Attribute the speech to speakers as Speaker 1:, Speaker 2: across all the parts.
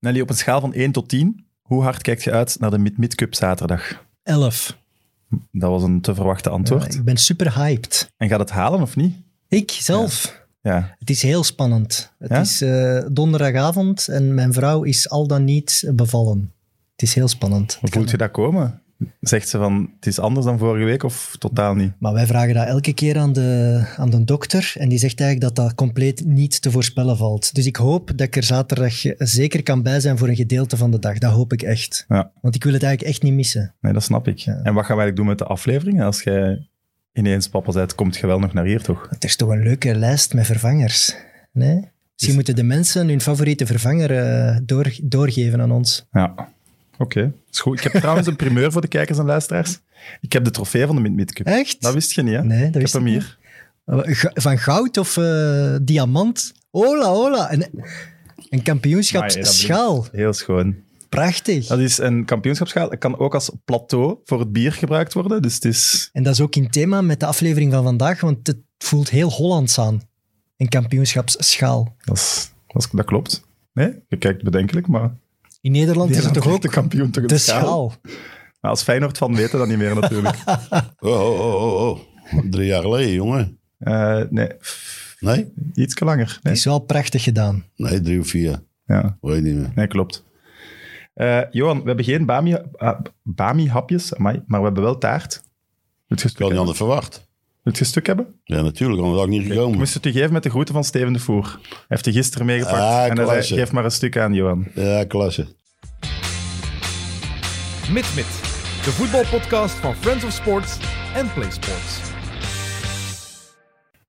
Speaker 1: Nelly, op een schaal van 1 tot 10, hoe hard kijkt je uit naar de Mid-Mid Cup zaterdag?
Speaker 2: 11.
Speaker 1: Dat was een te verwachten antwoord.
Speaker 2: ik ben super hyped.
Speaker 1: En gaat het halen of niet?
Speaker 2: Ik zelf.
Speaker 1: Ja.
Speaker 2: Het is heel spannend. Het
Speaker 1: Ja?
Speaker 2: is eh, donderdagavond en mijn vrouw is al dan niet bevallen. Het is heel spannend.
Speaker 1: Hoe voelt je dat komen? Zegt ze van, het is anders dan vorige week of totaal niet?
Speaker 2: Maar wij vragen dat elke keer aan de, aan de dokter. En die zegt eigenlijk dat dat compleet niet te voorspellen valt. Dus ik hoop dat ik er zaterdag zeker kan bij zijn voor een gedeelte van de dag. Dat hoop ik echt.
Speaker 1: Ja.
Speaker 2: Want ik wil het eigenlijk echt niet missen.
Speaker 1: Nee, dat snap ik.
Speaker 2: Ja.
Speaker 1: En wat gaan wij eigenlijk doen met de afleveringen? Als jij ineens papa bent, komt je wel nog naar hier, toch?
Speaker 2: Het is toch een leuke lijst met vervangers. Nee? Misschien
Speaker 1: Dus-
Speaker 2: moeten de mensen hun favoriete vervanger eh, door, doorgeven aan ons.
Speaker 1: Ja. Oké, is goed. Ik heb trouwens een primeur voor de kijkers en luisteraars. Ik heb de trofee van de Mid-Mid Cup.
Speaker 2: Echt?
Speaker 1: Dat wist je niet, hè?
Speaker 2: Nee, dat
Speaker 1: ik heb
Speaker 2: wist ik
Speaker 1: hem
Speaker 2: niet.
Speaker 1: hier.
Speaker 2: Ga- Van goud of eh, diamant? Hola, hola. Een, een kampioenschapsschaal.
Speaker 1: Heel schoon.
Speaker 2: Prachtig.
Speaker 1: Dat is een kampioenschapsschaal. Het kan ook als plateau voor het bier gebruikt worden. Dus het is...
Speaker 2: En dat is ook in thema met de aflevering van vandaag, want het voelt heel Hollands aan. Een kampioenschapsschaal.
Speaker 1: Dat, is, dat, is- dat klopt. Nee, je kijkt bedenkelijk, maar...
Speaker 2: In Nederland is het toch
Speaker 1: Nederland
Speaker 2: ook
Speaker 1: heeft de kampioen toch een
Speaker 2: de
Speaker 1: schaal?
Speaker 2: schaal.
Speaker 1: Maar als Feyenoord van weten dat niet meer, natuurlijk.
Speaker 3: Oh, oh, oh, oh, oh. Drie jaar geleden, jongen.
Speaker 1: Eh, nee,
Speaker 3: Nee?
Speaker 1: iets langer.
Speaker 2: Het
Speaker 1: Nee,
Speaker 2: is wel prachtig gedaan.
Speaker 3: Nee, drie of vier.
Speaker 1: ja.
Speaker 3: Weet niet meer.
Speaker 1: nee klopt. Eh, Johan, we hebben geen bami, ah, bami-hapjes, amai, maar we hebben wel taart. Wil je een
Speaker 3: Ik had
Speaker 1: stuk,
Speaker 3: niet
Speaker 1: hebben?
Speaker 3: anders verwacht.
Speaker 1: Wil je een stuk hebben?
Speaker 3: Ja, natuurlijk, anders had ik niet
Speaker 1: Ik
Speaker 3: gekomen.
Speaker 1: moest het u geven met de groeten van Steven de Voer. Hij heeft die gisteren meegepakt.
Speaker 3: Ah,
Speaker 1: en hij zei,
Speaker 3: klasse.
Speaker 1: geef maar een stuk aan, Johan.
Speaker 3: Ja, klasse.
Speaker 4: MidMid, de voetbalpodcast van Friends of Sports en Play Sports.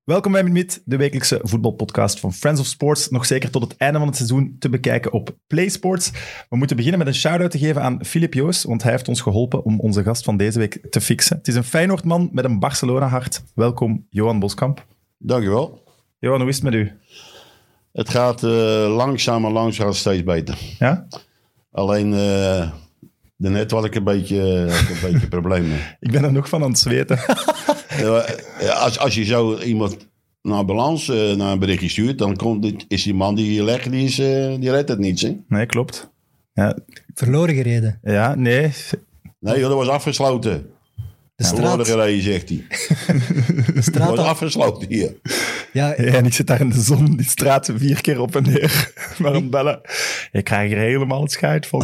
Speaker 1: Welkom bij Minuut, de wekelijkse voetbalpodcast van Friends of Sports. Nog zeker tot het einde van het seizoen te bekijken op PlaySports. We moeten beginnen met een shout-out te geven aan Filip Joos, want hij heeft ons geholpen om onze gast van deze week te fixen. Het is een Feyenoordman met een Barcelona-hart. Welkom, Johan Boskamp.
Speaker 3: Dankjewel.
Speaker 1: Johan, hoe is het met u?
Speaker 3: Het gaat eh, langzaam en langzaam steeds beter.
Speaker 1: Ja?
Speaker 3: Alleen, eh daarnet had ik een beetje, eh, had ik een beetje problemen. Eh,
Speaker 1: Ik ben er nog van aan het zweten.
Speaker 3: Ja, als, als je zo iemand naar balans, eh, naar een berichtje stuurt, dan komt, dit- is die man die hier legt, die, is, eh, die redt het niet. Hè?
Speaker 1: Nee, klopt. Ja,
Speaker 2: Verloren gereden.
Speaker 1: ja nee.
Speaker 3: Nee, joh, dat was afgesloten.
Speaker 2: De
Speaker 3: We worden
Speaker 2: straat,
Speaker 3: gereden, zegt hij.
Speaker 2: de
Speaker 3: Dat
Speaker 2: straat
Speaker 3: was
Speaker 2: had-
Speaker 3: afgesloten hier.
Speaker 2: Ja,
Speaker 1: Ja, en ik zit daar in de zon, die straat vier keer op en neer. Maar aan het bellen. Ik krijg er helemaal het scheid van.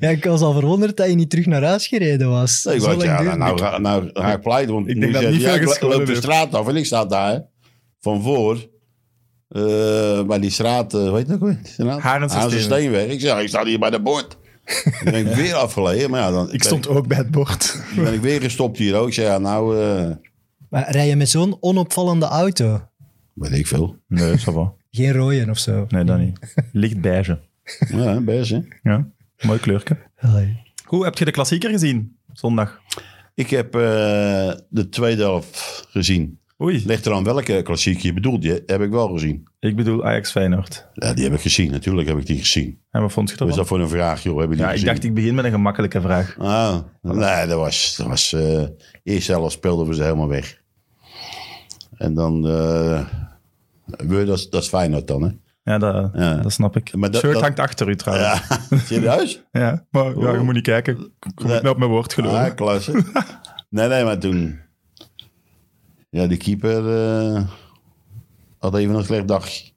Speaker 2: ja, ik was al verwonderd dat je niet terug naar huis gereden was.
Speaker 3: Nee, ik
Speaker 2: Zo
Speaker 3: wou-
Speaker 2: lang
Speaker 3: ja,
Speaker 2: duurde
Speaker 3: nou, nou,
Speaker 2: het.
Speaker 3: ga- nou ga ik pleiten, want
Speaker 1: Ik
Speaker 3: nu
Speaker 1: denk dat
Speaker 3: zegt
Speaker 1: niet
Speaker 3: hij,
Speaker 1: veel
Speaker 3: ja, ik
Speaker 1: geschoren
Speaker 3: loop de
Speaker 1: heeft.
Speaker 3: straat af en ik sta daar van voor. eh, bij die straat, eh, weet je nog weer? die straat?
Speaker 1: Harense
Speaker 3: Harense
Speaker 1: Steenweg.
Speaker 3: Steenweg. Ik zeg, ik sta hier bij de bord. Dan ben ik weer afgeleden, maar ja, dan
Speaker 1: Ik
Speaker 3: ben,
Speaker 1: stond ook bij het bord.
Speaker 3: ik- ben ik weer gestopt hier ook. Ik zeg, ja, nou, eh,
Speaker 2: Maar rij je met zo'n onopvallende auto?
Speaker 3: weet ik veel.
Speaker 1: Nee, ça va.
Speaker 2: Geen rooien of zo?
Speaker 1: Nee,
Speaker 3: Hmm.
Speaker 1: dat niet. Licht beige.
Speaker 3: Ja, best, hè.
Speaker 1: Ja, mooi kleurke.
Speaker 2: Allee.
Speaker 1: Hoe heb je de klassieker gezien zondag?
Speaker 3: Ik heb eh, de tweede helft gezien.
Speaker 1: Oei,
Speaker 3: Ligt eraan welke klassiek je bedoelt, die heb ik wel gezien.
Speaker 1: ik bedoel Ajax Feyenoord.
Speaker 3: Ja, die heb ik gezien, natuurlijk heb ik die gezien.
Speaker 1: En wat vond je
Speaker 3: Wat is
Speaker 1: ervan?
Speaker 3: dat voor een vraag, joh? Hebben die
Speaker 1: Ja, ik
Speaker 3: gezien?
Speaker 1: dacht ik begin met een gemakkelijke vraag.
Speaker 3: Ah, nee, dat was... Dat was eh eerst zelf speelden we ze helemaal weg. En dan... eh we, dat, is- dat is Feyenoord dan, hè?
Speaker 1: Ja, dat,
Speaker 3: Ja.
Speaker 1: dat snap ik.
Speaker 3: Maar
Speaker 1: Het
Speaker 3: dat-
Speaker 1: shirt
Speaker 3: dat-
Speaker 1: hangt achter u trouwens. Ja,
Speaker 3: Ja, serieus?
Speaker 1: maar ja, je moet niet kijken. Ik moet
Speaker 3: Nee.
Speaker 1: nou op mijn woord geloven.
Speaker 3: Ah, klasse. Nee, nee, maar toen... Ja, de keeper eh, had even een slecht dagje.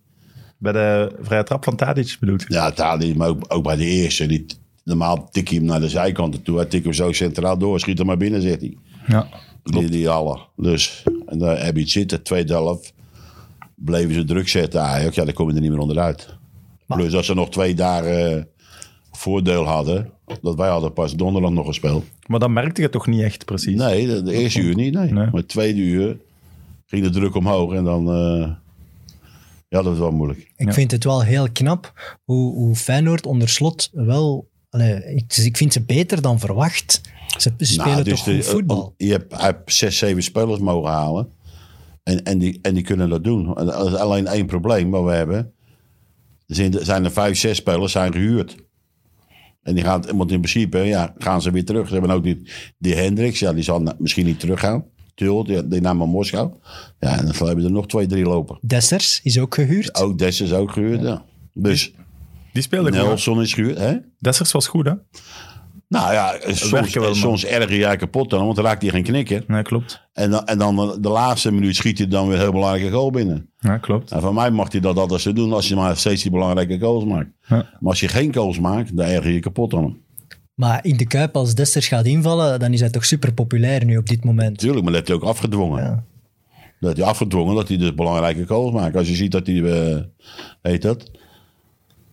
Speaker 1: Bij de vrije trap van Tadic bedoel je?
Speaker 3: Ja, Tadi, maar ook, ook bij de eerste. Die, normaal tik je hem naar de zijkanten toe. Hij tik hem zo centraal door. Schiet hem maar binnen, zegt hij.
Speaker 1: Ja.
Speaker 3: Die, die alle. Dus, en daar heb je het zitten. Tweede helft bleven ze druk zetten Ajax. Ja, daar kom je er niet meer onderuit. Plus dat ze nog twee dagen eh, voordeel hadden. Dat wij hadden pas donderdag nog gespeeld.
Speaker 1: Maar dat merkte je toch niet echt precies?
Speaker 3: Nee, de, de eerste uur niet. Nee.
Speaker 1: Nee.
Speaker 3: Maar het tweede uur ging de druk omhoog. En dan... eh, ja, dat was wel moeilijk.
Speaker 2: Ik vind het wel heel knap hoe, hoe Feyenoord onder slot wel... allee, ik, dus ik vind ze beter dan verwacht. Ze ze spelen
Speaker 3: Nou, dus
Speaker 2: toch
Speaker 3: de-
Speaker 2: goed voetbal.
Speaker 3: Je hebt, hij heeft zes, zeven spelers mogen halen. En, en, die, en die kunnen dat doen. En dat is alleen één probleem wat we hebben. Er zijn, zijn er vijf, zes spelers zijn gehuurd. En die gaan, want in principe ja, gaan ze weer terug. Ze hebben ook die, die Hendricks, ja, die zal na- misschien niet teruggaan. Tult, die, die nam naar Moskou. Ja, en dan hebben er nog twee, drie lopen.
Speaker 2: Dessers is ook gehuurd.
Speaker 3: Ook Dessers ook gehuurd, ja. Dus
Speaker 1: Die speelde gewoon.
Speaker 3: Nelson is gehuurd, hè?
Speaker 1: Dessers was goed, hè?
Speaker 3: Nou ja, soms,
Speaker 1: werken wel, man.
Speaker 3: soms erger jij kapot dan, want dan raakt hij geen knikken.
Speaker 1: Nee, klopt.
Speaker 3: En dan, en dan eh, de laatste minuut schiet hij dan weer een heel belangrijke goal binnen.
Speaker 1: Ja, klopt.
Speaker 3: En van mij mag hij dat altijd zo doen als je maar steeds die belangrijke goals maakt.
Speaker 1: Ja.
Speaker 3: Maar als je geen goals maakt, dan erger je kapot dan hem.
Speaker 2: Maar in de Kuip, als Desters gaat invallen, dan is hij toch super populair nu op dit moment.
Speaker 3: Tuurlijk, maar dat heeft hij ook afgedwongen.
Speaker 2: Ja.
Speaker 3: Dat heeft hij afgedwongen dat hij dus belangrijke goals maakt. Als je ziet dat hij, eh, heet dat,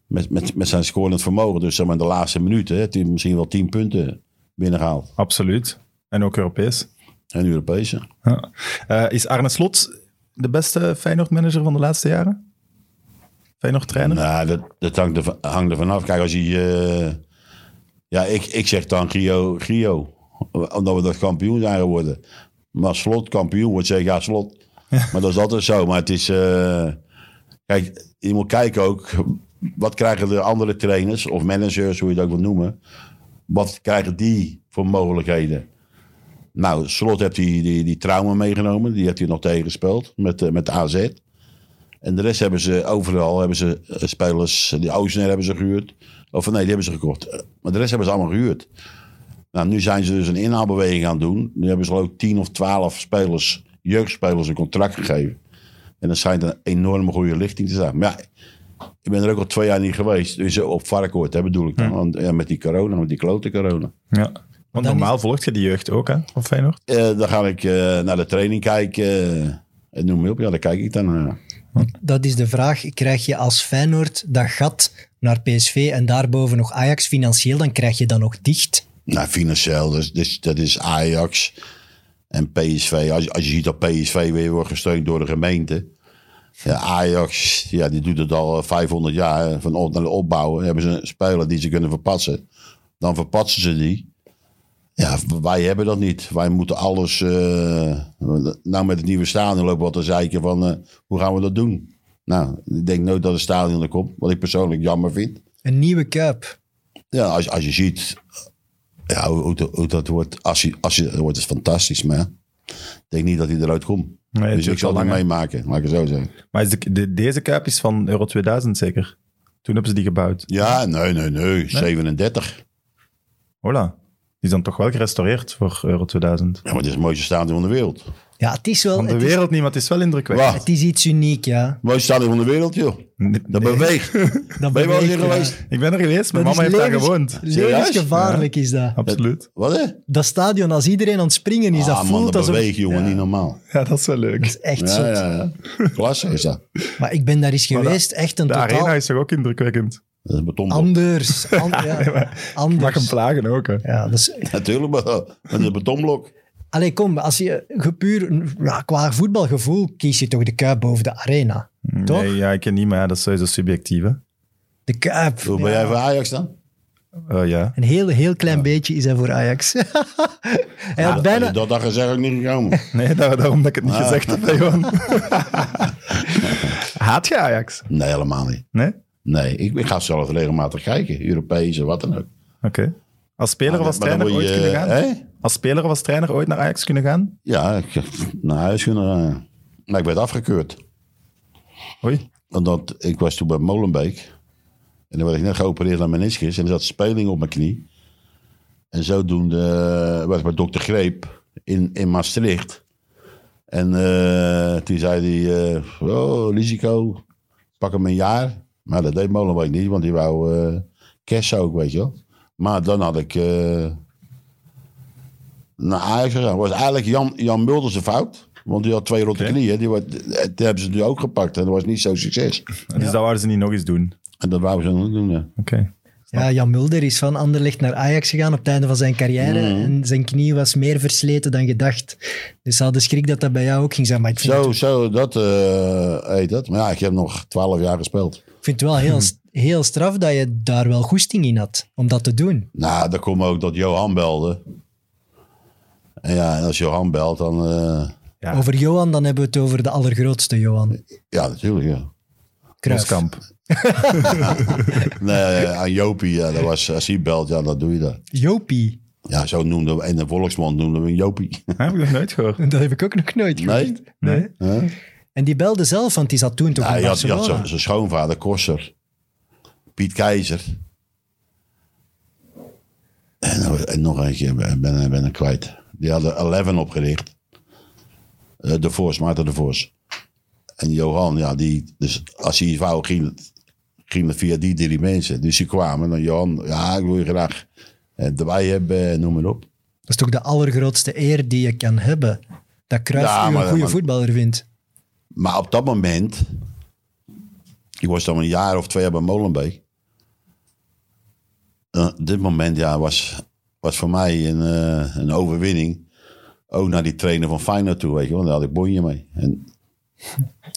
Speaker 3: met, met, met zijn scorend vermogen, dus zeg maar in de laatste minuten, hè, heeft hij misschien wel tien punten binnengehaald.
Speaker 1: Absoluut. En ook Europees.
Speaker 3: En Europese.
Speaker 1: Ja. Eh, is Arne Slot de beste Feyenoord-manager van de laatste jaren? Feyenoord-trainer?
Speaker 3: Nou, dat, dat hangt er, van- hangt er vanaf. Kijk, als je... eh, ja, ik, ik zeg dan Gio, Gio. Omdat we dat kampioen zijn geworden. Maar slot kampioen wordt zeg ja, slot. Maar dat is altijd zo. Maar het is... eh, kijk, je moet kijken ook... Wat krijgen de andere trainers of managers, hoe je het ook wil noemen... Wat krijgen die voor mogelijkheden? Nou, Slot heeft die, die, die trauma meegenomen. Die heeft hij nog tegengespeeld met, eh, met AZ. En de rest hebben ze overal, hebben ze eh, spelers, die Oosner hebben ze gehuurd. Of nee, die hebben ze gekocht. Eh, Maar de rest hebben ze allemaal gehuurd. Nou, nu zijn ze dus een inhaalbeweging aan het doen. Nu hebben ze geloof ik 10 of 12 spelers, jeugdspelers, een contract gegeven. En dat schijnt een enorme goede lichting te zijn. Maar ja, ik ben er ook al twee jaar niet geweest. Dus op Varkenoord, hè, bedoel ik dan. Want, ja, met die corona, met die klote corona.
Speaker 1: Ja. Want
Speaker 2: Dan
Speaker 1: normaal volgt je die jeugd ook, hè, van Feyenoord?
Speaker 3: Eh, dan ga ik eh, naar de training kijken. eh, en noem maar op. Ja, daar kijk ik dan eh. naar.
Speaker 2: Dat is de vraag. Krijg je als Feyenoord dat gat naar PSV en daarboven nog Ajax financieel, dan krijg je dat nog dicht.
Speaker 3: Nou, financieel, dus, dus dat is Ajax en PSV. Als, je- als je ziet dat PSV weer wordt gesteund door de gemeente. Ja, Ajax, ja, die doet het al eh, 500 jaar. hè, Van op naar de opbouwen hebben ze een speler die ze kunnen verpatsen. Dan verpatsen ze die. Ja, wij hebben dat niet. Wij moeten alles... eh, nou, met het nieuwe stadion lopen we wat te zeiken van... eh, hoe gaan we dat doen? Nou, ik denk nooit dat het stadion er komt. Wat ik persoonlijk jammer vind.
Speaker 2: Een nieuwe Kuip.
Speaker 3: Ja, als, als je ziet ja, hoe, hoe, hoe dat wordt. Als je, als je, dat wordt is fantastisch, maar ik denk niet dat hij eruit komt.
Speaker 1: het
Speaker 3: dus
Speaker 1: duurt
Speaker 3: ik zal
Speaker 1: wel
Speaker 3: het niet
Speaker 1: lang,
Speaker 3: meemaken, laat ik het zo zeggen.
Speaker 1: Maar is de, de- deze kuip is van Euro 2000 zeker? Toen hebben ze die gebouwd.
Speaker 3: Ja, nee, nee, nee, 37.
Speaker 1: Hola. Die is dan toch wel gerestaureerd voor Euro 2000.
Speaker 3: Ja, maar het is het mooiste stadion van de wereld.
Speaker 2: Ja, het is wel...
Speaker 1: Van de
Speaker 2: het, is,
Speaker 1: wereld niet, maar het is wel indrukwekkend.
Speaker 3: Wauw,
Speaker 2: het is iets uniek, ja.
Speaker 3: het mooiste stadion van de wereld, joh. Dat
Speaker 1: Nee.
Speaker 3: beweegt.
Speaker 2: Dat
Speaker 3: Ben je wel eens
Speaker 2: beweegt,
Speaker 3: hier
Speaker 2: ja.
Speaker 3: geweest?
Speaker 1: Ik ben er geweest, mijn
Speaker 2: Dat
Speaker 1: mama
Speaker 2: is
Speaker 1: heeft daar
Speaker 2: levens-
Speaker 1: gewoond.
Speaker 3: Serieus?
Speaker 2: Levensgevaarlijk is dat.
Speaker 1: Absoluut.
Speaker 3: Wat hè?
Speaker 2: Dat stadion, als iedereen aan het springen is, dat
Speaker 3: ah, man,
Speaker 2: voelt
Speaker 3: dat
Speaker 2: alsof...
Speaker 3: beweegt, jongen, niet normaal.
Speaker 1: Ja, dat is wel leuk.
Speaker 2: Dat is echt
Speaker 3: Ja,
Speaker 2: zot.
Speaker 3: ja, ja. Klasse is dat.
Speaker 2: Maar ik ben daar eens geweest, echt een
Speaker 1: De
Speaker 2: totaal
Speaker 1: arena is toch ook indrukwekkend?
Speaker 3: Dat is een betonblok.
Speaker 2: anders. an- ja,
Speaker 1: Ik mag hem
Speaker 2: anders.
Speaker 1: plagen ook, hè.
Speaker 2: Ja, dat is,
Speaker 3: Natuurlijk, maar maar dat is een betonblok.
Speaker 2: allee, kom, als je ge- puur ja, qua voetbalgevoel kies je toch de Kuip boven de arena. Toch?
Speaker 1: Nee, ja, ik ken niet, maar ja, dat is sowieso subjectief, hè.
Speaker 2: De Kuip.
Speaker 3: Hoe ben
Speaker 2: ja.
Speaker 3: jij voor Ajax dan?
Speaker 1: Eh, ja.
Speaker 2: Een heel, heel klein beetje is hij voor Ajax. hij had
Speaker 3: dat,
Speaker 2: bijna...
Speaker 3: dat had gezegd ook niet gekomen.
Speaker 1: Nee, daar- daarom dat ik het niet gezegd heb. hè, Gewoon. Haat je Ajax?
Speaker 3: Nee, helemaal niet.
Speaker 1: Nee? Oké.
Speaker 3: Nee, ik, ik ga zelf regelmatig kijken. Europees en wat dan ook.
Speaker 1: Als speler
Speaker 3: Ah, Maar
Speaker 1: was
Speaker 3: dan
Speaker 1: trainer
Speaker 3: moet
Speaker 1: ooit
Speaker 3: je,
Speaker 1: kunnen gaan?
Speaker 3: hè?
Speaker 1: Als speler was trainer ooit naar Ajax kunnen gaan?
Speaker 3: Ja, ik, naar huis kunnen gaan. Maar ik werd afgekeurd.
Speaker 1: Oei.
Speaker 3: Omdat ik was toen bij Molenbeek. En dan werd ik net geopereerd aan meniscus. En er zat speling op mijn knie. En zodoende eh, was ik bij dokter Greep in, in Maastricht. En eh, toen zei hij, eh, oh, risico, pak hem een jaar. Maar dat deed Molenbeek niet, want die wou eh kersen ook, weet je wel. Maar dan had ik eh, naar Ajax gegaan. was eigenlijk Jan, Jan Mulder zijn fout. Want die had twee rotte
Speaker 1: Oké.
Speaker 3: knieën. Die, wa- die hebben ze nu ook gepakt. En dat was niet zo'n succes.
Speaker 1: Dus dat wouden ze niet nog eens doen.
Speaker 3: En dat wouden ze nog doen, ja.
Speaker 1: Oké.
Speaker 2: Ja, Jan Mulder is van Anderlecht naar Ajax gegaan op het einde van zijn carrière.
Speaker 3: Mhm.
Speaker 2: En zijn knie was meer versleten dan gedacht. Dus ze hadden schrik dat dat bij jou ook ging zijn. Maar ik vind,
Speaker 3: Zo, zo, dat eh, heet dat. Maar ja, ik heb nog twaalf jaar gespeeld.
Speaker 2: ik vind het wel heel, st- heel straf dat je daar wel goesting in had om dat te doen.
Speaker 3: Nou, daar komt ook dat Johan belde. En ja, en als Johan belt, dan... eh,
Speaker 1: Ja.
Speaker 2: Over Johan, dan hebben we het over de allergrootste Johan.
Speaker 3: ja, natuurlijk, ja.
Speaker 2: Cruijff.
Speaker 1: Boskamp.
Speaker 3: Nee, aan Jopie, ja, dat was, als hij belt, ja, dan doe je dat.
Speaker 2: Jopie.
Speaker 3: Ja, zo noemden we, in de volksmond noemden we hem Jopie.
Speaker 1: Hè, Heb ik nog nooit gehoord.
Speaker 2: Dat heb ik ook nog nooit gehoord.
Speaker 3: Nee?
Speaker 1: Nee.
Speaker 3: Huh?
Speaker 2: En die belde zelf, want die zat toen toch
Speaker 3: Ja,
Speaker 2: in
Speaker 3: je had, je had
Speaker 2: Barcelona.
Speaker 3: zijn zijn schoonvader, Kosser. Piet Keizer. En, nog- en nog eentje, ben, ben, ben ik kwijt. Die hadden Eleven opgericht. Eh, de Vos, Maarten de Vos. En Johan, ja, die, dus als hij iets wou, ging het, ging het via die drie mensen. Dus die kwamen en Johan, ja, ik wil je graag eh, erbij hebben, eh, noem maar op.
Speaker 2: Dat is toch de allergrootste eer die je kan hebben. Dat Cruijff
Speaker 3: Ja,
Speaker 2: u
Speaker 3: maar-
Speaker 2: een goede
Speaker 3: maar-
Speaker 2: voetballer vindt.
Speaker 3: Maar op dat moment, ik was dan een jaar of twee jaar bij Molenbeek. Eh, dit moment ja, was, was voor mij een, eh, een overwinning. Ook naar die trainer van Feyenoord toe, weet je wel. Daar had ik bonje mee. En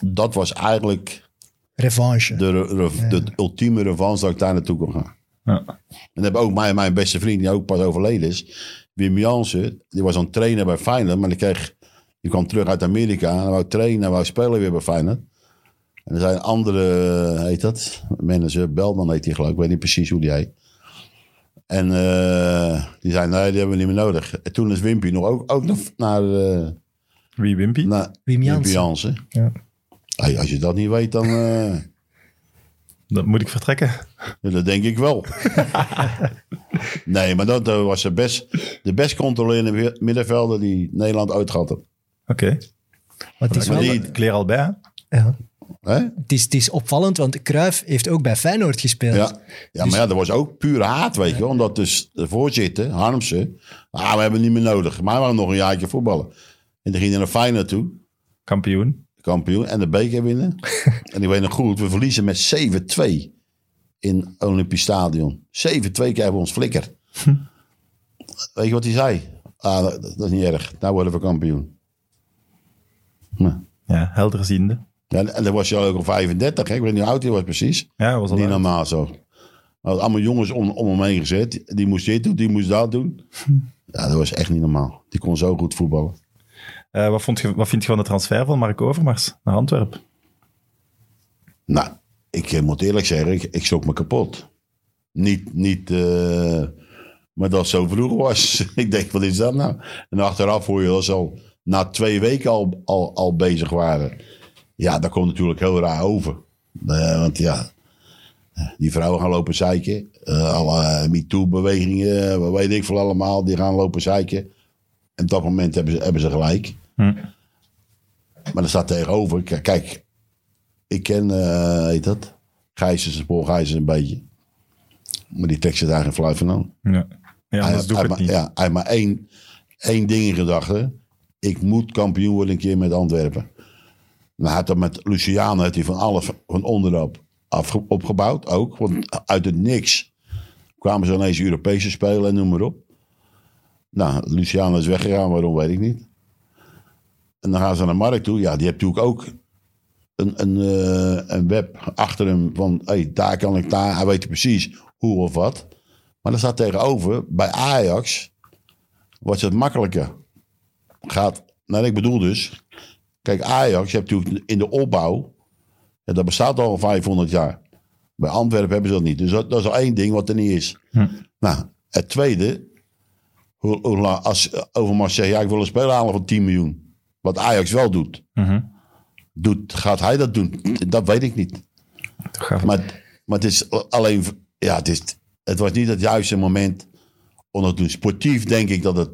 Speaker 3: dat was eigenlijk
Speaker 2: Revanche.
Speaker 3: de, re- re- de ultieme revanche dat ik daar naartoe kon gaan.
Speaker 1: Ja.
Speaker 3: En heb ook mijn, mijn beste vriend, die ook pas overleden is, Wim Jansen, die was aan het trainen bij Feyenoord, maar die, kreeg, die kwam terug uit Amerika en wou trainen, wou spelen weer bij Feyenoord. En er zijn andere, eh, heet dat, manager, Belman heet die geloof ik, ik weet niet precies hoe die heet. En eh, die zei, nee, die hebben we niet meer nodig. En toen is Wimpy nog ook, ook nog naar, eh,
Speaker 1: Wie Wimpy?
Speaker 3: naar
Speaker 2: Wim Jansen.
Speaker 3: Wimpy Jansen.
Speaker 2: Ja.
Speaker 3: Hey, als je dat niet weet, dan... eh,
Speaker 1: Dat moet ik vertrekken.
Speaker 3: Ja, Dus dat denk ik wel. nee, maar dat eh, was de best, de best controlerende wi- middenvelder die Nederland ooit gehad heeft.
Speaker 1: Oké.
Speaker 2: Maar het is
Speaker 1: Maar
Speaker 2: wel...
Speaker 1: die kleer al bij. hè?
Speaker 2: Ja.
Speaker 3: Hè?
Speaker 2: Het is, het is opvallend, want Cruijff heeft ook bij Feyenoord gespeeld.
Speaker 3: Ja. ja, maar ja, dat was ook pure haat, weet je wel. Omdat dus de voorzitter, Harmsen, ah, we hebben hem niet meer nodig. Maar we gaan nog een jaartje voetballen. En toen ging hij naar Feyenoord toe,
Speaker 1: Kampioen.
Speaker 3: kampioen, en de beker winnen. en ik weet nog goed, we verliezen met 7-2 in Olympisch Stadion. 7-2 krijgen we ons flikker. Weet je wat hij zei? Ah, dat, dat is niet erg, nou worden we kampioen.
Speaker 1: Ja, helderziende.
Speaker 3: Ja, en- en dan was je al ook al 35, hè? ik weet niet hoe oud hij was precies.
Speaker 1: Ja, hij was al
Speaker 3: Niet
Speaker 1: uit.
Speaker 3: normaal zo. Hij had allemaal jongens om, om hem heen gezet. Die moest dit doen, die moest dat doen. Ja, dat was echt niet normaal. Die kon zo goed voetballen.
Speaker 1: Eh, wat, vond je, wat vind je van de transfer van Mark Overmars naar Antwerpen?
Speaker 3: Nou, ik eh, moet eerlijk zeggen, ik, ik schrok me kapot. Niet, niet eh, maar dat het zo vroeg was. ik denk, wat is dat nou? En achteraf hoor je dat ze al na twee weken al, al, al bezig waren. Ja, dat komt natuurlijk heel raar over. Eh, want ja, die vrouwen gaan lopen zeiken. Eh, alle MeToo-bewegingen, wat weet ik veel allemaal, die gaan lopen zeiken. En op dat moment hebben ze, hebben ze gelijk.
Speaker 1: Hm.
Speaker 3: Maar er staat tegenover, k- kijk, ik ken, eh heet dat? Gijzers, Paul Gijzers een beetje. Maar die tekst zit daar geen fluit van aan.
Speaker 1: Ja, ja
Speaker 3: Hij
Speaker 1: anders
Speaker 3: had-
Speaker 1: doe ik
Speaker 3: hij
Speaker 1: het
Speaker 3: ma-
Speaker 1: niet.
Speaker 3: Ja, hij had maar één, één ding in gedachten. Ik moet kampioen worden een keer met Antwerpen. Nou, hij had dat met Luciano heeft hij van alles van onderop afge- opgebouwd ook. Want uit het niks kwamen ze ineens Europese spelen en noem maar op. Nou, Luciano is weggegaan, waarom weet ik niet. En dan gaan ze naar Mark toe. Ja, die heeft natuurlijk ook een, een, eh, een web achter hem van... hey, daar kan ik daar. Hij weet precies hoe of wat. Maar dat staat tegenover, bij Ajax wordt het makkelijker. Gaat, nou ik bedoel dus, kijk Ajax, je hebt natuurlijk in de opbouw, ja, dat bestaat al 500 jaar. Bij Antwerpen hebben ze dat niet. Dus dat, dat is al één ding wat er niet is. Nou, het tweede, hoe, hoe, la- als eh, Overmars zegt, ja ik wil een speler halen van 10 miljoen. Wat Ajax wel doet.
Speaker 1: Mhm.
Speaker 3: doet gaat hij dat doen? Dat weet ik niet.
Speaker 1: Toch gaaf.
Speaker 3: Maar, maar het is alleen, ja, het, is, het was niet het juiste moment om dat te doen. Sportief denk ik dat het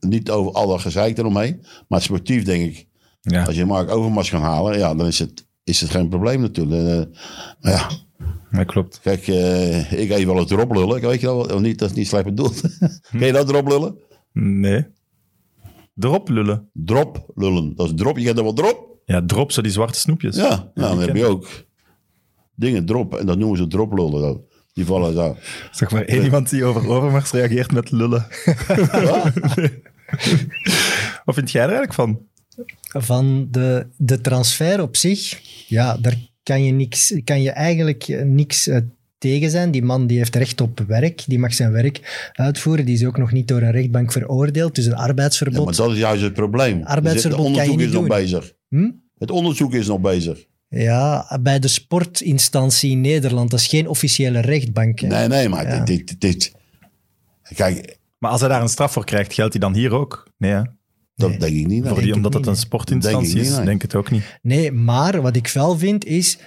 Speaker 3: niet over alle gezeik eromheen, maar sportief denk ik,
Speaker 1: ja.
Speaker 3: als je Mark Overmars kan halen, ja, dan is het, is het geen probleem natuurlijk. Eh, maar ja,
Speaker 1: dat klopt.
Speaker 3: kijk, eh, ik eet wel het erop lullen, weet je wel, of niet, dat is niet slecht bedoeld. Ken je dat erop lullen?
Speaker 1: Nee. Drop lullen.
Speaker 3: Drop lullen, dat is drop, je kent er wel drop.
Speaker 1: Ja, drop zo die zwarte snoepjes.
Speaker 3: Ja, nou, dan
Speaker 1: die
Speaker 3: heb je ook dingen drop en dat noemen ze drop lullen. Die vallen zo.
Speaker 1: Zeg maar één iemand die over Overmars reageert met lullen. Wat vind jij er eigenlijk van?
Speaker 2: Van de, de transfer op zich, ja, daar kan je, niks, kan je eigenlijk eh, niks eh, tegen zijn. Die man die heeft recht op werk, die mag zijn werk uitvoeren. Die is ook nog niet door een rechtbank veroordeeld, dus een
Speaker 3: Ja, maar
Speaker 2: arbeidsverbod.
Speaker 3: dat is juist het probleem.
Speaker 2: Arbeidsverbod
Speaker 3: Het onderzoek
Speaker 2: kan je
Speaker 3: is
Speaker 2: niet
Speaker 3: nog
Speaker 2: doen.
Speaker 3: bezig.
Speaker 2: Hm?
Speaker 3: Het onderzoek is nog bezig.
Speaker 2: Ja, bij de sportinstantie in Nederland, dat is geen officiële rechtbank. hè.
Speaker 3: Nee, nee, maar
Speaker 2: Ja.
Speaker 3: dit, dit, dit- Kijk,
Speaker 1: Maar als hij daar een straf voor krijgt, geldt hij dan hier ook? Nee, hè?
Speaker 3: dat denk ik niet.
Speaker 1: Voor
Speaker 3: Nou.
Speaker 1: die,
Speaker 2: ik
Speaker 1: omdat
Speaker 2: niet,
Speaker 1: het een
Speaker 2: nee.
Speaker 1: sportinstantie
Speaker 3: Denk ik niet,
Speaker 1: is,
Speaker 3: nee.
Speaker 1: denk ik het ook niet.
Speaker 2: Nee, maar wat ik wel vind is,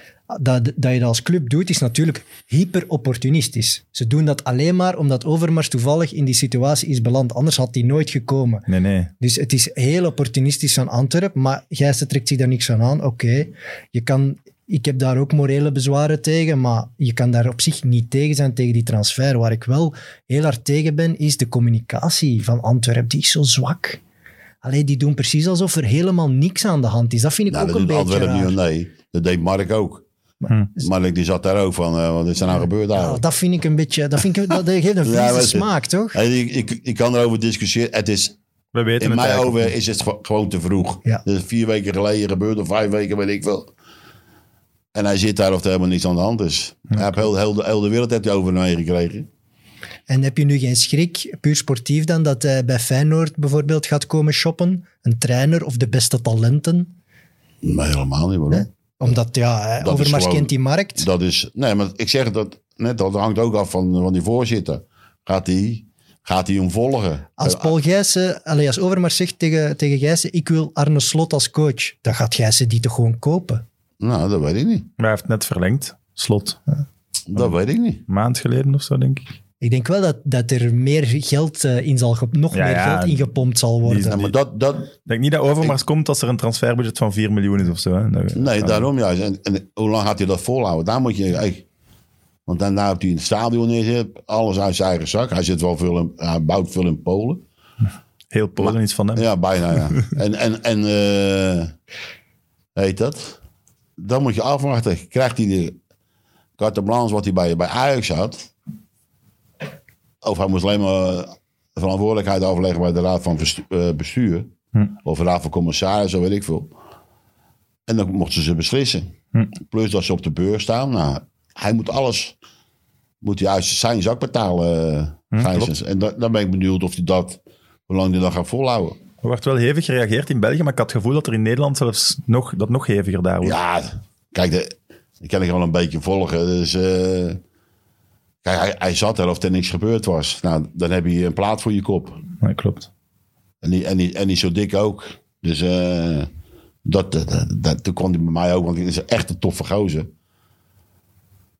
Speaker 2: dat, dat je dat als club doet, is natuurlijk hyper opportunistisch. Ze doen dat alleen maar omdat Overmars toevallig in die situatie is beland. Anders had die nooit gekomen.
Speaker 1: Nee, nee.
Speaker 2: Dus het is heel opportunistisch van Antwerpen, maar Gijssen trekt zich daar niks van aan. Oké, je kan... Ik heb daar ook morele bezwaren tegen, maar je kan daar op zich niet tegen zijn tegen die transfer. Waar ik wel heel hard tegen ben, is de communicatie van Antwerpen. Die is zo zwak. Allee, die doen precies alsof er helemaal niks aan de hand is. Dat vind ik
Speaker 3: Nou,
Speaker 2: ook
Speaker 3: dat
Speaker 2: een
Speaker 3: doet
Speaker 2: beetje
Speaker 3: Antwerpen
Speaker 2: raar.
Speaker 3: niet. Nee, dat deed Mark ook.
Speaker 1: Hm.
Speaker 3: Mark die zat daar ook van, eh, wat is er nou gebeurd
Speaker 2: Ja,
Speaker 3: eigenlijk?
Speaker 2: Ah, dat vind ik een beetje... Dat, vind ik, dat geeft een vieze
Speaker 3: Ja, weet je.
Speaker 2: smaak, toch?
Speaker 3: Hey, ik, ik, ik kan erover discussiëren. Het is,
Speaker 1: We weten
Speaker 3: in
Speaker 1: het
Speaker 3: mijn
Speaker 1: eigenlijk.
Speaker 3: ogen is het gewo- gewoon te vroeg.
Speaker 2: Ja.
Speaker 3: Dat is vier weken geleden gebeurd, of vijf weken, weet ik veel. En hij zit daar of er helemaal niks aan de hand is. Hij heeft heel, heel, de, heel de wereld heeft hij over hem heen gekregen.
Speaker 2: En heb je nu geen schrik, puur sportief dan, dat hij bij Feyenoord bijvoorbeeld gaat komen shoppen? Een trainer of de beste talenten?
Speaker 3: Maar helemaal niet, waarom?
Speaker 2: Omdat, ja,
Speaker 3: Dat is
Speaker 2: Overmars
Speaker 3: gewoon-
Speaker 2: kent die markt.
Speaker 3: Dat is, nee, maar ik zeg dat net al, dat hangt ook af van, van die voorzitter. Gaat hij gaat die hem volgen?
Speaker 2: Als Paul Gijssen, allee, als Overmars zegt tegen, tegen Gijssen, ik wil Arne Slot als coach, dan gaat Gijssen die toch gewoon kopen?
Speaker 3: Nou, dat weet ik niet.
Speaker 1: Maar hij heeft net verlengd. Slot.
Speaker 3: Dat weet ik niet.
Speaker 1: Een maand geleden of zo, denk ik.
Speaker 2: Ik denk wel dat, dat er meer geld eh, in zal, ge- nog
Speaker 1: Ja,
Speaker 2: meer
Speaker 1: ja.
Speaker 2: geld ingepompt zal worden.
Speaker 3: Ja, maar dat, dat,
Speaker 1: Ik denk niet dat Overmars komt als er een transferbudget van 4 miljoen is of zo. Hè? Nou,
Speaker 3: nee,
Speaker 1: ja.
Speaker 3: daarom juist. En, en hoe lang gaat hij dat volhouden? Daar moet je... Hey, want daarna heeft hij in het stadion neergezet. Alles uit zijn eigen zak. Hij, zit wel veel in, hij bouwt veel in Polen.
Speaker 1: Heel Polen iets van hem.
Speaker 3: Ja, bijna ja. en, en, en eh, heet dat? Dan moet je afwachten. Krijgt hij de carte blanche wat hij bij, bij Ajax had? Of hij moest alleen maar verantwoordelijkheid afleggen bij de raad van verstu- eh, bestuur. Of raad van commissarissen, weet ik veel. En dan mochten ze beslissen. Plus dat ze op de beurs staan. Nou, hij moet alles moet hij uit zijn zak betalen. eh, Gijsens. en da- dan ben ik benieuwd of hij dat, hoe lang hij dat gaat volhouden.
Speaker 1: Er wordt wel hevig gereageerd in België, maar ik had het gevoel dat er in Nederland zelfs nog, dat nog heviger daar wordt.
Speaker 3: Ja, kijk, de, ik kan ik wel een beetje volgen. Dus, eh, kijk, hij, hij zat er of er niks gebeurd was. Nou, dan heb je een plaat voor je kop.
Speaker 1: Ja, klopt.
Speaker 3: En die, en die, en die zo dik ook. Dus eh, dat, dat, dat, dat- toen kwam hij bij mij ook, want hij is echt een toffe gozer.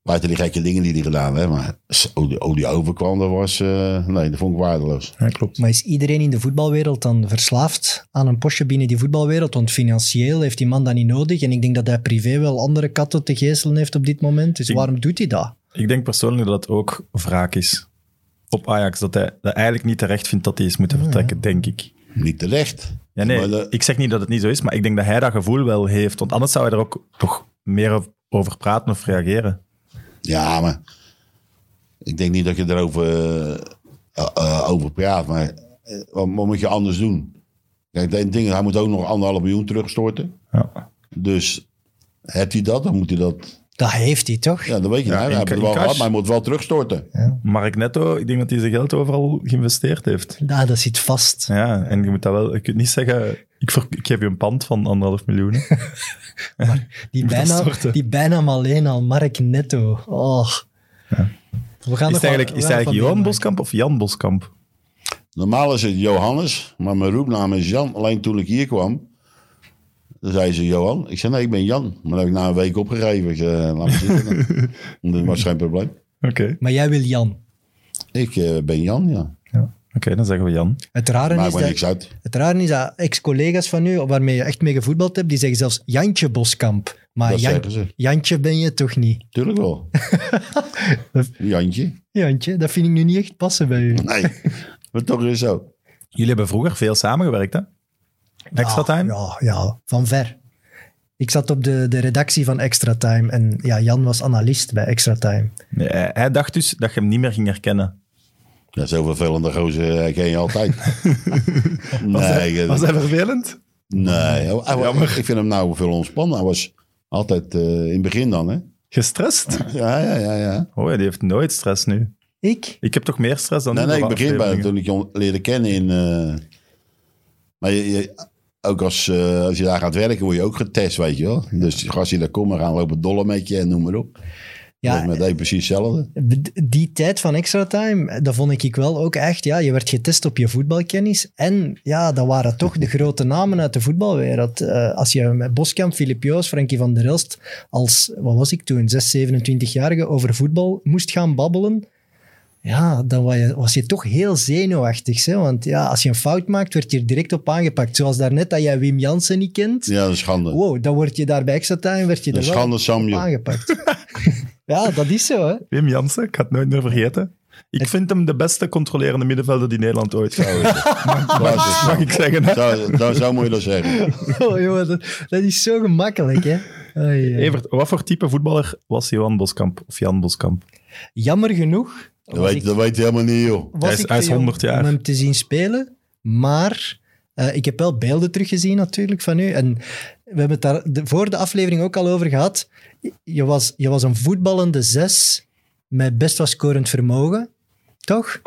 Speaker 3: Buiten die gekke dingen die hij gedaan heeft. Maar hoe die, hoe die overkwam, dat was... eh, nee, dat vond ik waardeloos.
Speaker 1: Ja, klopt.
Speaker 2: Maar is iedereen in de voetbalwereld dan verslaafd aan een postje binnen die voetbalwereld? Want financieel heeft die man dat niet nodig. En ik denk dat hij privé wel andere katten te geestelen heeft op dit moment. Dus
Speaker 1: Ik-
Speaker 2: waarom doet hij dat?
Speaker 1: Ik denk persoonlijk dat het ook wraak is op Ajax. Dat hij dat eigenlijk niet terecht vindt dat hij is moeten vertrekken, denk ik.
Speaker 3: Niet terecht.
Speaker 1: Ja, nee,
Speaker 3: Maar eh, dat-
Speaker 1: ik zeg niet dat het niet zo is, maar ik denk dat hij dat gevoel wel heeft. Want anders zou hij er ook toch meer over- over praten of reageren.
Speaker 3: Ja, maar ik denk niet dat je erover eh, eh, over praat. Maar eh, wat, wat moet je anders doen? Kijk, dat ding, hij moet ook nog anderhalf miljoen terugstorten.
Speaker 1: Ja.
Speaker 3: Dus heeft hij dat, dan moet hij dat.
Speaker 2: Dat heeft hij toch?
Speaker 3: Ja, dat weet
Speaker 1: Ja,
Speaker 3: je. niet. hij
Speaker 1: in
Speaker 3: heeft
Speaker 1: ka-
Speaker 3: het
Speaker 1: in
Speaker 3: wel
Speaker 1: cash.
Speaker 3: gehad, maar hij moet wel terugstorten.
Speaker 1: Mark Netto, ik denk dat hij zijn geld overal geïnvesteerd heeft.
Speaker 2: Ja, dat zit vast.
Speaker 1: Ja, en je moet dat wel... Je kunt niet zeggen, ik, ver- ik geef je een pand van anderhalf miljoen. moet
Speaker 2: Die
Speaker 1: dat
Speaker 2: bijna,
Speaker 1: storten.
Speaker 2: die bijna alleen al Mark Netto. Oh. We gaan
Speaker 1: Is
Speaker 2: nog
Speaker 1: het
Speaker 2: wel-
Speaker 1: eigenlijk,
Speaker 2: we
Speaker 1: is het
Speaker 2: gaan
Speaker 1: eigenlijk
Speaker 2: nog wel
Speaker 1: Johan
Speaker 2: meemaken.
Speaker 1: Boskamp of Jan Boskamp?
Speaker 3: Normaal is het Johannes, maar mijn roepnaam is Jan. Alleen toen ik hier kwam, dan zei ze Johan. Ik zei nee, ik ben Jan. Maar dat heb ik na een week opgegeven. Ik zei, "Eh, laat maar zitten. dan. dat was geen probleem.
Speaker 1: Oké.
Speaker 2: Maar jij wil Jan.
Speaker 3: Ik eh, ben Jan, ja.
Speaker 1: Oké, dan zeggen we Jan.
Speaker 2: Het rare,
Speaker 3: Maakt
Speaker 2: is
Speaker 3: me
Speaker 2: dat,
Speaker 3: niks uit.
Speaker 2: het rare is dat ex-collega's van u, waarmee je echt mee gevoetbald hebt, die zeggen zelfs Jantje Boskamp. Maar
Speaker 3: Dat
Speaker 2: Jan-
Speaker 3: zeggen ze.
Speaker 2: Jantje ben je toch niet?
Speaker 3: Tuurlijk wel. Jantje.
Speaker 2: Jantje, dat vind ik nu niet echt passen bij u.
Speaker 3: Nee, maar toch is het zo.
Speaker 1: Jullie hebben vroeger veel samengewerkt, hè? Extra
Speaker 2: Ja,
Speaker 1: time?
Speaker 2: Ja, ja, van ver. Ik zat op de, de redactie van Extra Time en ja, Jan was analist bij Extra Time.
Speaker 1: Nee, hij, hij dacht dus dat je hem niet meer ging herkennen.
Speaker 3: Ja, zo vervelende gozer eh, ken je altijd. nee, eh,
Speaker 1: hij vervelend?
Speaker 3: nee. Hij- hij- ik vind hem nou veel ontspannen. Hij was altijd eh, in het begin dan, hè?
Speaker 1: Gestrest?
Speaker 3: Ja, ja, ja. ja.
Speaker 1: Oh, ja, die heeft nooit stress nu.
Speaker 2: Ik?
Speaker 1: Ik heb toch meer stress dan
Speaker 3: Nee,
Speaker 1: u
Speaker 3: nee, ik
Speaker 1: voor
Speaker 3: begin bij hem
Speaker 1: afleveringen?
Speaker 3: toen ik je on- leerde kennen in... eh, maar je, je- ook als, eh, als je daar gaat werken, word je ook getest, weet je wel. Dus als je daar komt, dan gaan lopen dollen met je en noem maar op. Ja,
Speaker 1: eh,
Speaker 3: met deed precies hetzelfde.
Speaker 2: die tijd van extra time, dat vond ik wel ook echt. Ja, je werd getest op je voetbalkennis. En ja, dat waren toch de grote namen uit de voetbalwereld. Eh, als je met Boskamp, Filip Joos, Frankie van der Elst als, wat was ik toen, 6, 27-jarige over voetbal moest gaan babbelen. Ja, dan was je, was je toch heel zenuwachtig. Hè? Want ja, als je een fout maakt, werd je er direct op aangepakt. Zoals daarnet dat jij Wim Jansen niet kent.
Speaker 3: Ja, dat is schande.
Speaker 2: Wow, dan word je daar bij extra time werd je
Speaker 3: dat
Speaker 2: er
Speaker 3: is
Speaker 2: wel
Speaker 3: schande,
Speaker 2: op
Speaker 3: Samje.
Speaker 2: aangepakt. ja, dat is zo. Hè?
Speaker 1: Wim Jansen, ik ga het nooit meer vergeten. Ik vind hem de beste controlerende middenvelder die Nederland ooit zou hebben.
Speaker 3: Basis.
Speaker 1: Mag ik zeggen, hè?
Speaker 3: Zo, dat- zo moet je dat zeggen.
Speaker 2: Oh, jongen, dat, dat is zo gemakkelijk, hè? Ai, ai.
Speaker 1: Evert, wat voor type voetballer was Johan Boskamp of Jan Boskamp?
Speaker 2: Jammer genoeg
Speaker 3: Dat weet, dat weet hij helemaal niet, joh.
Speaker 2: was
Speaker 1: Hij is-
Speaker 2: ik
Speaker 1: hij is
Speaker 2: te jong
Speaker 1: 100 jaar.
Speaker 2: om hem te zien spelen, maar eh, ik heb wel beelden teruggezien natuurlijk van u. En we hebben het daar de- voor de aflevering ook al over gehad. Je was, je was een voetballende zes met best wat scorend vermogen. Toch?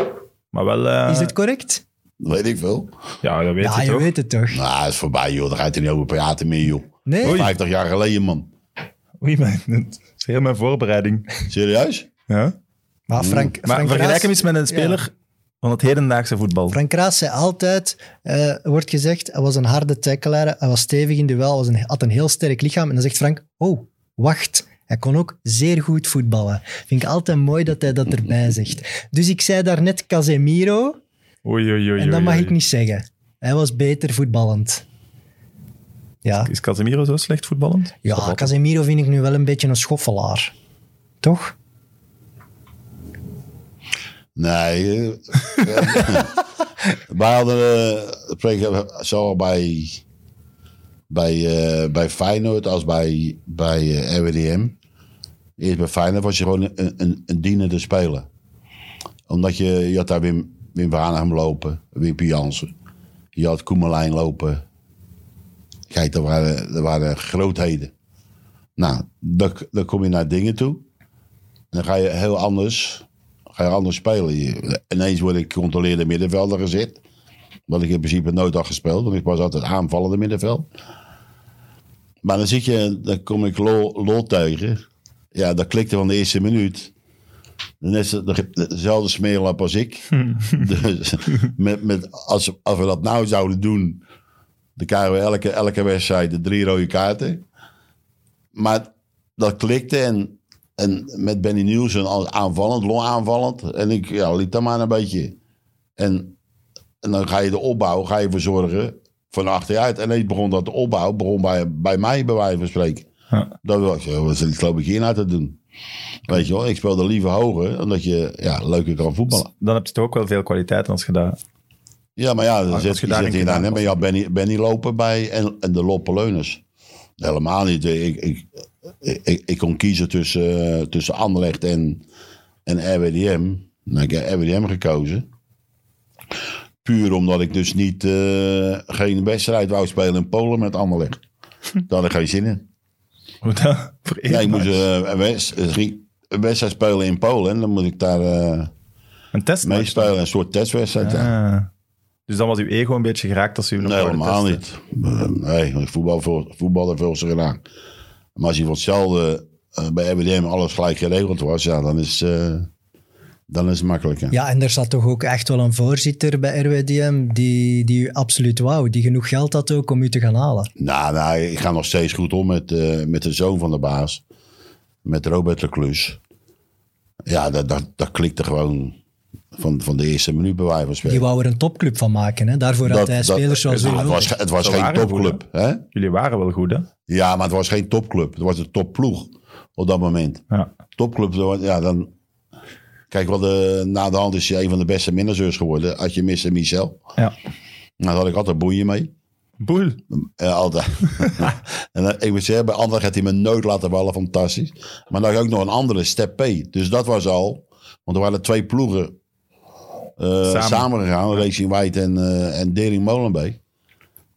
Speaker 1: Maar wel... eh,
Speaker 2: Is dit correct?
Speaker 3: Dat weet ik veel.
Speaker 1: Ja, dat weet
Speaker 2: ja,
Speaker 1: je
Speaker 2: je
Speaker 1: toch?
Speaker 2: weet het toch.
Speaker 3: Nou, dat is voorbij, joh. Daar gaat hij niet over praten meer, joh.
Speaker 2: Nee?
Speaker 1: Oei.
Speaker 3: 50 jaar geleden, man.
Speaker 1: Oei, mijn, het is heel mijn voorbereiding.
Speaker 3: Serieus?
Speaker 1: Ja?
Speaker 2: Maar Frank,
Speaker 1: Maar
Speaker 2: Frank
Speaker 1: vergelijk
Speaker 2: Raas-
Speaker 1: hem eens met een speler van het hedendaagse voetbal.
Speaker 2: Frank Raas zei altijd, eh, wordt gezegd, hij was een harde tackelaar, hij was stevig in duel, was een, had een heel sterk lichaam. En dan zegt Frank, oh, wacht. Hij kon ook zeer goed voetballen. Vind ik altijd mooi dat hij dat erbij zegt. Dus ik zei daarnet Casemiro,
Speaker 1: Oei, oei, oei.
Speaker 2: en dat
Speaker 1: oei,
Speaker 2: mag
Speaker 1: oei.
Speaker 2: ik niet zeggen. Hij was beter voetballend. Ja,
Speaker 1: Is Casemiro zo slecht voetballend? Is dat
Speaker 2: ja
Speaker 1: wat?
Speaker 2: Casemiro vind ik nu wel een beetje een schoffelaar. Toch?
Speaker 3: Nee. eh, Wij hadden, eh, spreken zowel bij, bij, eh, bij Feyenoord als bij, bij eh, RWDM. Eerst bij Feyenoord was je gewoon een, een, een dienende speler. Omdat je, je had daar Wim, Wim van Hanegem lopen, Wim Jansen. Je had Koemelijn lopen. Kijk, dat waren, dat waren grootheden. Nou, dan, dan kom je naar dingen toe. En dan ga je heel anders ga je anders spelen. Je- Ineens word ik controleerde middenvelder gezet. Wat ik in principe nooit had gespeeld, want ik was altijd aanvallende middenveld. Maar dan zit je, dan kom ik lol, lol tegen. Ja, dat klikte van de eerste minuut. Net zo- de- dezelfde smeerlap als ik. Dus met, met, als, als we dat nou zouden doen, dan krijgen we elke, elke wedstrijd de drie rode kaarten. Maar dat klikte en, en met Benny Nielsen als aanvallend, long aanvallend. En ik ja, liet dat maar een beetje. En, en dan ga je de opbouw, ga je verzorgen van achteruit. En ineens begon dat de opbouw, begon bij, bij mij bij wijze van spreken.
Speaker 1: Ja.
Speaker 3: Dat was, ja, wat zit ik geloof ik hierna te doen? Weet je wel, ik speelde liever hoger, omdat je ja, leuker kan voetballen.
Speaker 1: Dan heb je toch ook wel veel kwaliteit als je dat...
Speaker 3: Ja, maar ja, dan
Speaker 1: als
Speaker 3: zit
Speaker 1: je
Speaker 3: je
Speaker 1: daarin
Speaker 3: zit
Speaker 1: kunt
Speaker 3: hier nou aan. hè.
Speaker 1: aanpassen.
Speaker 3: Maar ja, Benny, Benny lopen bij en, en de Loppeleuners. Helemaal niet. Ik, ik, ik, ik, ik kon kiezen tussen, eh, tussen Anderlecht en, en RWDM. Nou, ik heb RWDM gekozen. Puur omdat ik dus niet, eh, geen wedstrijd wou spelen in Polen met Anderlecht. Daar had ik geen zin in.
Speaker 1: Hoe dat voor
Speaker 3: Ja, ik
Speaker 1: eeuwig
Speaker 3: moest
Speaker 1: maakt.
Speaker 3: eh, een, wedst- een drie- een wedstrijd spelen in Polen. En dan moet ik daar eh
Speaker 1: Een test
Speaker 3: meespelen. Een soort testwedstrijd. ja.
Speaker 1: Ah. Dus dan was uw ego een beetje geraakt als u hem
Speaker 3: Nee,
Speaker 1: nog wilde
Speaker 3: helemaal
Speaker 1: testen.
Speaker 3: niet. Eh, Nee, want voetbal, voor- voetbal heeft veel ze gedaan. Maar als je voor hetzelfde eh, bij RWDM alles gelijk geregeld was, ja, dan is, eh, dan is het makkelijker.
Speaker 2: Ja, en er zat toch ook echt wel een voorzitter bij RWDM die, die u absoluut wou. Die genoeg geld had ook om u te gaan halen.
Speaker 3: Nou, nou, ik ga nog steeds goed om met, eh, met de zoon van de baas. Met Robert Leclus. Ja, dat, dat, dat klikte gewoon van, van de eerste minuut bij wijze van
Speaker 2: Die
Speaker 3: spelen.
Speaker 2: wou er een topclub van maken. Hè? Daarvoor had hij spelers zoals u.
Speaker 3: nou, het
Speaker 2: nodig.
Speaker 3: was, het was
Speaker 1: Zo
Speaker 3: geen
Speaker 1: waren het
Speaker 3: topclub. Hè?
Speaker 1: Jullie waren wel goed, hè?
Speaker 3: Ja, maar het was geen topclub. Het was een topploeg op dat moment.
Speaker 1: Ja.
Speaker 3: Topclub, dat was- ja, dan... Kijk, wat de, na de hand is hij een van de beste managers geworden. Had je Mr. Michel.
Speaker 1: ja.
Speaker 3: Nou, daar had ik altijd boeien mee.
Speaker 1: Boel.
Speaker 3: Eh, altijd. en dan, ik moet zeggen, bij anderen gaat hij me nooit laten ballen. Fantastisch. Maar dan had ik ook nog een andere, Step P. Dus dat was al... Want er waren twee ploegen eh,
Speaker 1: Samen.
Speaker 3: samen gegaan. Racing White en, eh en Dering Molenbeek.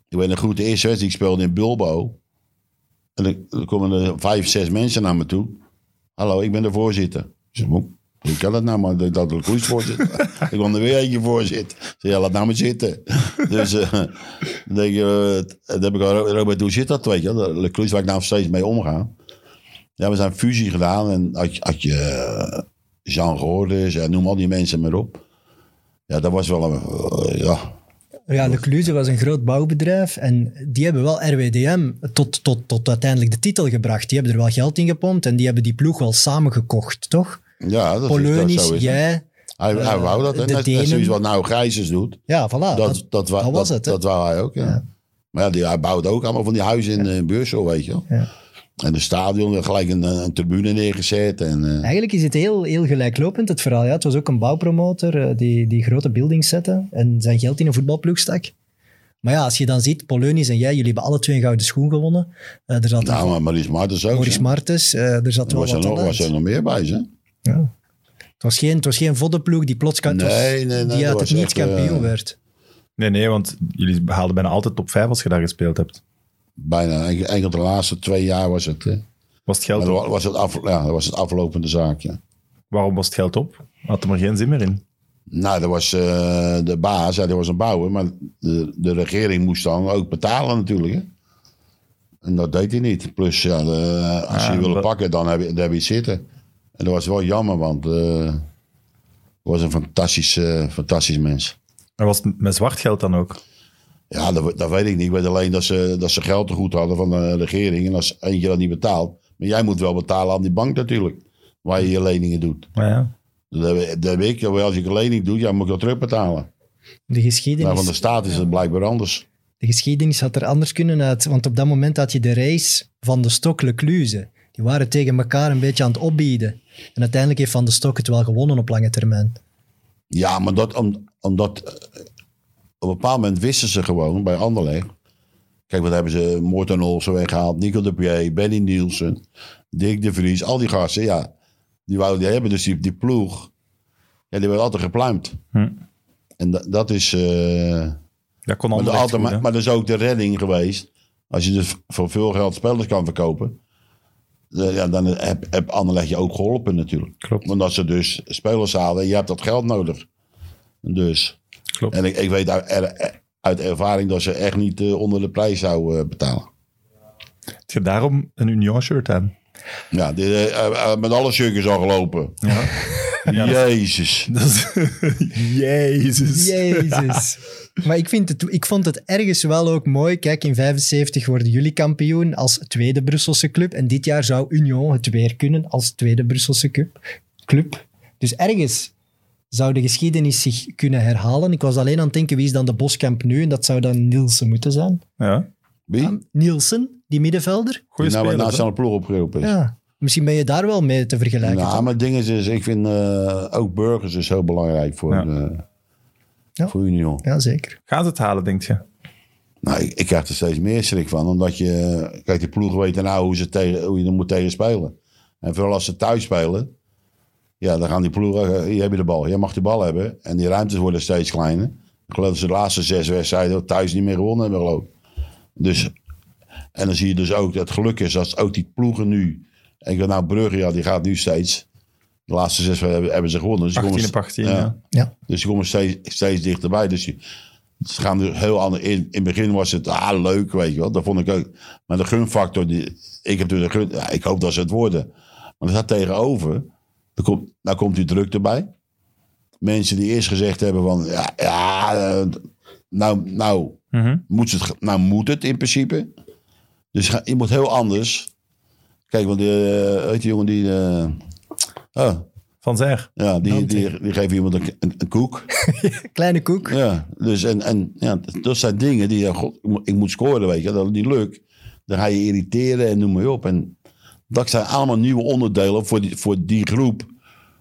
Speaker 3: Ik weet nog goed, de eerste wedstrijd die ik speelde in Bilbo. En dan- dan komen er vijf, zes mensen naar me toe. Hallo, ik ben de voorzitter. Ik zeg, "Hoe- hoe kan dat nou, maar dat ik dat de koers voorzitter. ik wil er weer eentje voor zitten. Ik zeg, ja, laat nou maar zitten. dus eh, dan denk je, eh, dan heb ik al Robert, hoe zit dat, weet je? wel? De Lecluse waar ik nou steeds mee omga. Ja, we zijn fusie gedaan en had, je- had je eh, Jean Roordes en noem al die mensen maar op. Ja, dat was wel een... eh, ja,
Speaker 2: Ja, de Cluze was een groot bouwbedrijf en die hebben wel RWDM tot, tot, tot uiteindelijk de titel gebracht. Die hebben er wel geld in gepompt en die hebben die ploeg wel samengekocht, toch?
Speaker 3: ja dat, is, dat
Speaker 2: Polonisch,
Speaker 3: zo is het.
Speaker 2: jij...
Speaker 3: Hij, hij
Speaker 2: eh,
Speaker 3: wou dat, hè?
Speaker 2: de
Speaker 3: Net, net zoiets
Speaker 2: Denen.
Speaker 3: wat nou Gijzers doet.
Speaker 2: Ja, voilà. Ah, Dat,
Speaker 3: dat, dat, wa-
Speaker 2: dat was het, hè?
Speaker 3: Dat wou hij ook, ja. Maar ja, die, hij bouwde ook allemaal van die huizen in eh Beursel, weet je wel.
Speaker 2: Ja.
Speaker 3: En de stadion, er gelijk een, een tribune neergezet. En, eh,
Speaker 2: Eigenlijk is het heel, heel gelijklopend, het verhaal. Ja, het was ook een bouwpromotor eh, die, die grote buildings zette en zijn geld in een voetbalploeg stak. Maar ja, als je dan ziet, Polonis en jij, jullie hebben alle twee een gouden schoen gewonnen. Eh, er zat
Speaker 3: nou,
Speaker 2: een
Speaker 3: maar Maurice Martens ook.
Speaker 2: Maurice
Speaker 3: hè.
Speaker 2: Martens, eh, er zat wel
Speaker 3: was, er
Speaker 2: wat
Speaker 3: nog,
Speaker 2: talent.
Speaker 3: was er nog meer bij, hè?
Speaker 2: Ja. Het was geen, het was geen voddenploeg die plots kan- het was-
Speaker 3: Nee, nee, nee, dat
Speaker 2: die uit
Speaker 3: was
Speaker 2: het niet
Speaker 3: echt, eh,
Speaker 2: kampioen werd.
Speaker 1: Nee, nee, want jullie haalden bijna altijd top 5 als je daar gespeeld hebt.
Speaker 3: Bijna. Enkel- Enkel de laatste twee jaar was het, eh,
Speaker 1: Was het geld
Speaker 3: maar
Speaker 1: op?
Speaker 3: dat was, het af, ja, dat was het aflopende zaakje.
Speaker 1: Waarom was het geld op? Had er maar geen zin meer in.
Speaker 3: Nou, dat was eh, de baas, ja, dat was een bouwer, maar de, de regering moest dan ook betalen natuurlijk. Hè? En dat deed hij niet. Plus, ja, de- als je
Speaker 1: Ah,
Speaker 3: je wil
Speaker 1: wat-
Speaker 3: pakken, dan heb je, dan heb je het zitten. En dat was wel jammer, want eh, hij was een fantastisch, eh, fantastisch mens.
Speaker 1: En was het met zwart geld dan ook?
Speaker 3: Ja, dat, we- dat weet ik niet. Ik weet alleen dat ze, dat ze geld te goed hadden van de regering. En als eentje dat niet betaalt, maar jij moet wel betalen aan die bank natuurlijk, waar je je leningen doet.
Speaker 1: Nou ja.
Speaker 3: Dat, heb- dat heb ik, wel. als ik een lening doe, ja, moet ik dat terugbetalen.
Speaker 2: De geschiedenis,
Speaker 3: Nou, van de staat is het blijkbaar anders.
Speaker 2: de geschiedenis had er anders kunnen uit. Want op dat moment had je de race van de Stok Lecluze. Die waren tegen elkaar een beetje aan het opbieden. En uiteindelijk heeft Van de Stok het wel gewonnen op lange termijn.
Speaker 3: Ja, maar dat, om- omdat eh, op een bepaald moment wisten ze gewoon bij Anderlecht. Kijk, wat hebben ze? Morten Olsen weggehaald, Nico de Pier, Benny Nielsen, Dick de Vries, al die gasten, ja. Die wouden die hebben, dus die, die ploeg, ja, die werd altijd gepluimd.
Speaker 1: Hm.
Speaker 3: En da- dat is, eh,
Speaker 1: Dat kon
Speaker 3: maar, de
Speaker 1: allemaal echt
Speaker 3: altijd,
Speaker 1: goed, hè?
Speaker 3: maar, maar dat is ook de redding geweest. Als je dus voor veel geld spelers kan verkopen, eh, ja, dan heb, heb Anderlecht je ook geholpen natuurlijk.
Speaker 1: Klopt.
Speaker 3: Omdat ze dus spelers halen. Je hebt dat geld nodig. Dus.
Speaker 1: Klopt.
Speaker 3: En ik, ik weet uit, er- uit ervaring dat ze echt niet eh, onder de prijs zou eh, betalen.
Speaker 1: Je hebt daarom een Union-shirt aan.
Speaker 3: Ja, die, eh, eh, eh, met alle circus al gelopen.
Speaker 1: Ja.
Speaker 3: Jezus.
Speaker 1: Dat is- Jezus.
Speaker 2: Jezus. maar ik, vind het, ik vond het ergens wel ook mooi. Kijk, in 75 worden jullie kampioen als tweede Brusselse club. En dit jaar zou Union het weer kunnen als tweede Brusselse cup- club. Dus ergens zou de geschiedenis zich kunnen herhalen. Ik was alleen aan het denken, wie is dan de Boskamp nu? En dat zou dan Nielsen moeten zijn.
Speaker 1: Ja.
Speaker 3: Wie? Die
Speaker 2: Ehm, Nielsen, die middenvelder?
Speaker 1: Goeie
Speaker 3: nou bij de
Speaker 1: spelers, hè?
Speaker 3: nationale ploeg opgeroepen is.
Speaker 2: Ja. Misschien ben je daar wel mee te vergelijken.
Speaker 3: nou,
Speaker 2: toch?
Speaker 3: maar het ding is, is ik vind eh, ook burgers is heel belangrijk voor,
Speaker 1: Ja.
Speaker 3: eh,
Speaker 2: Ja.
Speaker 3: voor Union.
Speaker 2: Ja, zeker.
Speaker 1: Gaan ze het halen, denk je?
Speaker 3: Nou, ik, ik krijg er steeds meer schrik van. Omdat je... Kijk, die ploegen weten nou hoe, ze tegen, hoe je er moet tegen spelen. En vooral als ze thuis spelen... Ja, dan gaan die ploegen... eh, Hier heb je de bal. Jij mag de bal hebben. En die ruimtes worden steeds kleiner. Ik geloof dat ze de laatste zes wedstrijden thuis niet meer gewonnen hebben geloof ik. Dus... En dan zie je dus ook dat het geluk is dat ook die ploegen nu... En ik weet nou, Brugge, ja, die gaat nu steeds... De laatste zes hebben, hebben ze gewonnen. Dus die
Speaker 1: 18
Speaker 3: komen-
Speaker 1: op 18,
Speaker 3: ja.
Speaker 1: ja.
Speaker 2: Ja.
Speaker 3: dus die komen steeds, steeds dichterbij. Dus die, ze gaan nu heel anders. In, in het begin was het ah, leuk, weet je wel. Dat vond ik ook. Maar de gunfactor, die, ik, heb natuurlijk de gun, ja, ik hoop dat ze het worden. Maar er staat tegenover, er komt, daar komt die druk erbij. Mensen die eerst gezegd hebben van, ja, ja eh, nou, nou,
Speaker 1: Mhm.
Speaker 3: moet het, ge- nou moet het in principe. Dus ga- je moet heel anders. Kijk, want die, eh, weet je, jongen die... eh, oh,
Speaker 1: Van Zijr.
Speaker 3: ja, die, die, die geeft iemand een, een, een koek.
Speaker 2: Kleine koek.
Speaker 3: Ja, dus en, en ja, dat zijn dingen die, ja, god, ik moet- ik moet scoren, weet je, dat het niet lukt. Dan ga je irriteren en noem maar op. En dat zijn allemaal nieuwe onderdelen voor die, voor die groep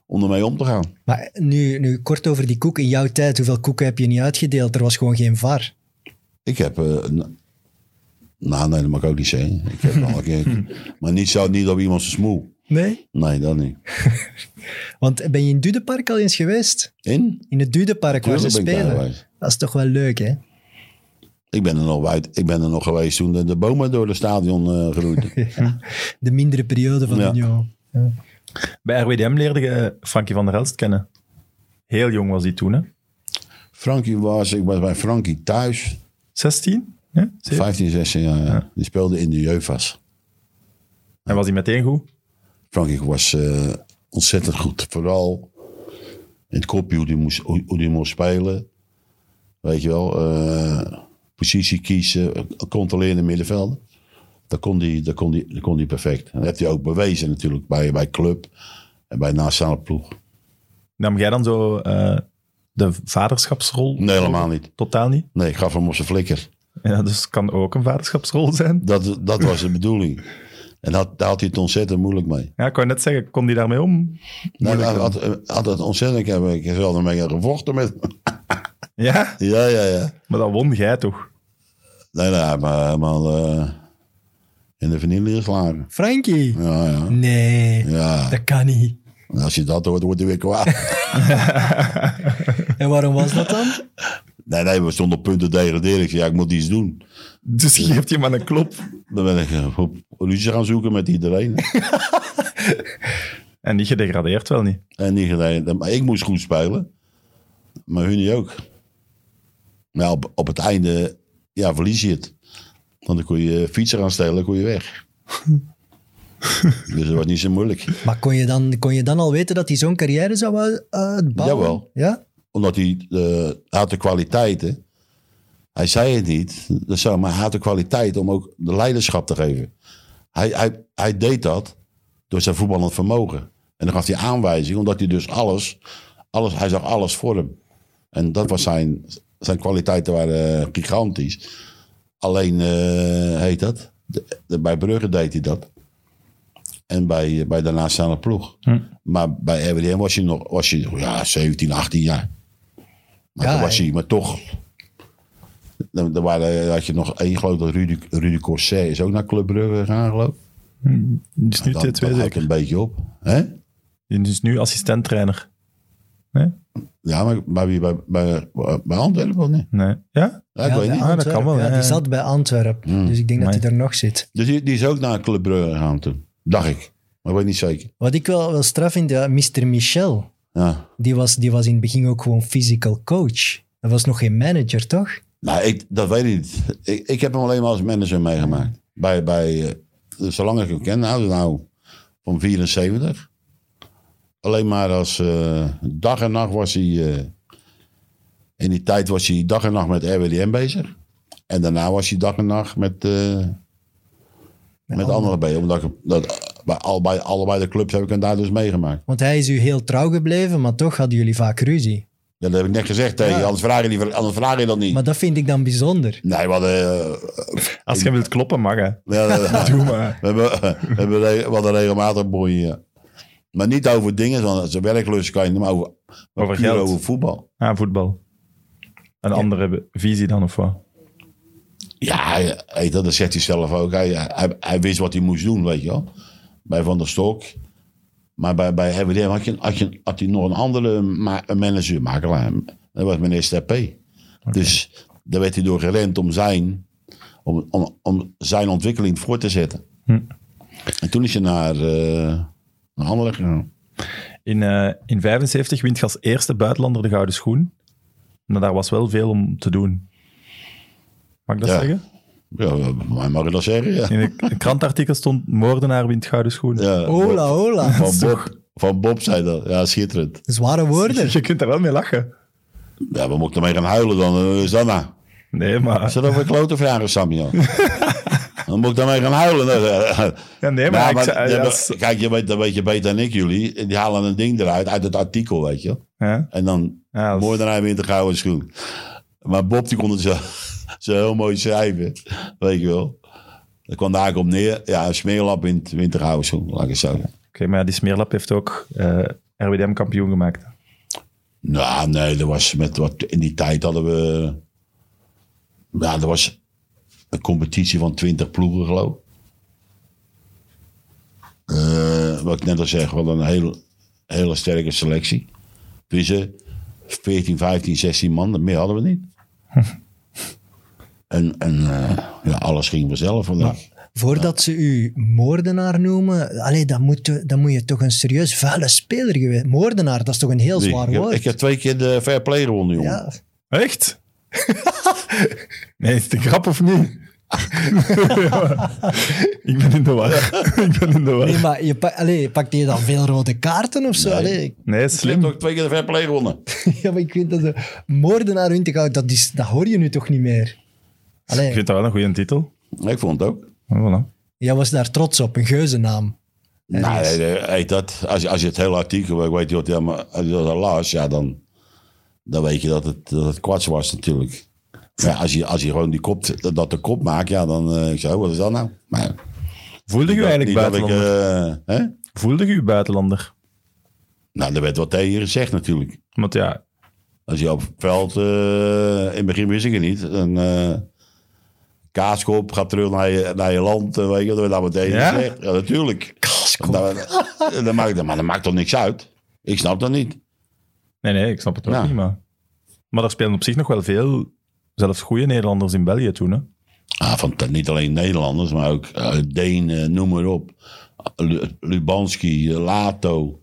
Speaker 3: om ermee om te gaan.
Speaker 2: Maar nu, nu kort over die koek. In jouw tijd, hoeveel koeken heb je niet uitgedeeld? Er was gewoon geen var.
Speaker 3: Ik heb, eh, n- nou nee, dat mag ik ook niet zeggen. Ik heb wel een keer, maar niet zo, niet op iemand zijn smoel.
Speaker 2: Nee?
Speaker 3: Nee, dat niet.
Speaker 2: Want ben je in Dudepark al eens geweest?
Speaker 3: In?
Speaker 2: In het Dudepark waar ze
Speaker 3: Tuurlijk ben ik daar
Speaker 2: spelen.
Speaker 3: geweest.
Speaker 2: Dat is toch wel leuk, hè?
Speaker 3: Ik ben er nog, uit, ik ben er nog geweest toen de, de bomen door het stadion eh groeiden.
Speaker 1: Hm.
Speaker 2: De mindere periode van
Speaker 3: Ja.
Speaker 2: Union.
Speaker 1: Bij RWDM leerde je eh, Frankie van der Elst kennen. Heel jong was hij toen, hè?
Speaker 3: Frankie was, ik was bij Frankie thuis.
Speaker 1: 16? Ja, 17?
Speaker 3: 15, 16 jaar, ja. Die speelde in de Jeuvas.
Speaker 1: En was hij meteen goed?
Speaker 3: Frankrijk was eh, ontzettend goed. Vooral in het kopje hoe die moest, hoe, hoe die moest spelen. Weet je wel, eh, positie kiezen, controleren middenvelden. Dat kon hij dat kon die, dat kon die perfect. En dat heeft hij ook bewezen natuurlijk bij, bij club en bij nationale ploeg.
Speaker 1: Nam jij dan zo eh, de vaderschapsrol?
Speaker 3: Nee, helemaal niet.
Speaker 1: Totaal niet?
Speaker 3: Nee, ik gaf hem op zijn flikker.
Speaker 1: Ja, dus het kan ook een vaderschapsrol zijn.
Speaker 3: Dat, dat was de bedoeling. En dat, daar had hij het ontzettend moeilijk mee.
Speaker 1: Ja, ik wou net zeggen, kon die daarmee om?
Speaker 3: Nee,
Speaker 1: Moeilijk
Speaker 3: hij had, eh, had het ontzettend, ik heb ik heb zelf ermee gevochten met
Speaker 1: Ja,
Speaker 3: Ja, ja, ja.
Speaker 1: maar dan won jij toch?
Speaker 3: Nee, nee, hij heeft me helemaal eh, in de vanille geslagen.
Speaker 2: Frankie?
Speaker 3: Ja, ja.
Speaker 2: Nee,
Speaker 3: Ja,
Speaker 2: dat kan niet.
Speaker 3: en als je dat hoort, wordt hij weer kwaad.
Speaker 2: En waarom was dat dan?
Speaker 3: Nee, nee, we stonden op punten degraderen. Ik zei, ja, ik moet iets doen.
Speaker 1: Dus je geeft je maar een klop.
Speaker 3: Dan ben ik eh, op ruzie gaan zoeken met iedereen.
Speaker 1: En die gedegradeerd wel niet.
Speaker 3: En niet gedaan. Maar ik moest goed spelen. Maar hun niet ook. Maar op, op het einde, ja, verlies je het. Want dan kon je fietsen gaan stelen, kon je weg. dus dat was niet zo moeilijk.
Speaker 2: Maar kon je dan, kon je dan al weten dat hij zo'n carrière zou uit- uitbouwen?
Speaker 3: Jawel.
Speaker 2: Ja?
Speaker 3: Omdat hij, eh, hij had de kwaliteiten. Hij zei het niet, dat zou, maar hij had de kwaliteit om ook de leiderschap te geven. Hij, hij, hij deed dat door zijn voetballend vermogen. En dan gaf hij aanwijzing, omdat hij dus alles, alles hij zag alles voor hem. En dat was zijn, zijn kwaliteiten waren eh, gigantisch. Alleen, eh, heet dat, de- de- bij Brugge deed hij dat. En bij, eh, bij de nationale ploeg. Maar bij RWDM was je nog was je, ja, 17, 18 jaar. Maar,
Speaker 2: Ja,
Speaker 3: toen was
Speaker 2: hè.
Speaker 3: je, maar toch. Dan, dan waren, dan had je nog één, geloof ik, dat Rudy, Rudy Corset is ook naar Club Brugge gegaan, geloof ik.
Speaker 1: Dus nu
Speaker 3: Dan, dan
Speaker 1: T2
Speaker 3: houdt het
Speaker 1: zeker.
Speaker 3: een beetje op. Hè?
Speaker 1: Die is nu assistenttrainer. Nee?
Speaker 3: Ja, maar bij, wie? bij, bij, bij Antwerpen wel niet.
Speaker 1: Nee. Ja?
Speaker 3: Ja, ik
Speaker 2: Ja,
Speaker 3: weet
Speaker 2: bij
Speaker 3: niet. Hmm.
Speaker 1: Ah, dat kan wel,
Speaker 2: Antwerpen. Ja,
Speaker 1: ja,
Speaker 2: die
Speaker 1: ja.
Speaker 2: zat bij Antwerpen. Dus ik denk dat hij
Speaker 1: Amai.
Speaker 2: er nog zit.
Speaker 3: Dus die, die is ook naar Club Brugge gegaan toen. Dacht ik. Maar ik weet niet zeker.
Speaker 2: Wat ik wel, wel straf vind, ja, Mr. Michel.
Speaker 3: Ja.
Speaker 2: Die was, die was in het begin ook gewoon physical coach. Dat was nog geen manager, toch?
Speaker 3: Nou, ik, dat weet ik niet. Ik, ik heb hem alleen maar als manager meegemaakt. Bij, bij, eh, dus zolang ik hem ken, nou, nou van 74. Alleen maar als eh, dag en nacht was hij. eh, in die tijd was hij dag en nacht met RWDM bezig. En daarna was hij dag en nacht met. eh, met anderen bezig. Omdat ik, dat, bij, al, bij allebei de clubs heb ik hem daar dus meegemaakt.
Speaker 2: Want hij is u heel trouw gebleven, maar toch hadden jullie vaak ruzie.
Speaker 3: Ja, dat heb ik net gezegd tegen je, anders vraag je, die, anders vraag je dat niet.
Speaker 2: Maar dat vind ik dan bijzonder.
Speaker 3: Nee, we hadden. eh,
Speaker 1: Als je wilt kloppen, mag hè.
Speaker 3: ja,
Speaker 1: Doe maar.
Speaker 3: We hebben, we hebben re- wat een regelmatig boeien, ja. Maar niet over dingen, want zijn werklust kan je niet, maar over, maar
Speaker 1: Over
Speaker 3: puur
Speaker 1: geld.
Speaker 3: over voetbal.
Speaker 1: Ah, voetbal. Een andere visie dan, of wat?
Speaker 3: Ja, hij- hij- dat zegt hij zelf ook. Hij, hij, hij wist wat hij moest doen, weet je wel. Bij Van der Stok. Maar bij, bij RWDM had, je, had, je, had hij nog een andere ma- een manager, makelaar. Dat was meneer Steppé. Dus daar werd hij door gerend om zijn, om, om, om zijn ontwikkeling voor te zetten.
Speaker 1: Hm.
Speaker 3: En toen is hij naar, eh naar Anderlecht gegaan.
Speaker 1: In, eh in 75 wint je als eerste buitenlander de Gouden Schoen. Maar daar was wel veel om te doen. Mag ik dat
Speaker 3: Ja.
Speaker 1: zeggen?
Speaker 3: Ja, eh, wij mogen dat zeggen, ja.
Speaker 1: In een een krantartikel stond moordenaar wint Gouden Schoen.
Speaker 3: ja
Speaker 2: Hola, hola.
Speaker 3: Van Bob, van Bob zei dat. Ja, schitterend.
Speaker 2: Zware woorden.
Speaker 1: Dus Je kunt daar wel mee lachen.
Speaker 3: Ja, we mochten mee gaan huilen dan. eh, Is dat nou?
Speaker 1: Nee, maar...
Speaker 3: Is dat over klote vragen, Samuel? dan moet ik daarmee gaan huilen. eh.
Speaker 1: Ja, nee, maar ik zei-
Speaker 3: ja,
Speaker 1: ja,
Speaker 3: maar-
Speaker 1: als-
Speaker 3: Kijk, je weet, dat weet je beter dan ik jullie. Die halen een ding eruit, uit het artikel, weet je.
Speaker 1: Ja,
Speaker 3: En dan
Speaker 1: ja, dat is-
Speaker 3: moordenaar weer in de gouden schoen. Maar Bob die kon het zo, zo heel mooi schrijven. Weet je wel. Dat kwam daar eigenlijk op neer. Ja, een smeerlap in het wintergouden schoen, laat ik het zo zeggen.
Speaker 1: Oké, maar ja, die smeerlap heeft ook eh, RWDM kampioen gemaakt.
Speaker 3: Nou, nee, dat was met wat. In die tijd hadden we. Ja, dat was een competitie van 20 ploegen, geloof ik. Eh, wat ik net al zeg, wel een heel, hele sterke selectie. Tussen 14, 15, 16 man, meer hadden we niet. en en eh, ja, alles ging vanzelf vandaag.
Speaker 2: Voordat ze u moordenaar noemen, allee, dan, moet, je- dan moet je toch een serieus vuile speler geweest. Moordenaar, dat is toch een heel
Speaker 3: Nee,
Speaker 2: zwaar
Speaker 3: ik, heb,
Speaker 2: woord.
Speaker 3: ik heb twee keer de fair play gewonnen, jongen.
Speaker 2: ja.
Speaker 1: Echt? nee, is het een grap of niet? ik ben in de war. ik ben in de war.
Speaker 2: Nee, maar je, pa- allee, pakt je dan veel rode kaarten of zo?
Speaker 3: Nee.
Speaker 2: Allee, ik-
Speaker 1: Nee,
Speaker 3: Je hebt
Speaker 1: slim.
Speaker 3: toch twee keer de verplay gewonnen.
Speaker 2: ja, maar ik weet dat de moordenaar Wintergoud, dat, is, dat hoor je nu toch niet meer?
Speaker 1: Ik
Speaker 2: Allee,
Speaker 1: vind dat wel een goede titel.
Speaker 3: Ik vond het ook.
Speaker 1: Oh, voilà.
Speaker 2: jij was daar trots op, een geuzennaam.
Speaker 3: Nee, nee, nee, hey, dat, als, je- als je het hele artikel ik weet je wat, ja, maar als je dat las, ja, dan, dan weet je dat het, dat het kwats was natuurlijk. Maar als, je, als je gewoon die kop, dat, dat de kop maakt, ja, dan eh, ik zo, wat is dat nou? Maar,
Speaker 1: Voelde je
Speaker 3: dat-
Speaker 1: eigenlijk
Speaker 3: niet dat ik,
Speaker 1: buitenlander?
Speaker 3: eh, hè?
Speaker 1: Voelde je je buitenlander?
Speaker 3: Nou, er werd wat tegen je gezegd natuurlijk.
Speaker 1: Want ja,
Speaker 3: Als je op het veld, eh, in het begin wist ik het niet, een eh, kaaskop gaat terug naar je, naar je land, eh, weet je, dat werd daar meteen
Speaker 1: Ja?
Speaker 3: gezegd. Ja, natuurlijk. Kaaskop. Dat, dat maakt, maar dat maakt toch niks uit? Ik snap dat niet.
Speaker 1: nee, nee, ik snap het ook
Speaker 3: Ja.
Speaker 1: niet, maar... Maar er spelen op zich nog wel veel, zelfs goede Nederlanders in België toen, hè?
Speaker 3: Ah, van, niet alleen Nederlanders, maar ook eh, Denen, noem maar op. Lu- Lubanski, eh, Lato.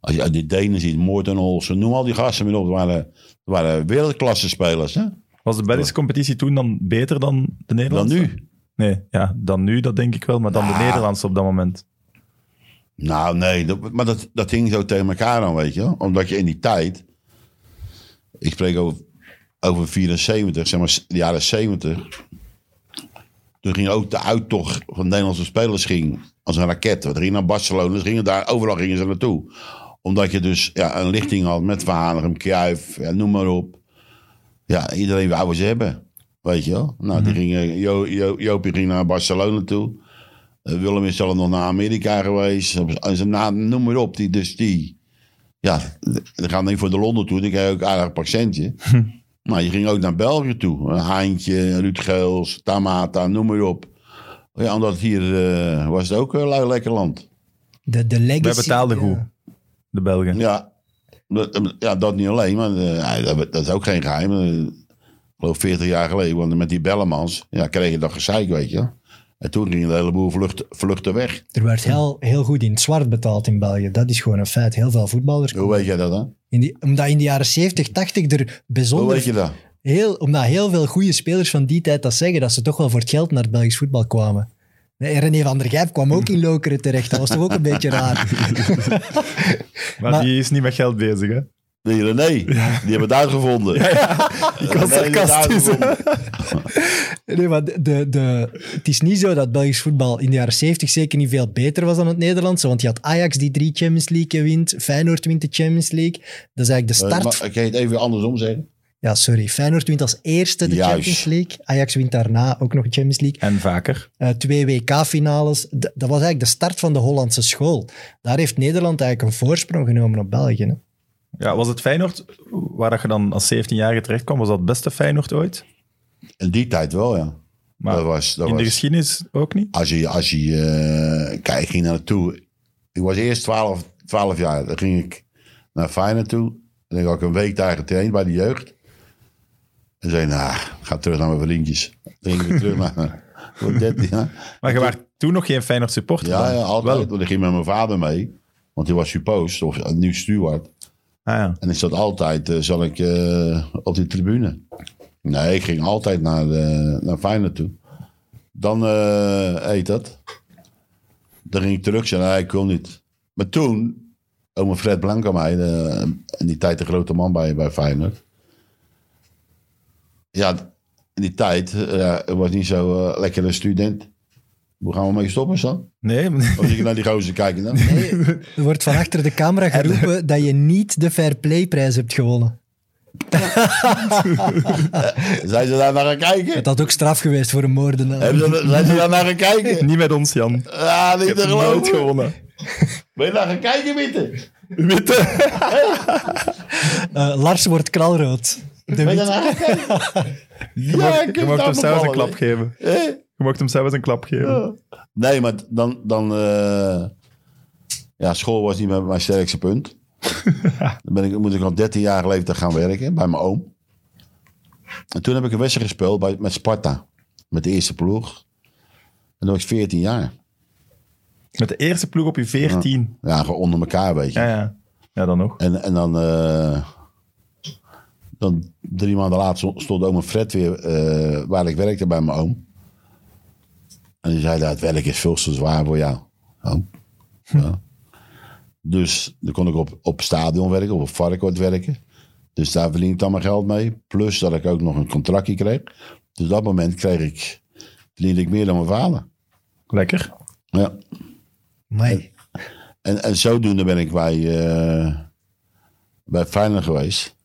Speaker 3: Als je die Denen ziet, Morten Olsen, noem al die gasten maar op. Dat waren, dat waren wereldklasse spelers, hè?
Speaker 1: Was de Belgische competitie toen dan beter dan de
Speaker 3: Dan
Speaker 1: Nederlandse?
Speaker 3: nu.
Speaker 1: Nee, ja, dan nu, dat denk ik wel, maar dan de
Speaker 3: Ah.
Speaker 1: Nederlandse op dat moment.
Speaker 3: Nou, nee, dat, maar dat, dat hing zo tegen elkaar aan, weet je wel. Omdat je in die tijd... Ik spreek over, over 74, zeg maar de jaren 70. Toen ging ook de uittocht van Nederlandse spelers ging als een raket. Er ging naar Barcelona, ze gingen daar, overal gingen ze naartoe. Omdat je dus ja, een lichting had met Van Hanegem, Kruijf, ja, noem maar op. Ja, iedereen wou ze hebben. Weet je wel? Nou, die gingen, jo, jo, Jopie ging naar Barcelona toe. Eh, Willem is zelf nog naar Amerika geweest. En ze- nou, Noem maar op. Die, dus die. Ja, dan gaan niet voor de Londen toe. Dan krijg je ook een aardig patiëntje. Maar je ging ook naar België toe. Eh, Haantje, Ruud Geels, Tamata, noem maar op. Ja, omdat hier eh, was het ook een lui lekker land.
Speaker 2: De, de legacy.
Speaker 1: Wij
Speaker 2: eh,
Speaker 1: betaalden
Speaker 2: ja.
Speaker 1: goed, de Belgen.
Speaker 3: Ja, dat, eh, ja, dat niet alleen. Maar eh, ja, dat, dat is ook geen geheim. Eh, Ik geloof 40 jaar geleden. Want met die Bellemans ja, kreeg je dat gezeik, weet je. wel. En toen gingen een heleboel vlucht, vluchten weg.
Speaker 2: Er werd heel, heel goed in het zwart betaald in België. Dat is gewoon een feit. Heel veel voetballers.
Speaker 3: Hoe weet jij dat dan?
Speaker 2: In die, omdat in de jaren 70, 80 er
Speaker 3: Hoe weet
Speaker 2: bijzonder...
Speaker 3: je dat?
Speaker 2: Heel, omdat heel veel goede spelers van die tijd dat zeggen, dat ze toch wel voor het geld naar het Belgisch voetbal kwamen. Nee, René van der Gijp kwam ook in Lokeren terecht. Dat was toch ook een beetje raar.
Speaker 1: Maar,
Speaker 2: Maar-
Speaker 1: die is niet met geld bezig, hè?
Speaker 3: Nee, René, die hebben het uitgevonden. Die kan
Speaker 2: sarcastisch, Nee, maar de, de, de, het is niet zo dat Belgisch voetbal in de jaren 70 zeker niet veel beter was dan het Nederlandse. Want je had Ajax die drie Champions League wint, Feyenoord wint de Champions League. Dat is eigenlijk de start.
Speaker 3: ik kan je het even andersom zeggen.
Speaker 2: Ja, sorry. Feyenoord wint als eerste de
Speaker 3: Juist.
Speaker 2: Champions League. Ajax wint daarna ook nog de Champions League.
Speaker 1: En vaker.
Speaker 2: Eh, twee WK-finales. D- dat was eigenlijk de start van de Hollandse school. Daar heeft Nederland eigenlijk een voorsprong genomen op België. Hè?
Speaker 1: Ja, was het Feyenoord, waar dat je dan als 17-jarige terecht kwam, was dat het beste Feyenoord ooit?
Speaker 3: In die tijd wel, ja.
Speaker 1: Maar
Speaker 3: dat was, dat
Speaker 1: in de
Speaker 3: was.
Speaker 1: geschiedenis ook niet?
Speaker 3: Als je, als je eh, kijk, ik ging daar naartoe. Ik was eerst 12, 12 jaar. Dan ging ik naar Feyenoord toe. En ik had ik een week daar getraind bij de jeugd. En zei, nou, ik ga terug naar mijn vriendjes. Dan ging ik weer terug naar... Voor 13 jaar.
Speaker 1: Maar je was toen nog geen Feyenoord supporter
Speaker 3: Ja,
Speaker 1: dan?
Speaker 3: ja,
Speaker 1: Wel.
Speaker 3: altijd. Want ik ging met mijn vader mee. Want die was suppost, of een nieuw steward.
Speaker 1: Ah, ja.
Speaker 3: En ik zat altijd, eh, zat ik eh, op die tribune. Nee, ik ging altijd naar, eh, naar Feyenoord toe. Dan eh heet dat. Dan ging ik terug zeggen, nee, ik kom niet. Maar toen, oma Fred Blanco mij, de- in die tijd de grote man bij, bij Feyenoord. Ja, in die tijd eh, ik was niet zo eh, lekker een student. Hoe gaan we mee stoppen, Stan?
Speaker 1: Nee,
Speaker 3: Of zie ik naar die gozer kijken dan?
Speaker 2: Er wordt van achter de camera geroepen dat je niet de Fair Play-prijs hebt gewonnen.
Speaker 3: Zijn ze daar naar gaan kijken?
Speaker 2: Het had ook straf geweest voor een moordenaar.
Speaker 3: Hebben ze- Zijn ze daar naar gaan kijken?
Speaker 1: niet met ons, Jan. Je
Speaker 3: Ja, niet
Speaker 1: hebt
Speaker 3: te
Speaker 1: nooit
Speaker 3: geloven.
Speaker 1: gewonnen.
Speaker 3: Ben je daar gaan kijken, Witte?
Speaker 1: Witte.
Speaker 2: Eh, Lars wordt kralrood. De
Speaker 3: Ben je
Speaker 2: wit-
Speaker 3: daar naar gaan kijken?
Speaker 1: Je
Speaker 3: Ja,
Speaker 1: mag
Speaker 3: ik
Speaker 1: je
Speaker 3: heb
Speaker 1: mag
Speaker 3: daar
Speaker 1: hem zelfs een
Speaker 3: bevallen,
Speaker 1: klap geven.
Speaker 3: hè?
Speaker 1: Je mag hem zelfs een klap geven.
Speaker 3: Ja. Nee, maar dan... dan eh, ja, school was niet mijn, mijn sterkste punt. dan ben ik, moet ik al 13 jaar leeftijd gaan werken bij mijn oom. En toen heb ik een wedstrijd gespeeld bij, met Sparta. Met de eerste ploeg. En toen was ik 14 jaar.
Speaker 1: Met de eerste ploeg op je 14.
Speaker 3: Ja, gewoon onder elkaar, weet je.
Speaker 1: Ja, ja. Ja, dan nog.
Speaker 3: En, en dan, eh, dan drie maanden later stond oom Fred weer eh, waar ik werkte bij mijn oom. En die zei, dat werk is veel te zwaar voor jou. Oh. Ja. Dus dan kon ik op, op stadion werken, of op Varkort werken. Dus daar verdien ik dan mijn geld mee. Plus dat ik ook nog een contractje kreeg. Dus op dat moment kreeg ik, verdiende ik meer dan mijn vader.
Speaker 1: Lekker.
Speaker 3: Ja.
Speaker 2: Amai.
Speaker 3: En, en zodoende ben ik bij, eh bij Feyenoord geweest.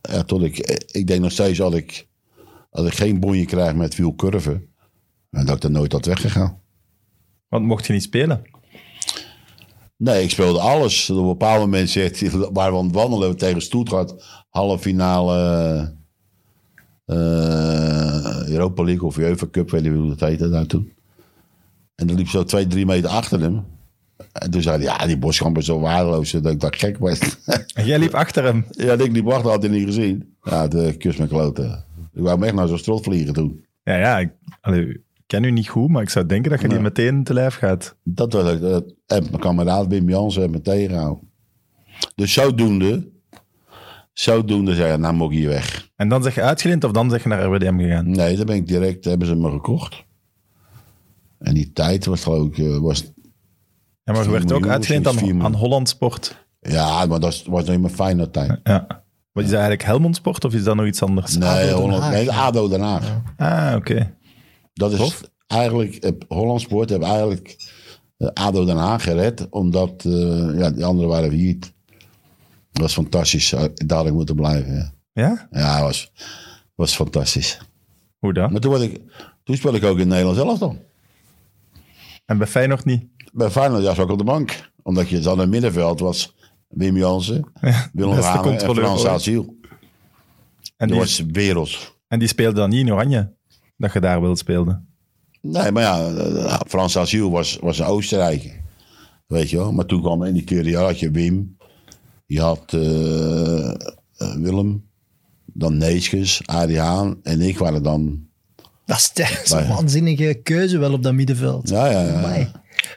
Speaker 3: Ja, tot ik, ik denk nog steeds, als ik, als ik geen bonje krijg met wielcurven, dan dat ik dan nooit had weggegaan.
Speaker 1: Want mocht je niet spelen?
Speaker 3: Nee, ik speelde alles. Op een bepaald moment zegt hij, waar we aan het wandelen tegen Stuttgart, halve finale eh, Europa League of UEFA Cup, weet je hoe dat heette daar toen. En dan liep zo twee, drie meter achter hem. En toen zei hij, ja, die boskamp is zo waardeloos dat ik dat gek was.
Speaker 1: En jij liep achter hem.
Speaker 3: ja, dat ik die wachten had hij niet gezien. Ja, de kus mijn kloten. Ik wou hem echt naar zo'n strot vliegen toen.
Speaker 1: Ja, ja. Ik, allee, ik ken u niet goed, maar ik zou denken dat je die meteen te lijf gaat.
Speaker 3: Dat was ook, dat- en mijn kameraad Wim Jansen heeft me tegengehouden. Dus zodoende, zodoende zei hij, nou moet ik hier weg.
Speaker 1: En dan zeg je uitgeleend of dan zeg je naar RWDM gegaan?
Speaker 3: Nee, dan ben ik direct, hebben ze me gekocht. En die tijd was geloof ik, eh, was,
Speaker 1: Ja, maar je werd ook
Speaker 3: miljoen,
Speaker 1: uitgeleend
Speaker 3: zoiets, vier
Speaker 1: aan,
Speaker 3: miljoen.
Speaker 1: aan Holland Sport.
Speaker 3: ja, maar dat was- was niet mijn fijne tijd.
Speaker 1: Ja. Wat is dat eigenlijk Helmond Sport of is dat nog iets anders?
Speaker 3: Nee,
Speaker 2: Den
Speaker 3: Holland,
Speaker 2: Haag,
Speaker 3: nee
Speaker 2: ja.
Speaker 3: ADO Den Haag.
Speaker 1: Ah, oké.
Speaker 3: Dat is
Speaker 1: Tof.
Speaker 3: eigenlijk, eh, Holland Sport heeft eigenlijk eh, ADO Den Haag gered, omdat eh, ja, die anderen waren failliet. Dat was fantastisch, zou ik dadelijk moeten blijven. Ja,
Speaker 1: Ja?
Speaker 3: ja dat was, was fantastisch.
Speaker 1: Hoe dan?
Speaker 3: Maar toen, was ik, toen speelde ik ook in Nederland zelf dan.
Speaker 1: En bij Feyenoord niet?
Speaker 3: Bij Feyenoord ja, zat ik op de bank. Omdat je dan in het middenveld was. Wim Jansen, Willem
Speaker 1: dat is de
Speaker 3: Hamer en
Speaker 1: controleur
Speaker 3: Frans
Speaker 1: ooit.
Speaker 3: Aziel.
Speaker 1: En
Speaker 3: Dat
Speaker 1: die,
Speaker 3: was werelds.
Speaker 1: en die speelde dan niet in Oranje? Dat je daar wel speelde?
Speaker 3: Nee, maar ja, eh, Frans Aziel was, was een Oostenrijker. Weet je wel. Maar toen kwam in die periode had je Wim. Je had eh, eh, Willem. Dan Neeskens, Arie Haan en ik waren dan...
Speaker 2: Dat is, dat is
Speaker 3: Maar-
Speaker 2: een waanzinnige keuze wel op dat middenveld.
Speaker 3: Ja, ja, ja.
Speaker 2: Amai.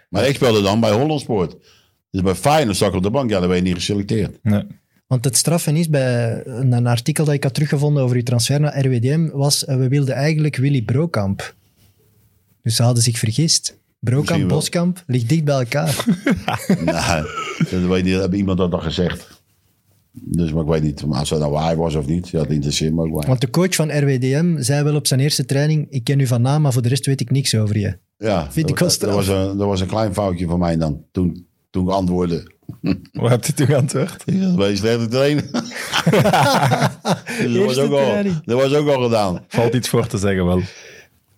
Speaker 3: Maar ik speelde dan bij Hollandsport. Dus bij Feyenoord zat ik op de bank. Ja, dan ben je niet geselecteerd.
Speaker 1: Nee.
Speaker 2: Want het straffen is bij een, een artikel dat ik had teruggevonden over uw transfer naar RWDM, was eh, we wilden eigenlijk Willy Brokamp. Dus ze hadden zich vergist.
Speaker 3: Misschien
Speaker 2: Brokamp,
Speaker 3: wel.
Speaker 2: Boskamp ligt dicht bij elkaar.
Speaker 3: Nou, dat weet niet, heb iemand dat dan gezegd? Dus, maar ik weet niet, maar als dat nou waar was of niet, ja, dat interesseert me ook waar.
Speaker 2: Want de coach van RWDM zei wel op zijn eerste training, ik ken u van naam, maar voor de rest weet ik niks over je.
Speaker 3: ja,
Speaker 2: vind ik wel
Speaker 3: dat, dat,
Speaker 2: straf.
Speaker 3: was een, dat was een klein foutje van mij dan, toen, toen ik antwoordde.
Speaker 1: Hoe hebt je toen geantwoord?
Speaker 3: Ja, Dat ben je slechte trainer. dus dat, was
Speaker 2: Eerste
Speaker 3: ook al,
Speaker 2: training.
Speaker 3: dat was ook al gedaan.
Speaker 1: Valt iets voor te zeggen wel. Dus,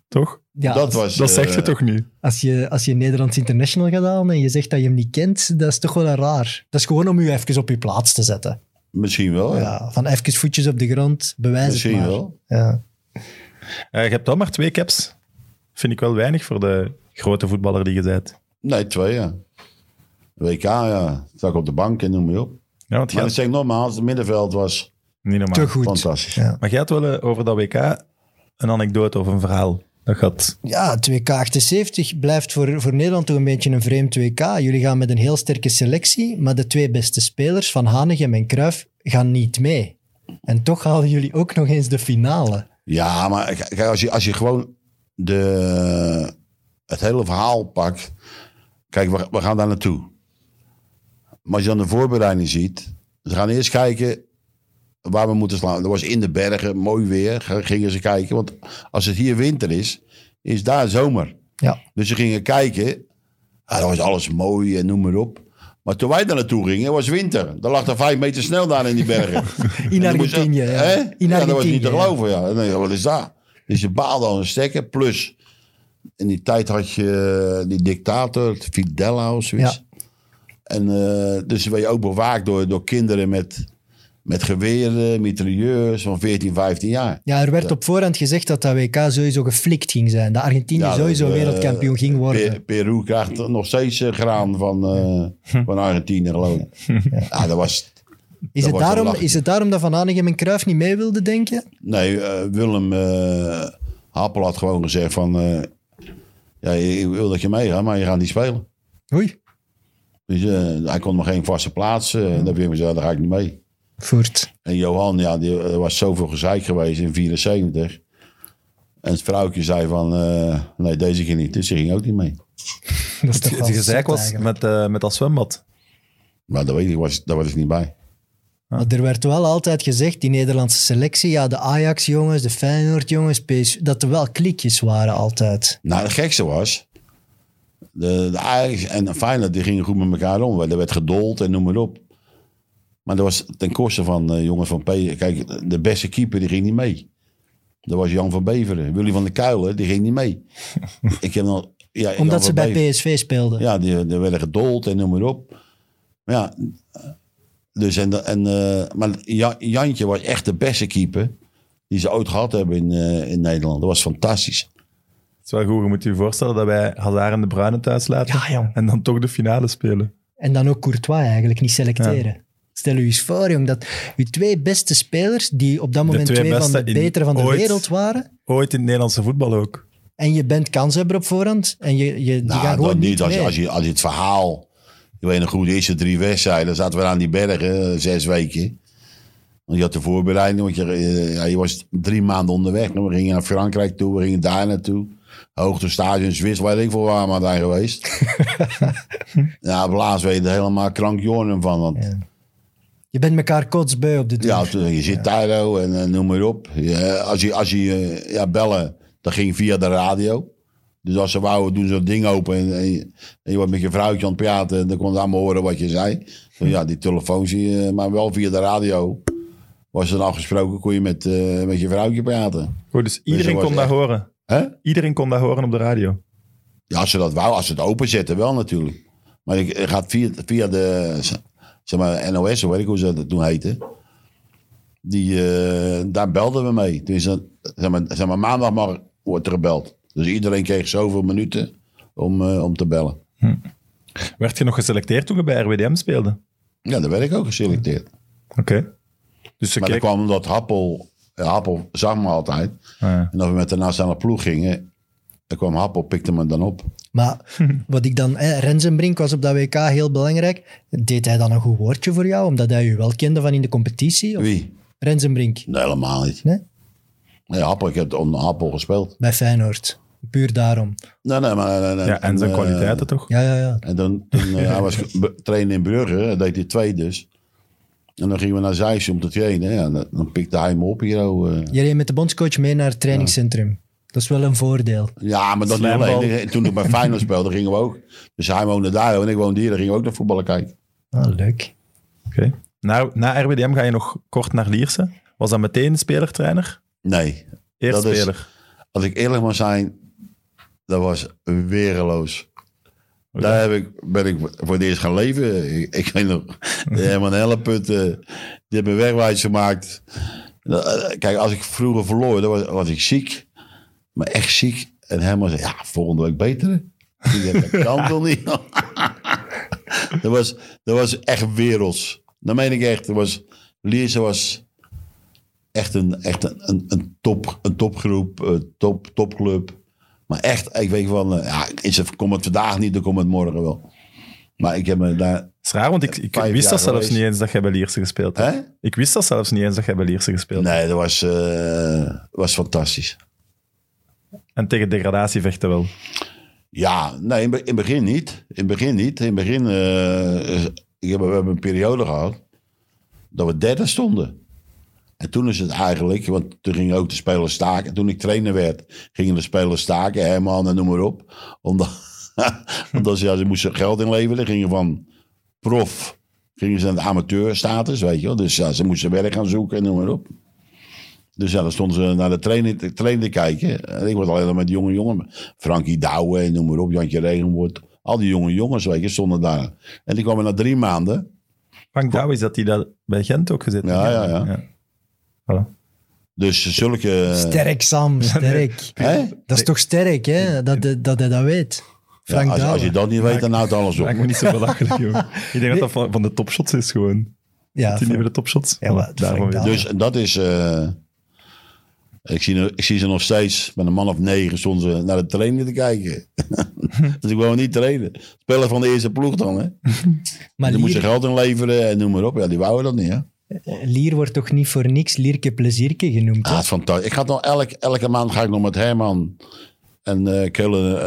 Speaker 1: Toch?
Speaker 2: Ja,
Speaker 3: dat
Speaker 2: als,
Speaker 3: was,
Speaker 1: Dat zegt je
Speaker 3: eh,
Speaker 1: toch niet?
Speaker 2: als, je, als je Nederlands International gaat halen en je zegt dat je hem niet kent, dat is toch wel een raar. Dat is gewoon om u even op je plaats te zetten.
Speaker 3: Misschien wel, ja.
Speaker 2: Ja, van even voetjes op de grond, bewijs
Speaker 3: Misschien
Speaker 2: het maar.
Speaker 3: wel.
Speaker 2: Ja.
Speaker 1: Eh, je hebt dan maar twee caps. Vind ik wel weinig voor de grote voetballer die je bent.
Speaker 3: Nee, twee, ja. WK, ja. Zat ik op de bank en noem je op.
Speaker 1: Ja, want jij
Speaker 3: Maar dat
Speaker 1: had,
Speaker 3: zeg ik nogmaals, het middenveld was
Speaker 1: niet normaal.
Speaker 2: Te goed.
Speaker 3: fantastisch.
Speaker 2: Ja.
Speaker 1: Maar jij had wel eh, over dat WK een anekdote of een verhaal. Dat gaat.
Speaker 2: Ja, 2K78 blijft voor, voor Nederland toch een beetje een vreemd 2K. Jullie gaan met een heel sterke selectie, maar de twee beste spelers, Van Hanegem en Cruijff, gaan niet mee. En toch halen jullie ook nog eens de finale.
Speaker 3: Ja, maar k- kijk, als je, als je gewoon de, het hele verhaal pakt. Kijk, we, we gaan daar naartoe. Maar als je dan de voorbereiding ziet. Ze gaan eerst kijken waar we moeten slaan. Dat was in de bergen, mooi weer. g- Gingen ze kijken. Want als het hier winter is, is daar zomer.
Speaker 2: Ja.
Speaker 3: Dus ze gingen kijken. Ah, dat was alles mooi en noem maar op. Maar toen wij daar naartoe gingen, was winter. Dan lag er vijf meter snel daar in die bergen.
Speaker 2: In
Speaker 3: En dan moest je-
Speaker 2: Argentinië.
Speaker 3: Hè?
Speaker 2: Ja. In
Speaker 3: ja, dat was niet te
Speaker 2: Argentinië, ja.
Speaker 3: geloven. Ja. Nee, wat is dat? Dus je baalde al een stekker. Plus, in die tijd had je eh, die dictator, Fidel of zoiets. En eh, dus ben je ook bewaakt door, door kinderen met, met geweren, mitrailleurs van 14, 15 jaar.
Speaker 2: Ja, er werd op voorhand gezegd dat dat WK sowieso geflikt ging zijn. Dat Argentinië
Speaker 3: Ja, dat,
Speaker 2: sowieso
Speaker 3: eh,
Speaker 2: wereldkampioen ging worden.
Speaker 3: Pe- Peru krijgt nog steeds eh, graan van, eh, van Argentinië, geloof ik. Ja, nou, dat was...
Speaker 2: Is
Speaker 3: dat
Speaker 2: het,
Speaker 3: was een
Speaker 2: daarom,
Speaker 3: lachje.
Speaker 2: is het daarom dat Van Hanegem en Cruijff niet mee wilden denken?
Speaker 3: Nee, eh, Willem eh Happel had gewoon gezegd van... eh, ja, ik wil dat je meegaat, maar je gaat niet spelen.
Speaker 2: Oei,
Speaker 3: Dus eh, hij kon nog geen vaste plaats. eh, en dan heb ik gezegd, daar ga ik niet mee.
Speaker 2: voert.
Speaker 3: En Johan, ja, die, er was zoveel gezeik geweest in 74. En het vrouwtje zei van, eh, nee, deze ging niet. Dus ze ging ook niet mee.
Speaker 2: Dat is toch
Speaker 1: Het
Speaker 2: wel
Speaker 1: gezeik
Speaker 2: zot
Speaker 1: was
Speaker 2: eigenlijk.
Speaker 1: met, eh, met dat zwembad.
Speaker 3: Maar dat weet ik, was, daar was ik niet bij.
Speaker 2: Maar er werd wel altijd gezegd, die Nederlandse selectie, ja, de Ajax-jongens, de Feyenoord-jongens, PSV, dat er wel klikjes waren altijd.
Speaker 3: Nou, het gekste was... De, de Ajax en Feyenoord die gingen goed met elkaar om. Er werd gedold en noem maar op. Maar dat was ten koste van eh, jongens van P. Kijk, de beste keeper die ging niet mee. Dat was Jan van Beveren. Willy van der Kuilen, die ging niet mee. ik heb nog, ja, Jan
Speaker 2: Omdat
Speaker 3: van
Speaker 2: ze bij
Speaker 3: Beveren.
Speaker 2: PSV speelden.
Speaker 3: Ja, die, die werden gedold en noem maar op. Maar ja, dus en, en, eh, maar Ja- Jantje was echt de beste keeper die ze ooit gehad hebben in, eh, in Nederland. Dat was fantastisch.
Speaker 1: Het is wel goed, je moet je voorstellen dat wij Hazard en de Bruyne thuis laten.
Speaker 2: Ja, jong.
Speaker 1: En dan toch de finale spelen.
Speaker 2: En dan ook Courtois eigenlijk, niet selecteren. Stel u eens voor, jong, dat uw twee beste spelers, die op dat moment
Speaker 1: twee
Speaker 2: twee, van de
Speaker 1: beste in
Speaker 2: betere van de
Speaker 1: ooit.
Speaker 2: wereld waren,
Speaker 1: Ooit in het Nederlandse voetbal ook.
Speaker 2: en je bent kanshebber op voorhand, en je, je, die
Speaker 3: Nou,
Speaker 2: gaan
Speaker 3: dat
Speaker 2: gewoon
Speaker 3: niet.
Speaker 2: niet
Speaker 3: als, je,
Speaker 2: mee.
Speaker 3: als, je, als je het verhaal... Ik weet nog goed, de eerste drie wedstrijden dan zaten we aan die bergen, eh, zes weken. Want je had de voorbereiding, want je, eh, ja, je was drie maanden onderweg. We gingen naar Frankrijk toe, we gingen daar naartoe. Hoogte stage in Zwitserland, weet ik veel waar we aan zijn geweest. ja, op laatst weet je er helemaal krankjoren van. Want
Speaker 2: Ja. Je bent elkaar kotsbeu op de duur.
Speaker 3: Ja, toen- je zit daar oh, en eh, noem maar op. Ja, als je, als je eh, ja, bellen, dat ging via de radio. Dus als ze wouden, doen ze dat ding open en, en je- en je wordt met je vrouwtje aan het praten. En dan kon ze allemaal horen wat je zei. Dus ja, die telefoons, die, eh, maar wel via de radio. Was er afgesproken, kon je met, eh, met je vrouwtje praten.
Speaker 1: Goed, dus
Speaker 3: dat
Speaker 1: iedereen
Speaker 3: was
Speaker 1: kon dat
Speaker 3: echt-
Speaker 1: horen.
Speaker 3: Hè?
Speaker 1: Iedereen kon dat horen op de radio.
Speaker 3: Ja, als ze dat wou, als ze het openzetten, wel natuurlijk. Maar ik, ik gaat via, via de zeg maar, NOS, of weet ik hoe ze dat toen heette. Die, eh, daar belden we mee. Toen is dat, zeg maar, zeg maar, maandag maar wordt er gebeld. Dus iedereen kreeg zoveel minuten om, eh, om te bellen.
Speaker 1: Werd je nog geselecteerd toen je bij RWDM speelde?
Speaker 3: Ja, daar werd ik ook geselecteerd.
Speaker 1: Oké. Dus ze
Speaker 3: Maar dat
Speaker 1: keken...
Speaker 3: kwam omdat Happel, ja, Happel zag me altijd.
Speaker 1: Ah,
Speaker 3: En als we met de nationale ploeg gingen, dan kwam Happel, pikte me dan op.
Speaker 2: Maar wat ik dan... Hè, Rensenbrink was op dat WK heel belangrijk. Deed hij dan een goed woordje voor jou, omdat hij u wel kende van in de competitie? Of?
Speaker 3: Wie?
Speaker 2: Rensenbrink,
Speaker 3: Nee, helemaal niet.
Speaker 2: Nee?
Speaker 3: Nee, Happel, ik heb onder Happel gespeeld.
Speaker 2: bij Feyenoord. Puur daarom.
Speaker 3: Nee, nee, maar... nee, nee.
Speaker 1: Ja, en zijn
Speaker 3: eh,
Speaker 1: kwaliteiten toch?
Speaker 2: Ja, ja, ja.
Speaker 3: En dan, toen, eh, hij was be- trainen in Brugge, dat deed hij twee dus. En dan gingen we naar Zeist om te trainen. Ja, en dan, dan pikte hij me op hier. oh, eh.
Speaker 2: Je reed met de bondscoach mee naar het trainingscentrum. Dat is wel een voordeel.
Speaker 3: Ja, maar dat niet
Speaker 1: Slijmbal.
Speaker 3: alleen. Toen ik bij Feyenoord speelde, gingen we ook. Dus hij woonde daar en ik woonde hier. Dan gingen we ook naar voetballen kijken.
Speaker 2: Ah, leuk.
Speaker 1: Oké. Na, na RWDM ga je nog kort naar Lierse. Was dat meteen speler-trainer?
Speaker 3: Nee,
Speaker 1: Eerst
Speaker 3: Dat is-
Speaker 1: speler.
Speaker 3: als ik eerlijk mag zijn, dat was wereloos.
Speaker 1: Oké.
Speaker 3: Daar heb ik, ben ik voor het eerst gaan leven. Ik, ik weet nog, Herman Helleput, eh, die hebben me wegwijs gemaakt. Eh, Kijk, als ik vroeger verloor, dan was, was ik ziek. Maar echt ziek. En Herman zei, ja, volgende week beter. hè? Ik dacht, dat kan toch niet? dat, was, dat was echt werelds. Dat meen ik echt. Dat was, Lierse was echt een, echt een, een, een, top, een topgroep, een top, topclub. Maar echt, ik weet van, eh, ja, is het, komt het vandaag niet, dan komt het morgen wel. Maar ik heb me daar...
Speaker 1: Het is raar, want ik, ik
Speaker 3: Vijf
Speaker 1: wist dat
Speaker 3: jaar
Speaker 1: zelfs
Speaker 3: geweest.
Speaker 1: niet eens dat jij bij Lierse gespeeld hebt.
Speaker 3: Hè?
Speaker 1: Ik wist dat zelfs niet eens dat jij bij Lierse gespeeld hebt.
Speaker 3: Nee, dat was, eh, was fantastisch.
Speaker 1: En tegen degradatie vechten wel.
Speaker 3: Ja, nee, in, be- in het begin niet. In het begin niet. In het begin, eh, ik heb, we hebben een periode gehad dat we derde stonden. En toen is het eigenlijk, want toen gingen ook de spelers staken. Toen ik trainer werd, gingen de spelers staken, Herman en noem maar op. Omdat, omdat ze, ja, ze moesten geld inleveren, gingen van prof, gingen ze naar de amateurstatus, weet je wel. Dus ja, ze moesten werk gaan zoeken en noem maar op. Dus ja, dan stonden ze naar de trainer, de trainer kijken. En ik was alleen maar met jonge jongen. Frankie Douwe, en noem maar op, Jantje Regenwoord. Al die jonge jongens, weet je, stonden daar. En die kwamen na drie maanden.
Speaker 1: Frank Douw is dat hij dat bij Gent ook gezeten
Speaker 3: Ja, ja, ja.
Speaker 1: Voilà.
Speaker 3: Dus zulke...
Speaker 2: Sterk, Sam. Sterk.
Speaker 3: Hè?
Speaker 2: Dat is toch sterk, hè? Dat, dat, dat hij dat weet.
Speaker 3: Ja,
Speaker 2: Frank
Speaker 3: als, als
Speaker 2: Douwe.
Speaker 3: je dat niet weet, dan houdt alles op.
Speaker 1: Maak me niet zo belachelijk, joh. Ik denk dat dat van, van de topshots is gewoon.
Speaker 2: Ja,
Speaker 1: Dat hij niet bij de topshots.
Speaker 2: Ja, maar Frank
Speaker 1: weer.
Speaker 2: Douw.
Speaker 3: Dus dat is... eh, ik, zie, ik zie ze nog steeds, met een man of negen, stonden ze naar de trainer te kijken. dus ik wou niet trainen. Spelen van de eerste ploeg dan, hè. Dus
Speaker 2: maar
Speaker 3: die moesten
Speaker 2: Lier,
Speaker 3: geld inleveren en noem maar op. Ja, die wouden dat niet, hè.
Speaker 2: Lier wordt toch niet voor niks Lierke Plezierke genoemd. hè?
Speaker 3: Ah, het is fantastisch. Ik ga nog elk, elke maand ga ik nog met Herman en eh Keulen,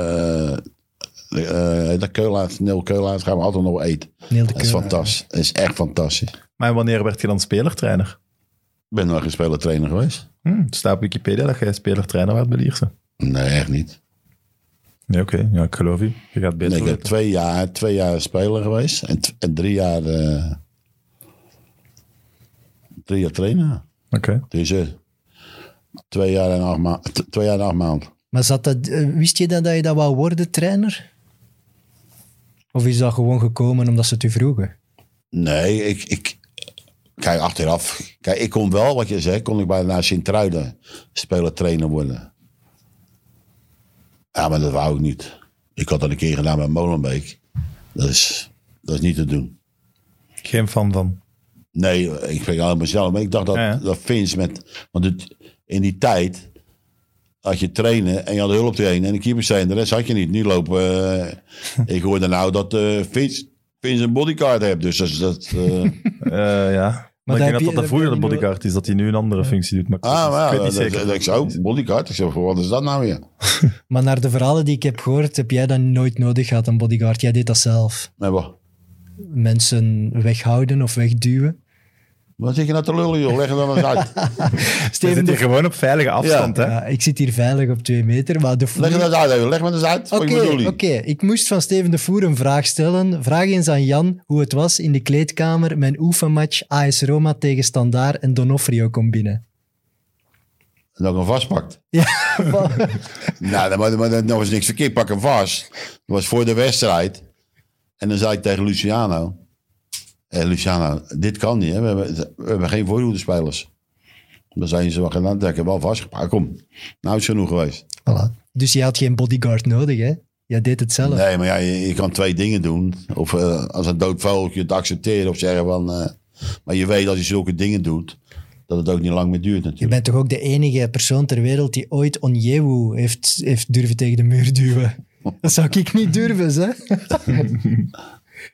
Speaker 3: eh, eh, dat Keulaars, Neil Keulaars, gaan we altijd nog eten.
Speaker 2: Neil de
Speaker 3: Dat is
Speaker 2: Keur.
Speaker 3: fantastisch. Dat is echt fantastisch.
Speaker 1: Maar wanneer werd je dan spelertrainer?
Speaker 3: Ik ben nog geen spelertrainer geweest.
Speaker 1: Hm, het staat op Wikipedia dat jij spelertrainer werd bij Lierse.
Speaker 3: Nee, echt niet.
Speaker 1: Nee, oké. Ja, ik geloof je. Je gaat beter
Speaker 3: Nee, ik
Speaker 1: weten.
Speaker 3: heb twee jaar, twee jaar speler geweest en, t- en drie jaar, eh, drie jaar trainer.
Speaker 1: Oké.
Speaker 3: Dus eh, twee jaar en acht, ma- t- twee jaar en acht maanden.
Speaker 2: Maar zat dat, eh, wist je dan dat je dat wou worden, trainer? Of is dat gewoon gekomen omdat ze het u vroegen?
Speaker 3: Nee, ik, ik. Kijk, achteraf. Kijk, ik kon wel, wat je zegt, kon ik bijna Sint-Truiden speler trainer worden. Ja, maar dat wou ik niet. Ik had dat een keer gedaan bij Molenbeek. Dat is, dat is niet te doen.
Speaker 1: Geen fan van.
Speaker 3: Nee, ik spreek alleen mezelf. Maar ik dacht dat,
Speaker 1: Ja, ja.
Speaker 3: dat Vins met. Want het, in die tijd had je trainen en je had hulp trainen en de keeper zijn. De rest had je niet. Nu lopen. eh, ik hoorde nou dat eh Vins, Vins een bodyguard heeft. Dus dat. is- dat eh,
Speaker 1: Eh, ja. Maar,
Speaker 2: daar
Speaker 1: ik
Speaker 2: heb
Speaker 1: denk
Speaker 2: je-
Speaker 1: dat dat
Speaker 2: daar
Speaker 1: vroeger de
Speaker 2: heb je niet
Speaker 1: bodyguard is, dat hij nu een andere functie doet. Maar ik,
Speaker 3: Ah, maar
Speaker 1: ik weet
Speaker 3: ja, dat,
Speaker 1: niet
Speaker 3: dat-
Speaker 1: zeker.
Speaker 3: dat ik zo, bodyguard. Ik zeg, wat is dat nou weer?
Speaker 2: Maar naar de verhalen die ik heb gehoord, heb jij dat nooit nodig gehad, een bodyguard. Jij deed dat zelf.
Speaker 3: Nee, wat,
Speaker 2: Mensen weghouden of wegduwen.
Speaker 3: wat zit je nou te lullen, joh? Leg het dan eens uit.
Speaker 1: Je
Speaker 2: Steven,
Speaker 1: zit
Speaker 2: de-
Speaker 1: hier gewoon op veilige afstand, hè?
Speaker 2: ja, ik zit hier veilig op twee meter, maar de
Speaker 3: Leg het
Speaker 2: voer...
Speaker 3: eens uit, even. leg me eens uit. Wat
Speaker 2: Oké,
Speaker 3: ik bedoel
Speaker 2: oké. ik moest van Steven de Voer een vraag stellen. Vraag eens aan Jan hoe het was in de kleedkamer mijn oefenmatch AS Roma tegen Standaard en Donofrio kon binnen.
Speaker 3: En dat ik hem vastpakt.
Speaker 2: Wa-
Speaker 3: nou, dan, maar, maar, dan was niks verkeerd. Pak hem vast. Dat was voor de wedstrijd. En dan zei ik tegen Luciano. Eh, Luciano, dit kan niet. Hè? We, hebben, we hebben geen voorhoedenspelers. Dan zijn ze wel gedaan. Ik heb wel vastgepakt. Kom, nou is het genoeg geweest.
Speaker 2: Voilà. Dus je had geen bodyguard nodig, hè? Jij deed het zelf.
Speaker 3: Nee, maar ja, je, je kan twee dingen doen. Of eh, als een dood vogeltje het accepteren of zeggen van... eh, maar je weet als je zulke dingen doet, dat het ook niet lang meer duurt
Speaker 2: Je
Speaker 3: natuurlijk.
Speaker 2: bent toch ook de enige persoon ter wereld die ooit Onyewu heeft, heeft durven tegen de muur duwen. Dat zou ik niet durven, zeg.
Speaker 3: Eh,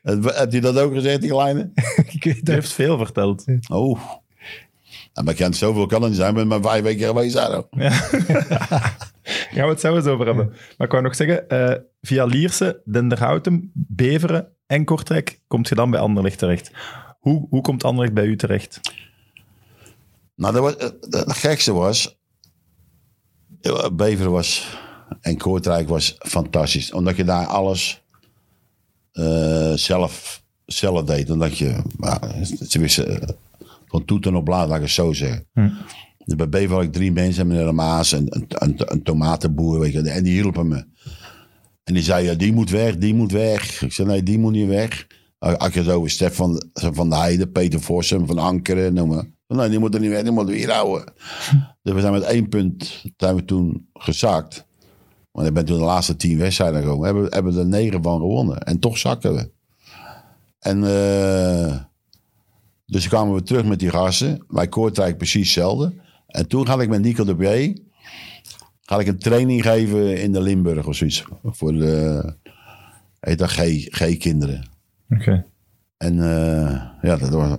Speaker 3: Heb- Heb je dat ook gezegd, die kleine?
Speaker 2: Ik weet
Speaker 1: Je
Speaker 2: dat.
Speaker 1: heeft veel verteld.
Speaker 3: Oh. Ja, maar ik kan zoveel kan er niet zijn, ik ben maar vijf weken geweest. daar ook.
Speaker 1: Gaan we het zo eens over hebben. Maar ik wou nog zeggen, eh, via Lierse, Denderhouten, Beveren en Kortrijk komt je dan bij Anderlecht terecht. Hoe, hoe komt Anderlecht bij u terecht?
Speaker 3: Nou, dat was, eh, het gekste was... eh, Beveren was... En Kortrijk was fantastisch. Omdat je daar alles eh, zelf, zelf deed. Omdat je... Nou, ze wisten eh, van toeten op blaad, laat ik het zo zeggen. Dus bij Beveren had ik drie mensen. Meneer de Maas, een, een, een, een tomatenboer. Weet je, en die hielpen me. En die zei, ja, die moet weg, die moet weg. Ik zei, nee, die moet niet weg. Had je het over Stefan van de Heijden, Peter Vossen, Van Ankeren, noem maar. Nee, die moet er niet weg, die moet weer houden. Dus we zijn met één punt zijn we toen gezakt. Want ik ben toen de laatste tien wedstrijden gekomen. We hebben, hebben er negen van gewonnen. En toch zakken we. En eh, dus kwamen we terug met die gasten. Bij Kortrijk precies hetzelfde. En toen ga ik met Nico de Bree ga ik een training geven in de Limburg of zoiets. Voor de, heet dat, G- G-kinderen.
Speaker 1: Oké.
Speaker 3: En eh, ja, dat was...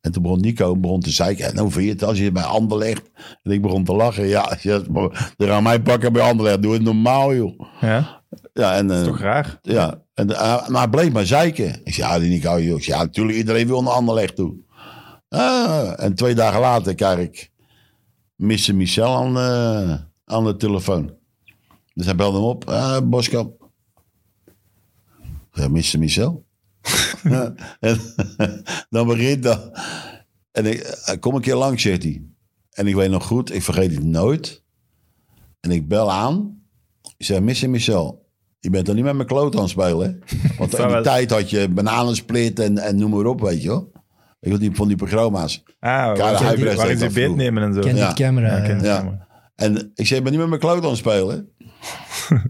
Speaker 3: En toen begon Nico begon te zeiken. En hoe vind je het als je bij Anderlecht... En ik begon te lachen. Ja, ja ze gaan mij pakken bij Anderlecht. Doe het normaal, joh.
Speaker 1: Ja,
Speaker 3: Ja, en, eh,
Speaker 1: toch raar.
Speaker 3: ja, en, eh, maar hij bleef maar zeiken. Ik zei, ja, die Nico, joh. Ik zei, ja, natuurlijk, iedereen wil naar Anderlecht toe. Ah, en twee dagen later krijg ik Mr. Michel aan, eh, aan de telefoon. Dus hij belde hem op. Ah, Boskamp. Ja, Mr. Michel. Ja, en dan begint dat. En ik, eh, kom een keer langs, zegt hij. En ik weet nog goed, ik vergeet het nooit. En ik bel aan. Ik zeg, Mr. Michel, je bent dan niet met mijn kloot aan het spelen. hè? Want in die
Speaker 1: Trouwens.
Speaker 3: tijd had je bananensplit en, en noem maar op, weet je wel. Ik wil die van die programma's.
Speaker 1: Ah,
Speaker 3: Karel
Speaker 1: waar
Speaker 3: Huibrecht
Speaker 1: waarin
Speaker 3: deed
Speaker 1: ze
Speaker 3: dat
Speaker 1: beet
Speaker 3: vroeger.
Speaker 1: nemen en zo.
Speaker 2: Ken
Speaker 3: Ja.
Speaker 2: die camera.
Speaker 1: Ja, ken
Speaker 2: ja.
Speaker 1: die
Speaker 3: Ja.
Speaker 1: camera.
Speaker 3: En ik zei, ik ben niet met mijn kloot aan het spelen.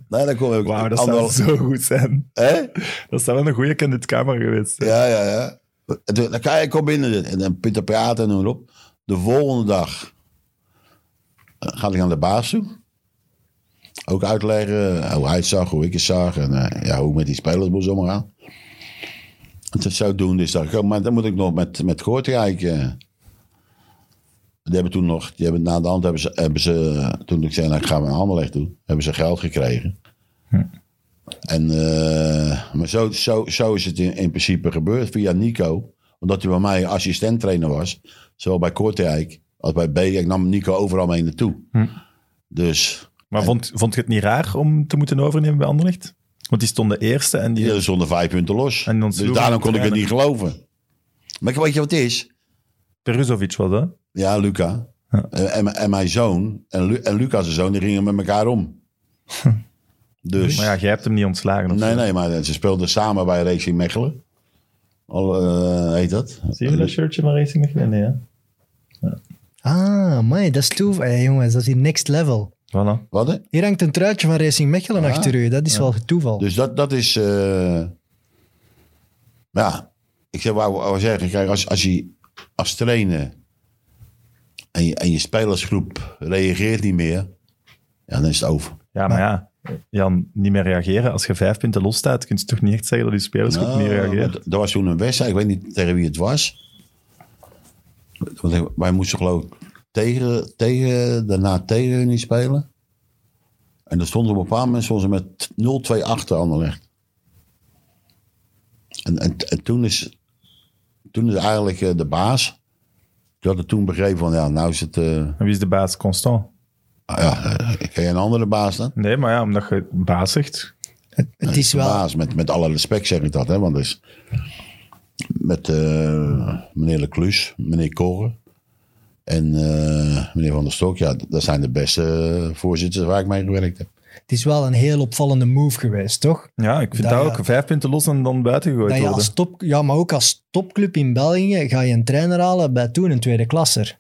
Speaker 3: nee, dan kom ik.
Speaker 1: Wauw, dat zou
Speaker 3: ander-
Speaker 1: zo goed zijn.
Speaker 3: Hè?
Speaker 1: Dat zou wel een goede kind in het camera geweest zijn.
Speaker 3: Ja, ja, ja. En toen, dan kan je, kom binnen. En dan Pieter praten en noem maar op. De volgende dag eh, ga ik naar de baas toe. Ook eh, uitleggen hoe hij het zag, hoe ik het zag. En eh, ja, hoe ik met die spelers moest omgaan. Het zodoende is dat gekomen. Maar dan moet ik nog met, met Kortrijk. eh, die hebben toen nog, die hebben, na de hand hebben ze, hebben ze toen ik zei, nou, ik ga mijn handel echt doen, hebben ze geld gekregen. En, eh, maar zo, zo, zo is het in, in principe gebeurd via Nico. Omdat hij bij mij assistent trainer was, zowel bij Kortrijk als bij B. Ik nam Nico overal mee naartoe.
Speaker 1: Hm.
Speaker 3: Dus
Speaker 1: Maar vond, vond je het niet raar om te moeten overnemen bij Anderlecht? Want die stonden eerste en die...
Speaker 3: Ja, er stonden vijf punten los.
Speaker 1: En dan
Speaker 3: dus
Speaker 1: sloegen
Speaker 3: daarom
Speaker 1: we
Speaker 3: kon ik het
Speaker 1: trainen.
Speaker 3: niet geloven. Maar ik- weet je wat het is?
Speaker 1: Peruzovic was dat.
Speaker 3: Ja, Luca.
Speaker 1: Ja.
Speaker 3: En, en- en mijn zoon, en, Lu, en Lucas' zoon, die gingen met elkaar om. dus,
Speaker 1: Hm. Maar ja, jij hebt hem niet ontslagen. of
Speaker 3: nee,
Speaker 1: zo.
Speaker 3: nee, maar ze speelden samen bij Racing Mechelen. Al, eh, heet dat?
Speaker 1: Zie je dat shirtje van Racing Mechelen? Nee, hè?
Speaker 2: Ah, man, dat is toeval. Hey, jongens, dat is hier next level.
Speaker 1: Voilà.
Speaker 3: Wat? hè?
Speaker 2: Hier hangt een truitje van Racing Mechelen
Speaker 3: Ah.
Speaker 2: achter u. Dat is wel toeval.
Speaker 3: Dus dat, dat is... eh, ja, ik zou wou, wou zeggen, kijk, als, als je als trainer en je, en je spelersgroep reageert niet meer, ja, dan is het over.
Speaker 1: Ja, maar ja, Jan, niet meer reageren. Als je vijf punten los staat, kun je toch niet echt zeggen dat je spelers goed
Speaker 3: Nou,
Speaker 1: niet reageert.
Speaker 3: maar d- Dat was toen een wedstrijd, ik weet niet tegen wie het was. Want ik- wij moesten geloof ik tegen, tegen, daarna tegen hun niet spelen. En dan stonden we op een bepaald moment stonden ze met 0-2 achter Anderlecht. En, en, en toen, is, toen is eigenlijk eh, de baas, die had het toen begrepen van ja, nou is het, eh,
Speaker 1: En wie is de baas? Constant.
Speaker 3: ah ja, eh, ken je een andere baas dan?
Speaker 1: Nee, maar ja, omdat je baas zegt.
Speaker 2: het is
Speaker 3: De
Speaker 2: wel...
Speaker 3: baas, met, met alle respect zeg ik dat, hè, want dus met eh, meneer Leclus, meneer Koren en eh, meneer Van der Stok, ja, d- dat zijn de beste eh, voorzitters waar ik mee gewerkt heb.
Speaker 2: Het is wel een heel opvallende move geweest, toch?
Speaker 1: Nou Ja, Nou ik vind
Speaker 2: Dat
Speaker 1: dat,
Speaker 2: je-
Speaker 1: ook. Vijf punten los en dan buiten gegooid
Speaker 2: Dat je
Speaker 1: worden.
Speaker 2: als top, ja, maar ook als topclub in België ga je een trainer halen bij toen een tweede klasser.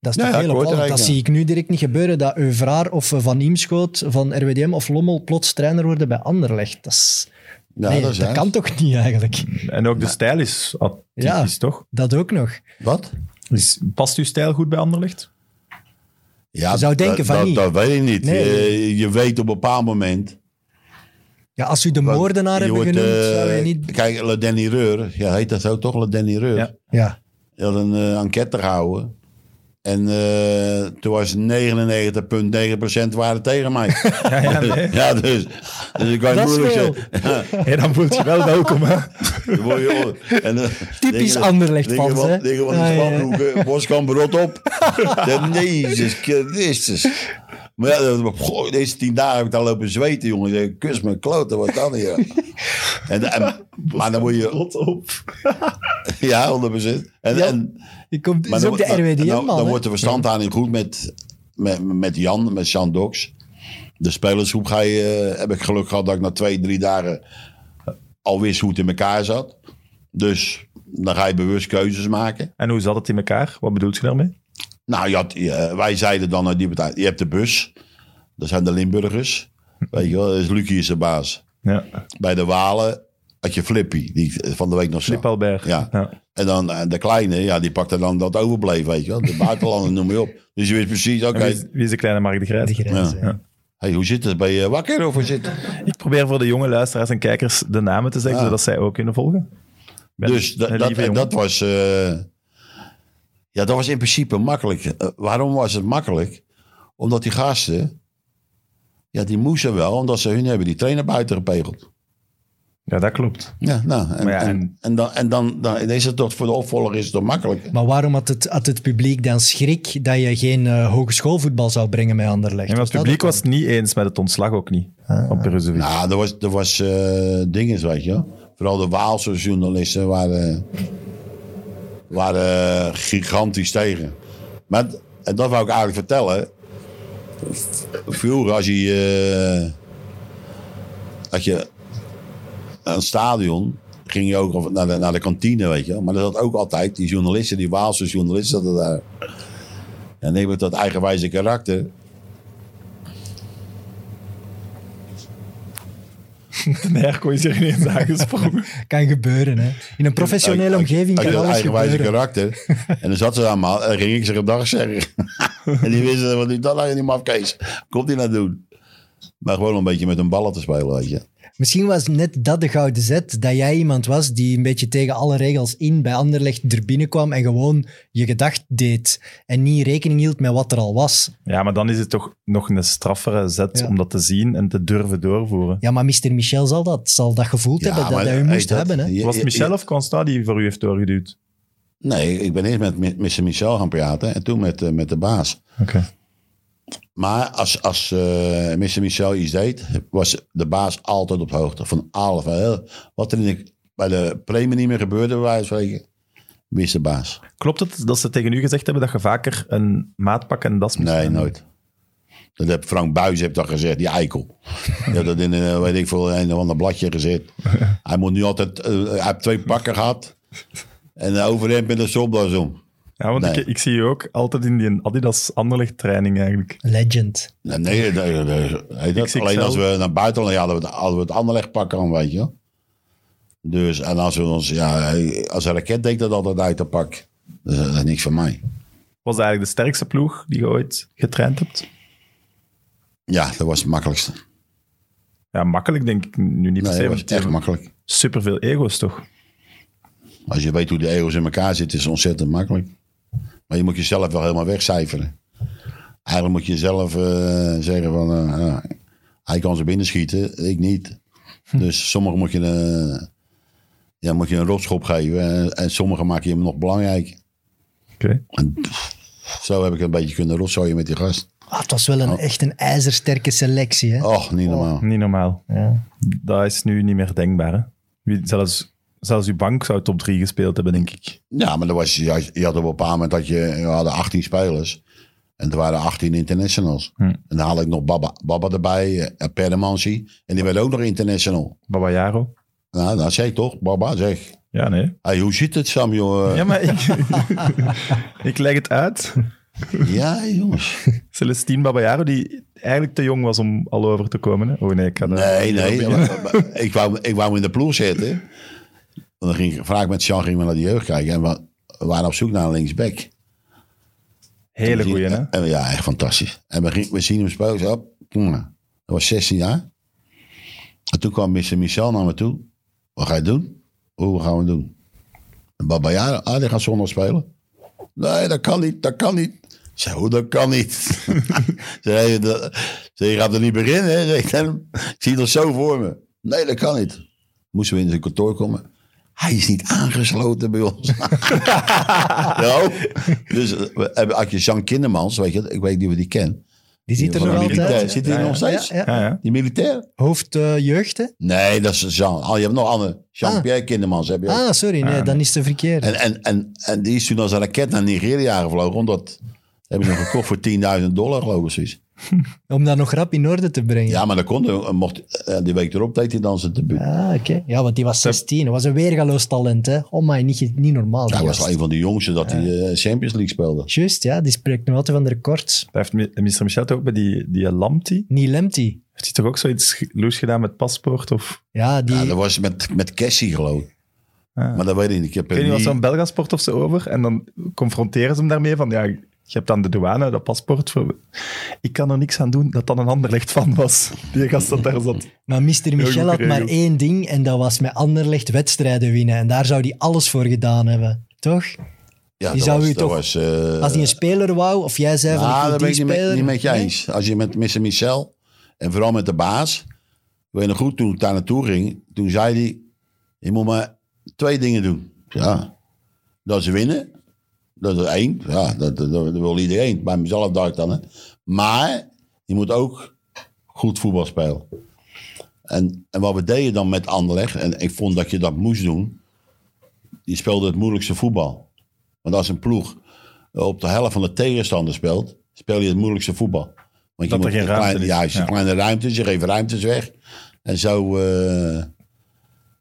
Speaker 2: Dat is
Speaker 3: Ja,
Speaker 2: toch heel
Speaker 3: ja, ik hoor het
Speaker 2: opvallend. Dat
Speaker 3: eigenlijk,
Speaker 2: zie ik nu direct niet gebeuren, dat Euvraar of eh, Van Imschoot van RWDM of Lommel plots trainer worden bij Anderlecht. Dat, is,
Speaker 3: Ja,
Speaker 2: nee,
Speaker 3: dat,
Speaker 2: dat,
Speaker 3: is juist.
Speaker 2: kan toch niet eigenlijk?
Speaker 1: En ook de stijl is atypisch, toch?
Speaker 2: Dat ook nog.
Speaker 3: Wat? Dus-
Speaker 1: Is, past uw stijl goed bij Anderlecht?
Speaker 3: Ja,
Speaker 2: Je zou
Speaker 3: dat-
Speaker 2: denken van
Speaker 3: dat,
Speaker 2: niet.
Speaker 3: Dat weet ik niet.
Speaker 2: Nee.
Speaker 3: Je, je weet op een bepaald moment...
Speaker 2: Ja, als u de moordenaar
Speaker 3: je
Speaker 2: hebben
Speaker 3: wordt,
Speaker 2: genoemd,
Speaker 3: eh,
Speaker 2: zou je niet...
Speaker 3: Kijk, Le Danny Reur, ja, heet dat zo toch, Le Danny Reur?
Speaker 1: Ja.
Speaker 2: Ja,
Speaker 3: Die had een eh, enquête gehouden. En eh, toen was 99,9% waren tegen mij.
Speaker 1: Ja, ja, nee.
Speaker 3: Ja, dus, dus ik kan je
Speaker 2: Dat is
Speaker 3: moeilijk
Speaker 2: veel.
Speaker 3: zeggen.
Speaker 1: Hey, dan voelt je wel welkom, hè?
Speaker 3: Dan word je onder- en, eh,
Speaker 2: Typisch
Speaker 3: dingen-
Speaker 2: Anderlecht
Speaker 3: dingen
Speaker 2: fans,
Speaker 3: wat-
Speaker 2: hè?
Speaker 3: Dingen van de
Speaker 2: Ja, ja, ja.
Speaker 3: spanbroeken, Boskamp rot op. Dan, Jezus Christus. Maar ja, dat- goh, deze tien dagen heb ik daar lopen zweten, jongens. Ik Kus mijn kloten, wat dan hier? En, en, maar dan moet je...
Speaker 1: op.
Speaker 3: Ja, 100%. En,
Speaker 2: Ja.
Speaker 3: en,
Speaker 2: ik kom, dat
Speaker 3: maar
Speaker 2: is
Speaker 3: dan
Speaker 2: ook de
Speaker 3: wordt- dan-
Speaker 2: RWDM-man.
Speaker 3: Dan, dan wordt de verstandhouding goed met, met, met Jan, met Jean Dox. De spelersgroep ga je, eh, heb ik geluk gehad dat ik na twee, drie dagen al wist hoe het in elkaar zat. Dus dan ga je bewust keuzes maken.
Speaker 1: En hoe zat het in elkaar? Wat bedoelt je daarmee?
Speaker 3: Nou, je had, je- wij zeiden dan uit die partij, je hebt de bus. Dat zijn de Limburgers. Weet je wel, dus Lucie is de baas.
Speaker 1: Ja.
Speaker 3: Bij de Walen had je Flippy, die ik van de week nog zag.
Speaker 1: Flip Albert.
Speaker 3: Ja.
Speaker 1: ja.
Speaker 3: En dan eh, de kleine, ja, die pakte dan dat overbleef, weet je wel. De buitenlander, noem je op. Dus je wist precies, oké,
Speaker 1: En Wie, is, wie is de kleine Mark de Grijs?
Speaker 2: De Grijze,
Speaker 3: Ja.
Speaker 2: ja.
Speaker 3: hey, hoe zit het? Ben je wakker of hoe zit het?
Speaker 1: Ik probeer voor de jonge luisteraars en kijkers de namen te zeggen,
Speaker 3: Ah.
Speaker 1: zodat zij ook kunnen volgen. Ben
Speaker 3: Dus
Speaker 1: een
Speaker 3: dat,
Speaker 1: lieve
Speaker 3: dat, en
Speaker 1: jongen.
Speaker 3: dat was... eh, ja, dat was in principe makkelijk. Eh, waarom was het makkelijk? Omdat die gasten... Ja, die moesten wel, omdat ze hun hebben die trainer buiten gepegeld.
Speaker 1: Ja, dat klopt.
Speaker 3: Ja, nou, en,
Speaker 1: Maar ja,
Speaker 3: en,
Speaker 1: en-
Speaker 3: en dan, en dan, dan is het toch voor de opvolger is het toch makkelijker.
Speaker 2: Maar waarom had het, had het publiek dan schrik dat je geen eh, hogeschoolvoetbal zou brengen met Anderlecht?
Speaker 1: En
Speaker 2: Was
Speaker 1: het
Speaker 2: dat
Speaker 1: publiek
Speaker 2: het
Speaker 1: was het niet eens met het ontslag ook niet van Peruzovic.
Speaker 3: Nou, er was, er was eh dingen, weet je wel. Vooral de Waalse journalisten waren, waren gigantisch tegen. Maar, d- en dat wou ik eigenlijk vertellen. Vroeger, als je, eh, als je aan het stadion ging je ook of naar de, naar de kantine, weet je wel. Maar dat had ook altijd, die journalisten, die Waalse journalisten, dat daar. En die hebben dat eigenwijze karakter.
Speaker 1: De airco is hier ineens aangesprongen.
Speaker 2: Kan gebeuren, hè. In een professionele
Speaker 3: Uit- uit-
Speaker 2: omgeving
Speaker 3: uit
Speaker 2: kan
Speaker 3: dat
Speaker 2: alles
Speaker 3: eigenwijze
Speaker 2: gebeuren.
Speaker 3: karakter. En dan zat ze allemaal en dan ging ik ze gedag zeggen. en die wisten, wat doet dat nou in die mafkees? Komt die nou doen? Maar gewoon een beetje met een ballen te spelen, weet je.
Speaker 2: Misschien was net dat de gouden zet, dat jij iemand was die een beetje tegen alle regels in bij Anderlecht er binnenkwam en gewoon je gedacht deed en niet rekening hield met wat er al was.
Speaker 1: Ja, maar dan is het toch nog een straffere zet
Speaker 2: Ja.
Speaker 1: om dat te zien en te durven doorvoeren.
Speaker 2: Ja, maar Mr. Michel zal dat, zal dat gevoeld
Speaker 3: Ja,
Speaker 2: hebben dat
Speaker 3: maar,
Speaker 2: hij u
Speaker 3: hey,
Speaker 2: moest
Speaker 3: dat-
Speaker 2: hebben. Hè?
Speaker 3: je-
Speaker 1: Was het
Speaker 3: je-
Speaker 1: Michel of Constant die voor u heeft doorgeduwd?
Speaker 3: Nee, ik ben eerst met Mi- Mr. Michel gaan praten en toen met, eh, met de baas.
Speaker 1: Oké.
Speaker 3: Maar als, als eh Mr. Michel iets deed, was de baas altijd op de hoogte van alles. Van heel- Wat er in de, bij de premie niet meer gebeurde, bij wijze van spreken, wist de baas.
Speaker 1: Klopt het dat ze tegen u gezegd hebben dat je vaker een maatpak en een das moest
Speaker 3: Nee,
Speaker 1: aan?
Speaker 3: nooit. Dat heb Frank Buijs heeft dat gezegd, die eikel. Die heeft dat in een, weet ik veel, een of ander bladje gezet. Hij moet nu altijd, eh, hij heeft twee pakken gehad. En een overhemd met een stropdas om.
Speaker 1: Ja, want
Speaker 3: Nee.
Speaker 1: ik, ik zie je ook altijd in die Adidas Anderlecht training eigenlijk.
Speaker 2: Legend.
Speaker 3: Nee, Nou, nee, nee, nee, nee, dat-
Speaker 1: XXL.
Speaker 3: alleen als we naar buitenland gaan, hadden we het, hadden we het anderleg pakken aan, weet je. wel. Dus, en als we ons, ja, als een raket deed dat altijd uit de pak. Dus dat is niks van mij.
Speaker 1: Was dat eigenlijk de sterkste ploeg die je ooit getraind hebt?
Speaker 3: Ja, dat was het makkelijkste.
Speaker 1: Ja, makkelijk denk ik nu niet per
Speaker 3: Nee,
Speaker 1: se,
Speaker 3: dat was
Speaker 1: want die
Speaker 3: echt
Speaker 1: hebben
Speaker 3: makkelijk.
Speaker 1: superveel ego's toch?
Speaker 3: Als je weet hoe de ego's in elkaar zitten, is het ontzettend makkelijk. Maar je moet jezelf wel helemaal wegcijferen. Eigenlijk moet je zelf eh, zeggen van, eh, ja, hij kan ze binnen schieten, ik niet. Dus sommigen moet je, een- ja, moet je een rotschop geven en, en sommigen maak je hem nog belangrijk.
Speaker 1: Oké.
Speaker 3: En pff, zo heb ik een beetje kunnen rotzooien met die gast.
Speaker 2: Ah, het was wel
Speaker 3: Oh.
Speaker 2: een, echt een ijzersterke selectie. Hè?
Speaker 3: Och, niet normaal.
Speaker 1: Niet normaal.
Speaker 2: Ja.
Speaker 1: Dat is nu niet meer denkbaar. Hè? Wie, zelfs, zelfs uw bank zou top 3 gespeeld hebben, denk ik.
Speaker 3: Ja, maar dat was, je, had, je had op een bepaald moment dat je, we hadden 18 spelers. En er waren 18 internationals. En dan had ik nog Baba, Baba erbij, eh, Perdemansi. En die werd ook nog international.
Speaker 1: Baba Jaro?
Speaker 3: Nou, dat zeg ik toch, Baba, zeg.
Speaker 1: Ja, nee.
Speaker 3: Hey, hoe zit het, Sam, joh?
Speaker 1: Ja, maar ik, ik leg het uit.
Speaker 3: Ja, jongens.
Speaker 1: Celestine Baba Jaro, die eigenlijk te jong was om al over te komen. Hè? Oh nee, ik ga dat-
Speaker 3: Nee, nee. maar- maar ik, wou, ik wou hem in de ploeg zetten. En dan ging ik vaak met Jean gingen we naar de jeugd kijken. En we we waren op zoek naar een linksback.
Speaker 1: Hele goeie, hè?
Speaker 3: En we- ja, echt fantastisch. En we, gingen- we zien hem spelen. Zo, op. Dat was 16 jaar. En toen kwam Mr. Michel naar me toe. Wat ga je doen? Hoe gaan we het doen? En Baba Jara, ah, die gaat zondag spelen. Nee, dat kan niet, dat kan niet. Ik zei, hoe, dat kan niet? Ze zei, "Je- dat- ik zei, je gaat er niet beginnen, hè? Zei ik tegen hem. ik zie dat zo voor me. Nee, dat kan niet. Moesten we in zijn kantoor komen. Hij is niet aangesloten bij ons. Nou, dus eh, we hebben als je Jean Kindermans, weet je, ik weet niet of je die kent.
Speaker 2: Die zit er
Speaker 3: Die
Speaker 2: nog
Speaker 3: was een militair.
Speaker 2: altijd.
Speaker 3: Zit die
Speaker 1: Ja, ja.
Speaker 3: nog steeds?
Speaker 2: Ja, ja.
Speaker 1: Ja, ja.
Speaker 3: Die militair?
Speaker 2: Hoofd eh, jeugd, hè?
Speaker 3: Nee, dat is Jean. Oh, je hebt nog andere. Jean-Pierre Kindermans heb je. ook.
Speaker 2: Ah, sorry, nee, dan is het verkeerd.
Speaker 3: En, en, en, en die is toen als een raket naar Nigeria gevlogen, omdat hebben ze hem gekocht voor 10.000 dollar, geloof ik. zoiets.
Speaker 2: Om dat nog rap in orde te brengen.
Speaker 3: Ja, maar dat kon hij, mocht, eh, die week erop deed hij dan zijn debuut.
Speaker 2: Ah, oké. Ja, want die was 16. Dat was een weergaloos talent, hè. Oh my, niet, ge- niet normaal.
Speaker 3: Hij
Speaker 2: die
Speaker 3: was
Speaker 2: gast.
Speaker 3: wel een van de jongsten dat hij eh, Champions League speelde.
Speaker 2: Juist, ja. Die spreekt nog altijd van de records.
Speaker 1: Daar heeft mi- Mr. Michel toch ook bij die, die Lamti.
Speaker 2: Neil Lemty.
Speaker 1: Heeft hij toch ook zoiets ge- loes gedaan met paspoort? Of,
Speaker 2: Ja, die...
Speaker 3: Ja, dat was met, met Cassie, geloof ik. Maar dat weet ik niet. Ik heb
Speaker 1: ik weet
Speaker 3: hem
Speaker 1: niet, was
Speaker 3: niet-
Speaker 1: zo'n Belgasport of zo over? En dan confronteren ze hem daarmee van, ja, je hebt aan de douane dat paspoort. Voor... Ik kan er niks aan doen dat dan een ander licht van was. Die gast dat daar zat.
Speaker 2: Maar Mr. Michel
Speaker 1: goed
Speaker 2: had maar
Speaker 1: geregeld.
Speaker 2: één ding en dat was met Anderlecht wedstrijden winnen. En daar zou die alles voor gedaan hebben, toch?
Speaker 3: ja,
Speaker 2: die
Speaker 3: dat
Speaker 2: zou
Speaker 3: was-
Speaker 2: u
Speaker 3: dat
Speaker 2: toch-
Speaker 3: was, eh,
Speaker 2: Als die een speler wou, of jij zei van
Speaker 3: Nou,
Speaker 2: ik wil
Speaker 3: dat ben
Speaker 2: die
Speaker 3: ik niet met,
Speaker 2: speler.
Speaker 3: niet met je
Speaker 2: Nee?
Speaker 3: eens. Als je met Mr. Michel en vooral met de baas. Ik weet nog goed, toen ik daar naartoe ging, toen zei hij: Je moet maar twee dingen doen. Ja, dat is winnen. Dat is één. Ja, dat, dat, dat wil iedereen. Bij mezelf dacht ik dan. Hè. Maar je moet ook goed voetbal spelen. En, en wat we deden dan met Anderlecht, en ik vond dat je dat moest doen. Je speelde het moeilijkste voetbal. Want als een ploeg op de helft van de tegenstander speelt, speel je het moeilijkste voetbal. Want
Speaker 1: Dat
Speaker 3: je
Speaker 1: er geen
Speaker 3: in
Speaker 1: ruimte
Speaker 3: kleine,
Speaker 1: is.
Speaker 3: Juist, in
Speaker 1: Ja.
Speaker 3: kleine ruimtes, je geeft ruimtes weg. En zo, eh,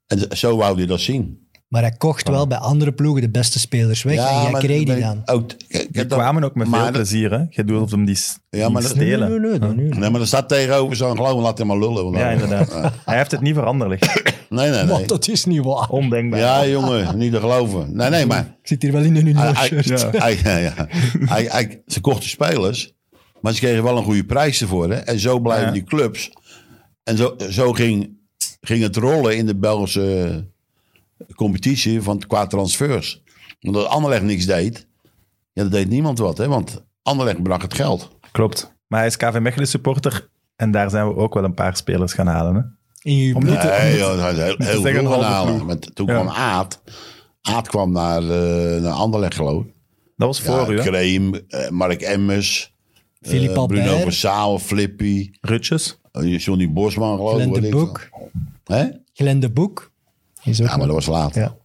Speaker 3: en zo wou je dat zien.
Speaker 2: Maar hij kocht wel bij andere ploegen de beste spelers weg en jij
Speaker 3: Ah. maar
Speaker 2: kreeg
Speaker 3: ben
Speaker 2: die
Speaker 3: ik
Speaker 2: dan.
Speaker 3: Ook, ik- ik
Speaker 1: Die
Speaker 3: heb dat-
Speaker 1: kwamen ook met
Speaker 3: maar
Speaker 1: veel
Speaker 3: dat-
Speaker 1: plezier, hè? Je doet of hem die s-
Speaker 3: Ja,
Speaker 1: niet
Speaker 3: maar dat-
Speaker 1: stelen.
Speaker 2: Nee, nee, nee, nee, nee.
Speaker 3: Nee, maar er staat tegenover zo'n geloof, laat hem maar lullen. want
Speaker 1: Ja,
Speaker 3: dan-
Speaker 1: inderdaad. Hij heeft het niet veranderd.
Speaker 3: Nee, nee, nee.
Speaker 2: Want dat is niet waar.
Speaker 1: Ondenkbaar.
Speaker 3: Ja, jongen, niet te geloven. Nee, nee, maar...
Speaker 2: Ik zit hier wel in een
Speaker 3: Hij-
Speaker 2: union
Speaker 3: hij-
Speaker 2: shirt.
Speaker 1: Oh, ja.
Speaker 3: hij- Ah, ja, ja. Hij- hij- Ze kochten spelers, maar ze kregen wel een goede prijs ervoor. Hè? En zo blijven
Speaker 1: Ja.
Speaker 3: die clubs. En zo, zo ging ging het rollen in de Belgische competitie van, qua transfers. Omdat Anderlecht niks deed, ja, dat deed niemand wat, hè, want Anderlecht bracht het geld.
Speaker 1: Klopt. Maar hij is KV Mechelen supporter en daar zijn we ook wel een paar spelers gaan halen. Hè?
Speaker 2: In je
Speaker 1: Om niet te-
Speaker 3: Nee, joh, dat is heel, heel
Speaker 1: zeggen,
Speaker 3: veel
Speaker 1: een halve
Speaker 3: verhalen.
Speaker 1: ploeg.
Speaker 3: Want toen
Speaker 1: Ja.
Speaker 3: kwam Aad. Aad kwam naar, eh naar Anderlecht, geloof ik.
Speaker 1: Dat was voor u,
Speaker 3: ja,
Speaker 1: hè?
Speaker 3: Kreem, eh, Mark Emmers, eh,
Speaker 2: Philippe
Speaker 3: Bruno
Speaker 2: Albert.
Speaker 3: Versaal, Flippy,
Speaker 1: Rutjes.
Speaker 3: eh, Johnny Bosman, geloof
Speaker 2: Glenn
Speaker 3: ik.
Speaker 2: de
Speaker 3: weet ik veel.
Speaker 2: Boek.
Speaker 3: Hè?
Speaker 2: Glenn de Boek. Is ook
Speaker 3: Ja, maar dat was laat.
Speaker 2: Ja.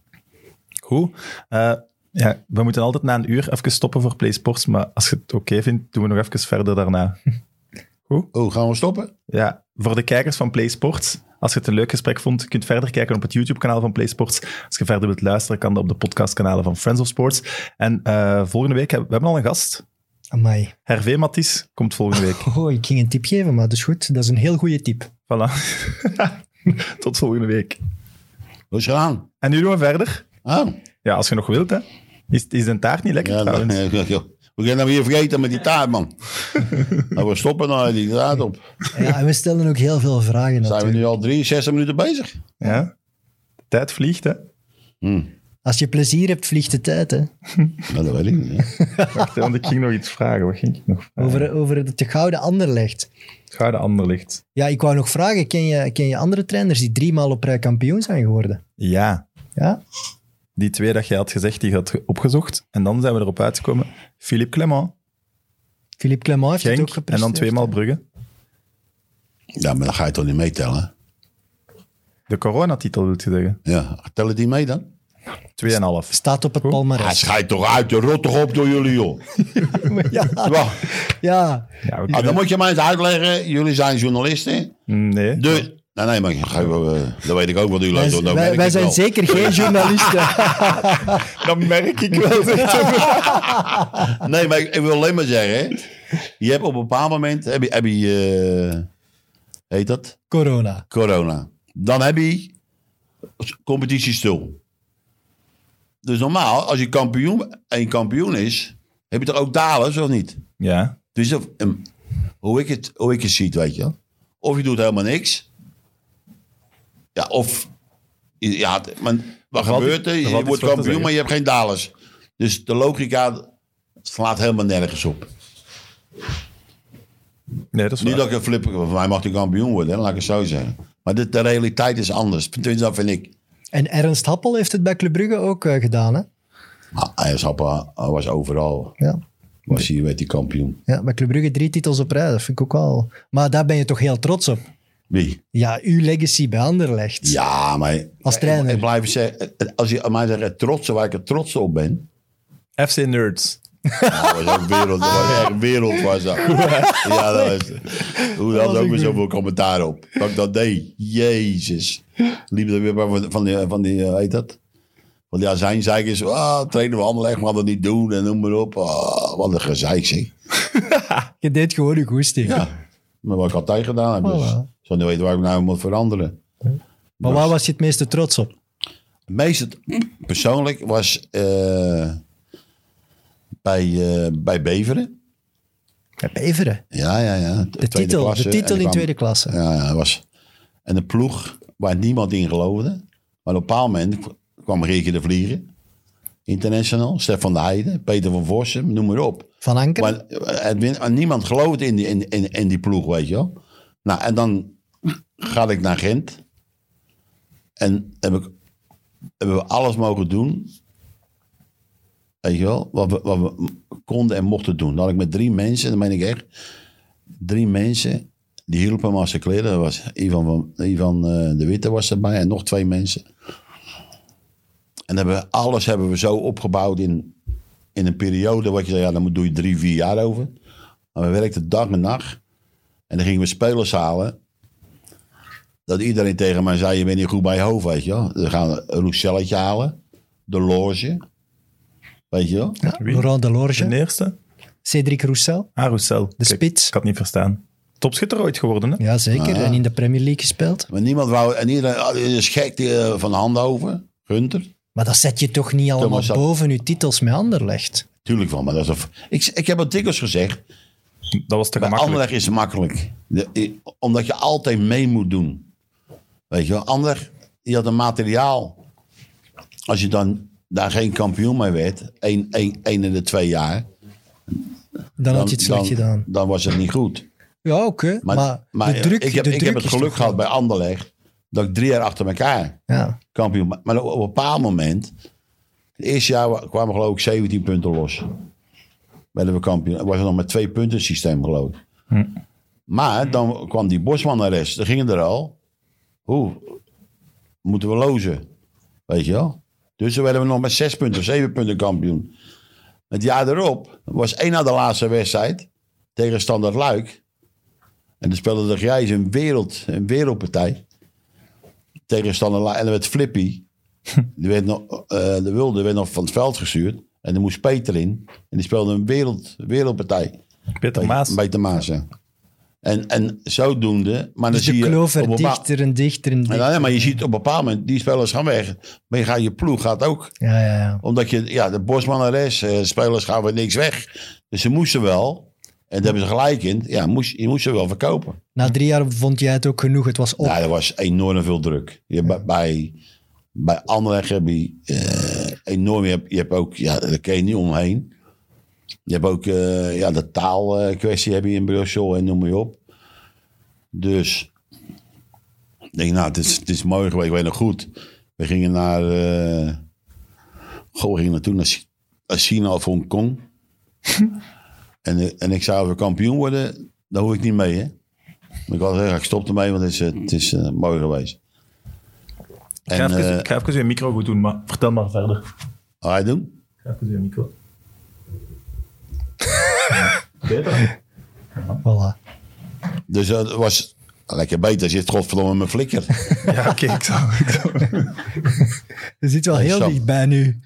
Speaker 1: Goed. Eh, ja, we moeten altijd na een uur even stoppen voor PlaySports, maar als je het oké vindt, doen we nog even verder daarna.
Speaker 3: Oh, gaan we stoppen?
Speaker 1: Ja, voor de kijkers van PlaySports, als je het een leuk gesprek vond, je kunt verder kijken op het YouTube-kanaal van PlaySports. Als je verder wilt luisteren, kan dat op de podcastkanalen van Friends of Sports. En eh, volgende week hebben we hebben al een gast.
Speaker 2: Amai.
Speaker 1: Hervé Matisse komt volgende week.
Speaker 2: Oh, ik ging een tip geven, maar dat is goed. Dat is een heel goede tip.
Speaker 1: Voilà. Tot volgende week.
Speaker 3: Hoe is het gedaan?
Speaker 1: En nu doen we verder.
Speaker 3: Oh.
Speaker 1: Ja, als je nog wilt, hè. Is, is de taart niet lekker
Speaker 3: Ja,
Speaker 1: trouwens?
Speaker 3: ja, ja, ja. We gaan hem weer vergeten met die taart, man. nou, we stoppen nou die taart op.
Speaker 2: Ja, en we stellen ook heel veel vragen
Speaker 3: Zijn we
Speaker 2: natuurlijk.
Speaker 3: nu al 63 minuten bezig? Hm.
Speaker 1: Ja. De tijd vliegt, hè.
Speaker 2: Als je plezier hebt, vliegt de tijd. Hè.
Speaker 3: Nou, dat weet ik niet. hè.
Speaker 1: Wacht, hè, want ik ging nog iets vragen. Wat ging ik nog vragen?
Speaker 2: Over, over het de gouden anderlecht.
Speaker 1: Het gouden ander ligt.
Speaker 2: Ja, ik wou nog vragen, ken je, ken je andere trainers die drie maal op rij kampioen zijn geworden?
Speaker 1: Ja.
Speaker 2: Ja?
Speaker 1: Die twee dat jij had gezegd, die had opgezocht. En dan zijn we erop uitgekomen. Philippe Clement,
Speaker 2: Philippe Clement heeft het
Speaker 1: Genk
Speaker 2: ook
Speaker 1: en
Speaker 2: gepresteerd.
Speaker 1: dan tweemaal Brugge.
Speaker 3: Ja, maar dan ga je toch niet meetellen?
Speaker 1: De coronatitel wil je zeggen.
Speaker 3: Ja, tellen die mee dan?
Speaker 1: Tweeënhalf.
Speaker 2: Staat op het
Speaker 3: Hij
Speaker 2: palmarès.
Speaker 3: schijt toch uit, de rot toch op door jullie, joh.
Speaker 2: Ja,
Speaker 3: Wacht.
Speaker 2: ja.
Speaker 1: Ja, we
Speaker 3: Ah, dan
Speaker 1: kunnen-
Speaker 3: moet je mij eens uitleggen. Jullie zijn journalisten.
Speaker 1: Mm, Nee.
Speaker 3: Dus. Nee, nee, maar ga je wel, eh, dat weet ik ook wat jullie
Speaker 2: Wij,
Speaker 3: doen. dat weet
Speaker 2: wij,
Speaker 3: ik
Speaker 2: wij
Speaker 3: het
Speaker 2: zijn
Speaker 3: wel.
Speaker 2: zeker geen journalisten.
Speaker 1: Dat merk ik wel.
Speaker 3: Nee, maar ik, ik wil alleen maar zeggen. Je hebt op een bepaald moment. Heb je. Heb je eh, heet dat?
Speaker 2: Corona.
Speaker 3: Corona. Dan heb je. Competitie stil. Dus normaal, als je kampioen, en je kampioen is. heb je toch ook dalers of niet?
Speaker 1: Ja.
Speaker 3: Dus of, ehm, hoe, ik het, hoe ik het zie, weet je wel. Of je doet helemaal niks. Ja, of... Ja, het- maar wat
Speaker 1: valt
Speaker 3: gebeurt
Speaker 1: iets-
Speaker 3: er?
Speaker 1: er
Speaker 3: Je
Speaker 1: valt iets
Speaker 3: wordt
Speaker 1: voor te
Speaker 3: kampioen,
Speaker 1: zeggen.
Speaker 3: maar je hebt geen dalers. Dus de logica slaat helemaal nergens op.
Speaker 1: Nee, dat is
Speaker 3: Niet
Speaker 1: waar.
Speaker 3: dat ik een flipper... Van mij mag hij kampioen worden, hè, laat ik het zo zeggen. Maar de, de realiteit is anders. Tenminste, dat vind ik.
Speaker 2: En Ernst Happel heeft het bij Club Brugge ook eh, gedaan. Hè?
Speaker 3: Maar Ah, hij is happa- hij was overal.
Speaker 2: Ja.
Speaker 3: Was hij, werd hij kampioen.
Speaker 2: ja, bij Club Brugge drie titels op rij, dat vind ik ook wel... Maar daar ben je toch heel trots op.
Speaker 3: Wie?
Speaker 2: Ja, uw legacy bij Anderlecht.
Speaker 3: Ja, maar...
Speaker 2: Als trainer.
Speaker 3: Ik, ik blijf zeggen... Als je aan mij zegt het trotse, waar ik het trots op ben...
Speaker 1: FC Nerds.
Speaker 3: Ja, dat was ook wereld, dat was echt wereld was dat. Ja, dat was, hoe had ook weer zoveel commentaar op. Dat ik dat deed. Jezus. Liep er weer van, van die, van die eh, heet dat? Van die azijnzeikers. Ah, trainen we Anderlecht, we hadden het niet doen en noem maar op. Ah, wat een gezeik zeg.
Speaker 2: Je deed gewoon uw goesting.
Speaker 3: Ja. Maar wat ik altijd gedaan heb, dus
Speaker 2: Voilà.
Speaker 3: ik zou niet weten waar ik nou moet veranderen.
Speaker 2: Maar waar was je het meeste trots op?
Speaker 3: Het meeste persoonlijk was eh, bij, eh, bij Beveren.
Speaker 2: Beveren.
Speaker 3: Ja, ja, ja.
Speaker 2: De titel, de titel in tweede klasse.
Speaker 3: Ja, ja, dat was. En een ploeg waar niemand in geloofde. Maar op een bepaald moment k- kwam Regen de Vlieren. International, Stefan de Heijden, Peter van Vossen, noem maar op.
Speaker 2: Van Anker?
Speaker 3: Maar eh, Edwin, maar niemand geloofde in die, in, in, in die ploeg, weet je wel. Nou, en dan ga ik naar Gent. En heb ik, hebben we alles mogen doen. Weet je wel, wat we, wat we konden en mochten doen. Dan had ik met drie mensen, dat meen ik echt. Drie mensen, die hielpen me als ze kleden. Dat was Ivan, van, Ivan eh, de Witte was erbij en nog twee mensen. En hebben, we- alles hebben we zo opgebouwd in, in een periode. Wat je zei, ja, dan moet- doe je drie, vier jaar over. Maar we werkten dag en nacht. En dan gingen we spelers halen. Dat iedereen tegen mij zei, je bent niet goed bij je hoofd, weet je wel. Dan gaan we een Rouselletje halen. De Loge. Weet je wel.
Speaker 1: Wie?
Speaker 2: Laurent Delorge,
Speaker 1: De eerste?
Speaker 2: Cédric Roussel.
Speaker 1: Ah, Roussel.
Speaker 2: De
Speaker 1: Kijk,
Speaker 2: spits.
Speaker 1: Ik had niet verstaan. Topschutter ooit geworden, hè?
Speaker 2: Ja, zeker.
Speaker 3: Ah.
Speaker 2: En in de Premier League gespeeld.
Speaker 3: Maar niemand wou... En iedereen ah, dit is gek die, eh, van Handover. Gunter.
Speaker 2: Maar dat zet je toch niet allemaal
Speaker 3: Thomas, dat-
Speaker 2: boven uw titels met Anderlecht?
Speaker 3: Tuurlijk van, maar dat is... een f- Ik, ik heb het dikwijls gezegd.
Speaker 1: Dat was te
Speaker 3: Bij
Speaker 1: gemakkelijk.
Speaker 3: Anderlecht is het makkelijk. De- i- omdat je altijd mee moet doen. Weet je wel, ander, die had een materiaal. Als je dan daar geen kampioen mee werd, één, één, één in de twee jaar.
Speaker 2: Dan had je het slecht
Speaker 3: dan,
Speaker 2: gedaan.
Speaker 3: Dan was het niet goed.
Speaker 2: Ja, oké. Maar,
Speaker 3: Maar, maar,
Speaker 2: de
Speaker 3: eh,
Speaker 2: druk,
Speaker 3: ik heb,
Speaker 2: de
Speaker 3: ik
Speaker 2: druk
Speaker 3: heb het
Speaker 2: is
Speaker 3: geluk
Speaker 2: toch-
Speaker 3: gehad bij Anderlecht dat ik drie jaar achter elkaar
Speaker 2: Ja.
Speaker 3: kampioen Maar, maar op een bepaald moment, het eerste jaar kwamen geloof ik 17 punten los. Werden we kampioen. Het was nog met twee punten systeem geloof ik. Maar dan kwam die Bosman arrest. Dan gingen er al. Hoe? Moeten we lozen? Weet je wel? Dus dan werden we nog met zes punten of zeven punten kampioen. Het jaar erop was één na de laatste wedstrijd tegen Standard Luik. En dan speelde de Grijs een, wereld, een wereldpartij. Tegen Standard Luik. En dan werd Flippy. Die werd nog, eh, de Wilde werd nog van het veld gestuurd. En dan moest Peter in. En die speelde een wereld, wereldpartij.
Speaker 1: Peter Maas.
Speaker 3: Bij de Maas, ja. En, en zodoende. Maar dan
Speaker 2: Dus de
Speaker 3: zie je
Speaker 2: kloof werd
Speaker 3: op een bepaal-
Speaker 2: dichter en dichter en
Speaker 3: En
Speaker 2: dichter.
Speaker 3: dan- maar je ziet op een bepaald moment, die spelers gaan weg. Maar je, gaat, je ploeg gaat ook.
Speaker 2: Ja, ja, ja.
Speaker 3: Omdat je, ja, de Bosman arrest, eh, spelers gaan weer niks weg. Dus ze moesten wel, en daar hebben ze gelijk in, ja, moest, je moest ze wel verkopen.
Speaker 2: Na drie jaar vond jij het ook genoeg. Het was op.
Speaker 3: Nou, er was enorm veel druk. Je, hebt Bij, bij Anderlecht heb je eh, enorm, je hebt, je hebt ook, ja, daar kun je niet omheen. Je hebt ook, eh, ja, de taalkwestie heb je in Brussel en noem maar op. Dus Ik denk, nou, het is, het is mooi geweest, ik weet nog goed. We gingen naar. eh goh, we gingen naartoe naar Chi- naar China of Hongkong. en, eh, en ik zou als we kampioen worden, daar hoef ik niet mee, hè? Maar ik had gezegd, ik stop ermee, want het is, eh, het is eh, mooi geweest.
Speaker 1: Ik ga
Speaker 3: En,
Speaker 1: even-
Speaker 3: eh
Speaker 1: ik ga even je micro goed doen, maar vertel maar verder.
Speaker 3: ga je doen?
Speaker 1: Ik ga even je micro. Beter?
Speaker 2: Voilà.
Speaker 3: Dus eh, het was lekker beter. Zit godverdomme in mijn flikker.
Speaker 1: Ja, oké, ik zal. Ik zal.
Speaker 2: Je zit wel heel
Speaker 3: Sam.
Speaker 2: dichtbij nu.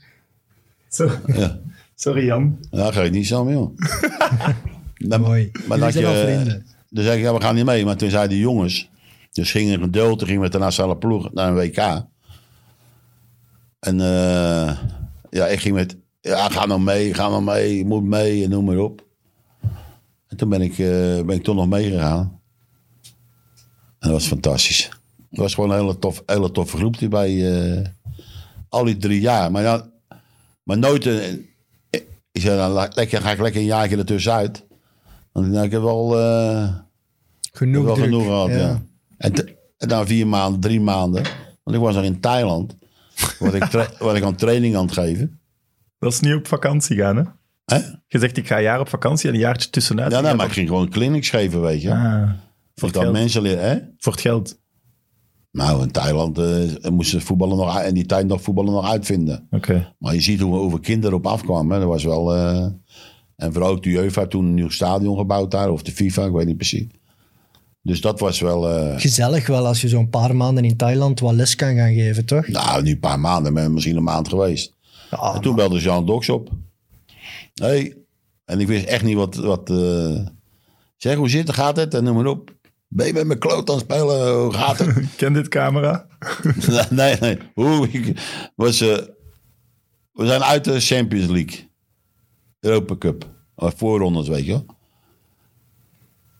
Speaker 1: Sorry,
Speaker 3: ja.
Speaker 1: sorry Jan.
Speaker 3: Nou, ga je niet samen, joh. Dan-
Speaker 2: Mooi. Jullie
Speaker 3: dat
Speaker 2: zijn
Speaker 3: je-
Speaker 2: wel vrienden.
Speaker 3: Toen zei ik, ja, we gaan niet mee. Maar toen zeiden de jongens, dus gingen geduld, toen gingen we met de nationale ploeg naar een WK. En eh, ja, ik ging met, ja, ga nou mee, ga nou mee, je moet mee en noem maar op. En toen ben ik, eh, ben ik toch nog meegegaan. En dat was fantastisch. Het was gewoon een hele, tof, hele toffe groep die bij eh, al die drie jaar. Maar, ja, maar nooit een, ik zei, nou, la- lekker, ga ik lekker een jaartje ertussenuit. Want nou, ik heb wel, eh, ik heb
Speaker 2: Genoeg
Speaker 3: wel
Speaker 2: druk.
Speaker 3: genoeg gehad. Ja.
Speaker 2: Ja.
Speaker 3: En, te- en na vier maanden, drie maanden, want ik was nog in Thailand, word ik, tra- word ik aan training aan het geven.
Speaker 1: Dat is niet op vakantie gaan, hè?
Speaker 3: Hè?
Speaker 1: Je zegt, ik ga een jaar op vakantie en een jaartje tussenuit.
Speaker 3: Ja,
Speaker 1: Je
Speaker 3: nee,
Speaker 1: gaat
Speaker 3: maar ik ging gewoon clinics geven, weet je.
Speaker 1: op- Ah, voor,
Speaker 3: ik
Speaker 1: het
Speaker 3: had
Speaker 1: geld,
Speaker 3: mensen leren, hè?
Speaker 1: voor het geld.
Speaker 3: Nou, in Thailand eh, moesten voetballen nog, uit- in die tijd nog voetballen nog uitvinden.
Speaker 1: Oké.
Speaker 3: Maar je ziet hoe, hoeveel kinderen op afkwamen. hè. Dat was wel... eh, en vooral ook de UEFA had toen een nieuw stadion gebouwd daar. Of de FIFA, ik weet niet precies. Dus dat was wel... eh,
Speaker 2: Gezellig wel als je zo'n paar maanden in Thailand wat les kan gaan geven, toch?
Speaker 3: nou, nu een paar maanden. maar Misschien een maand geweest.
Speaker 2: Ja,
Speaker 3: En toen belde Jean Doks op. Hé, hey. en ik wist echt niet wat... wat eh, zeg, hoe zit het? Gaat het? En noem maar op. Ben je met mijn kloot aan het spelen? Hoe gaat het?
Speaker 1: Ken dit camera?
Speaker 3: nee, nee. Hoe, ik, was, eh, we zijn uit de Champions League. Europa Cup. Eh, Voorrondes, weet je wel.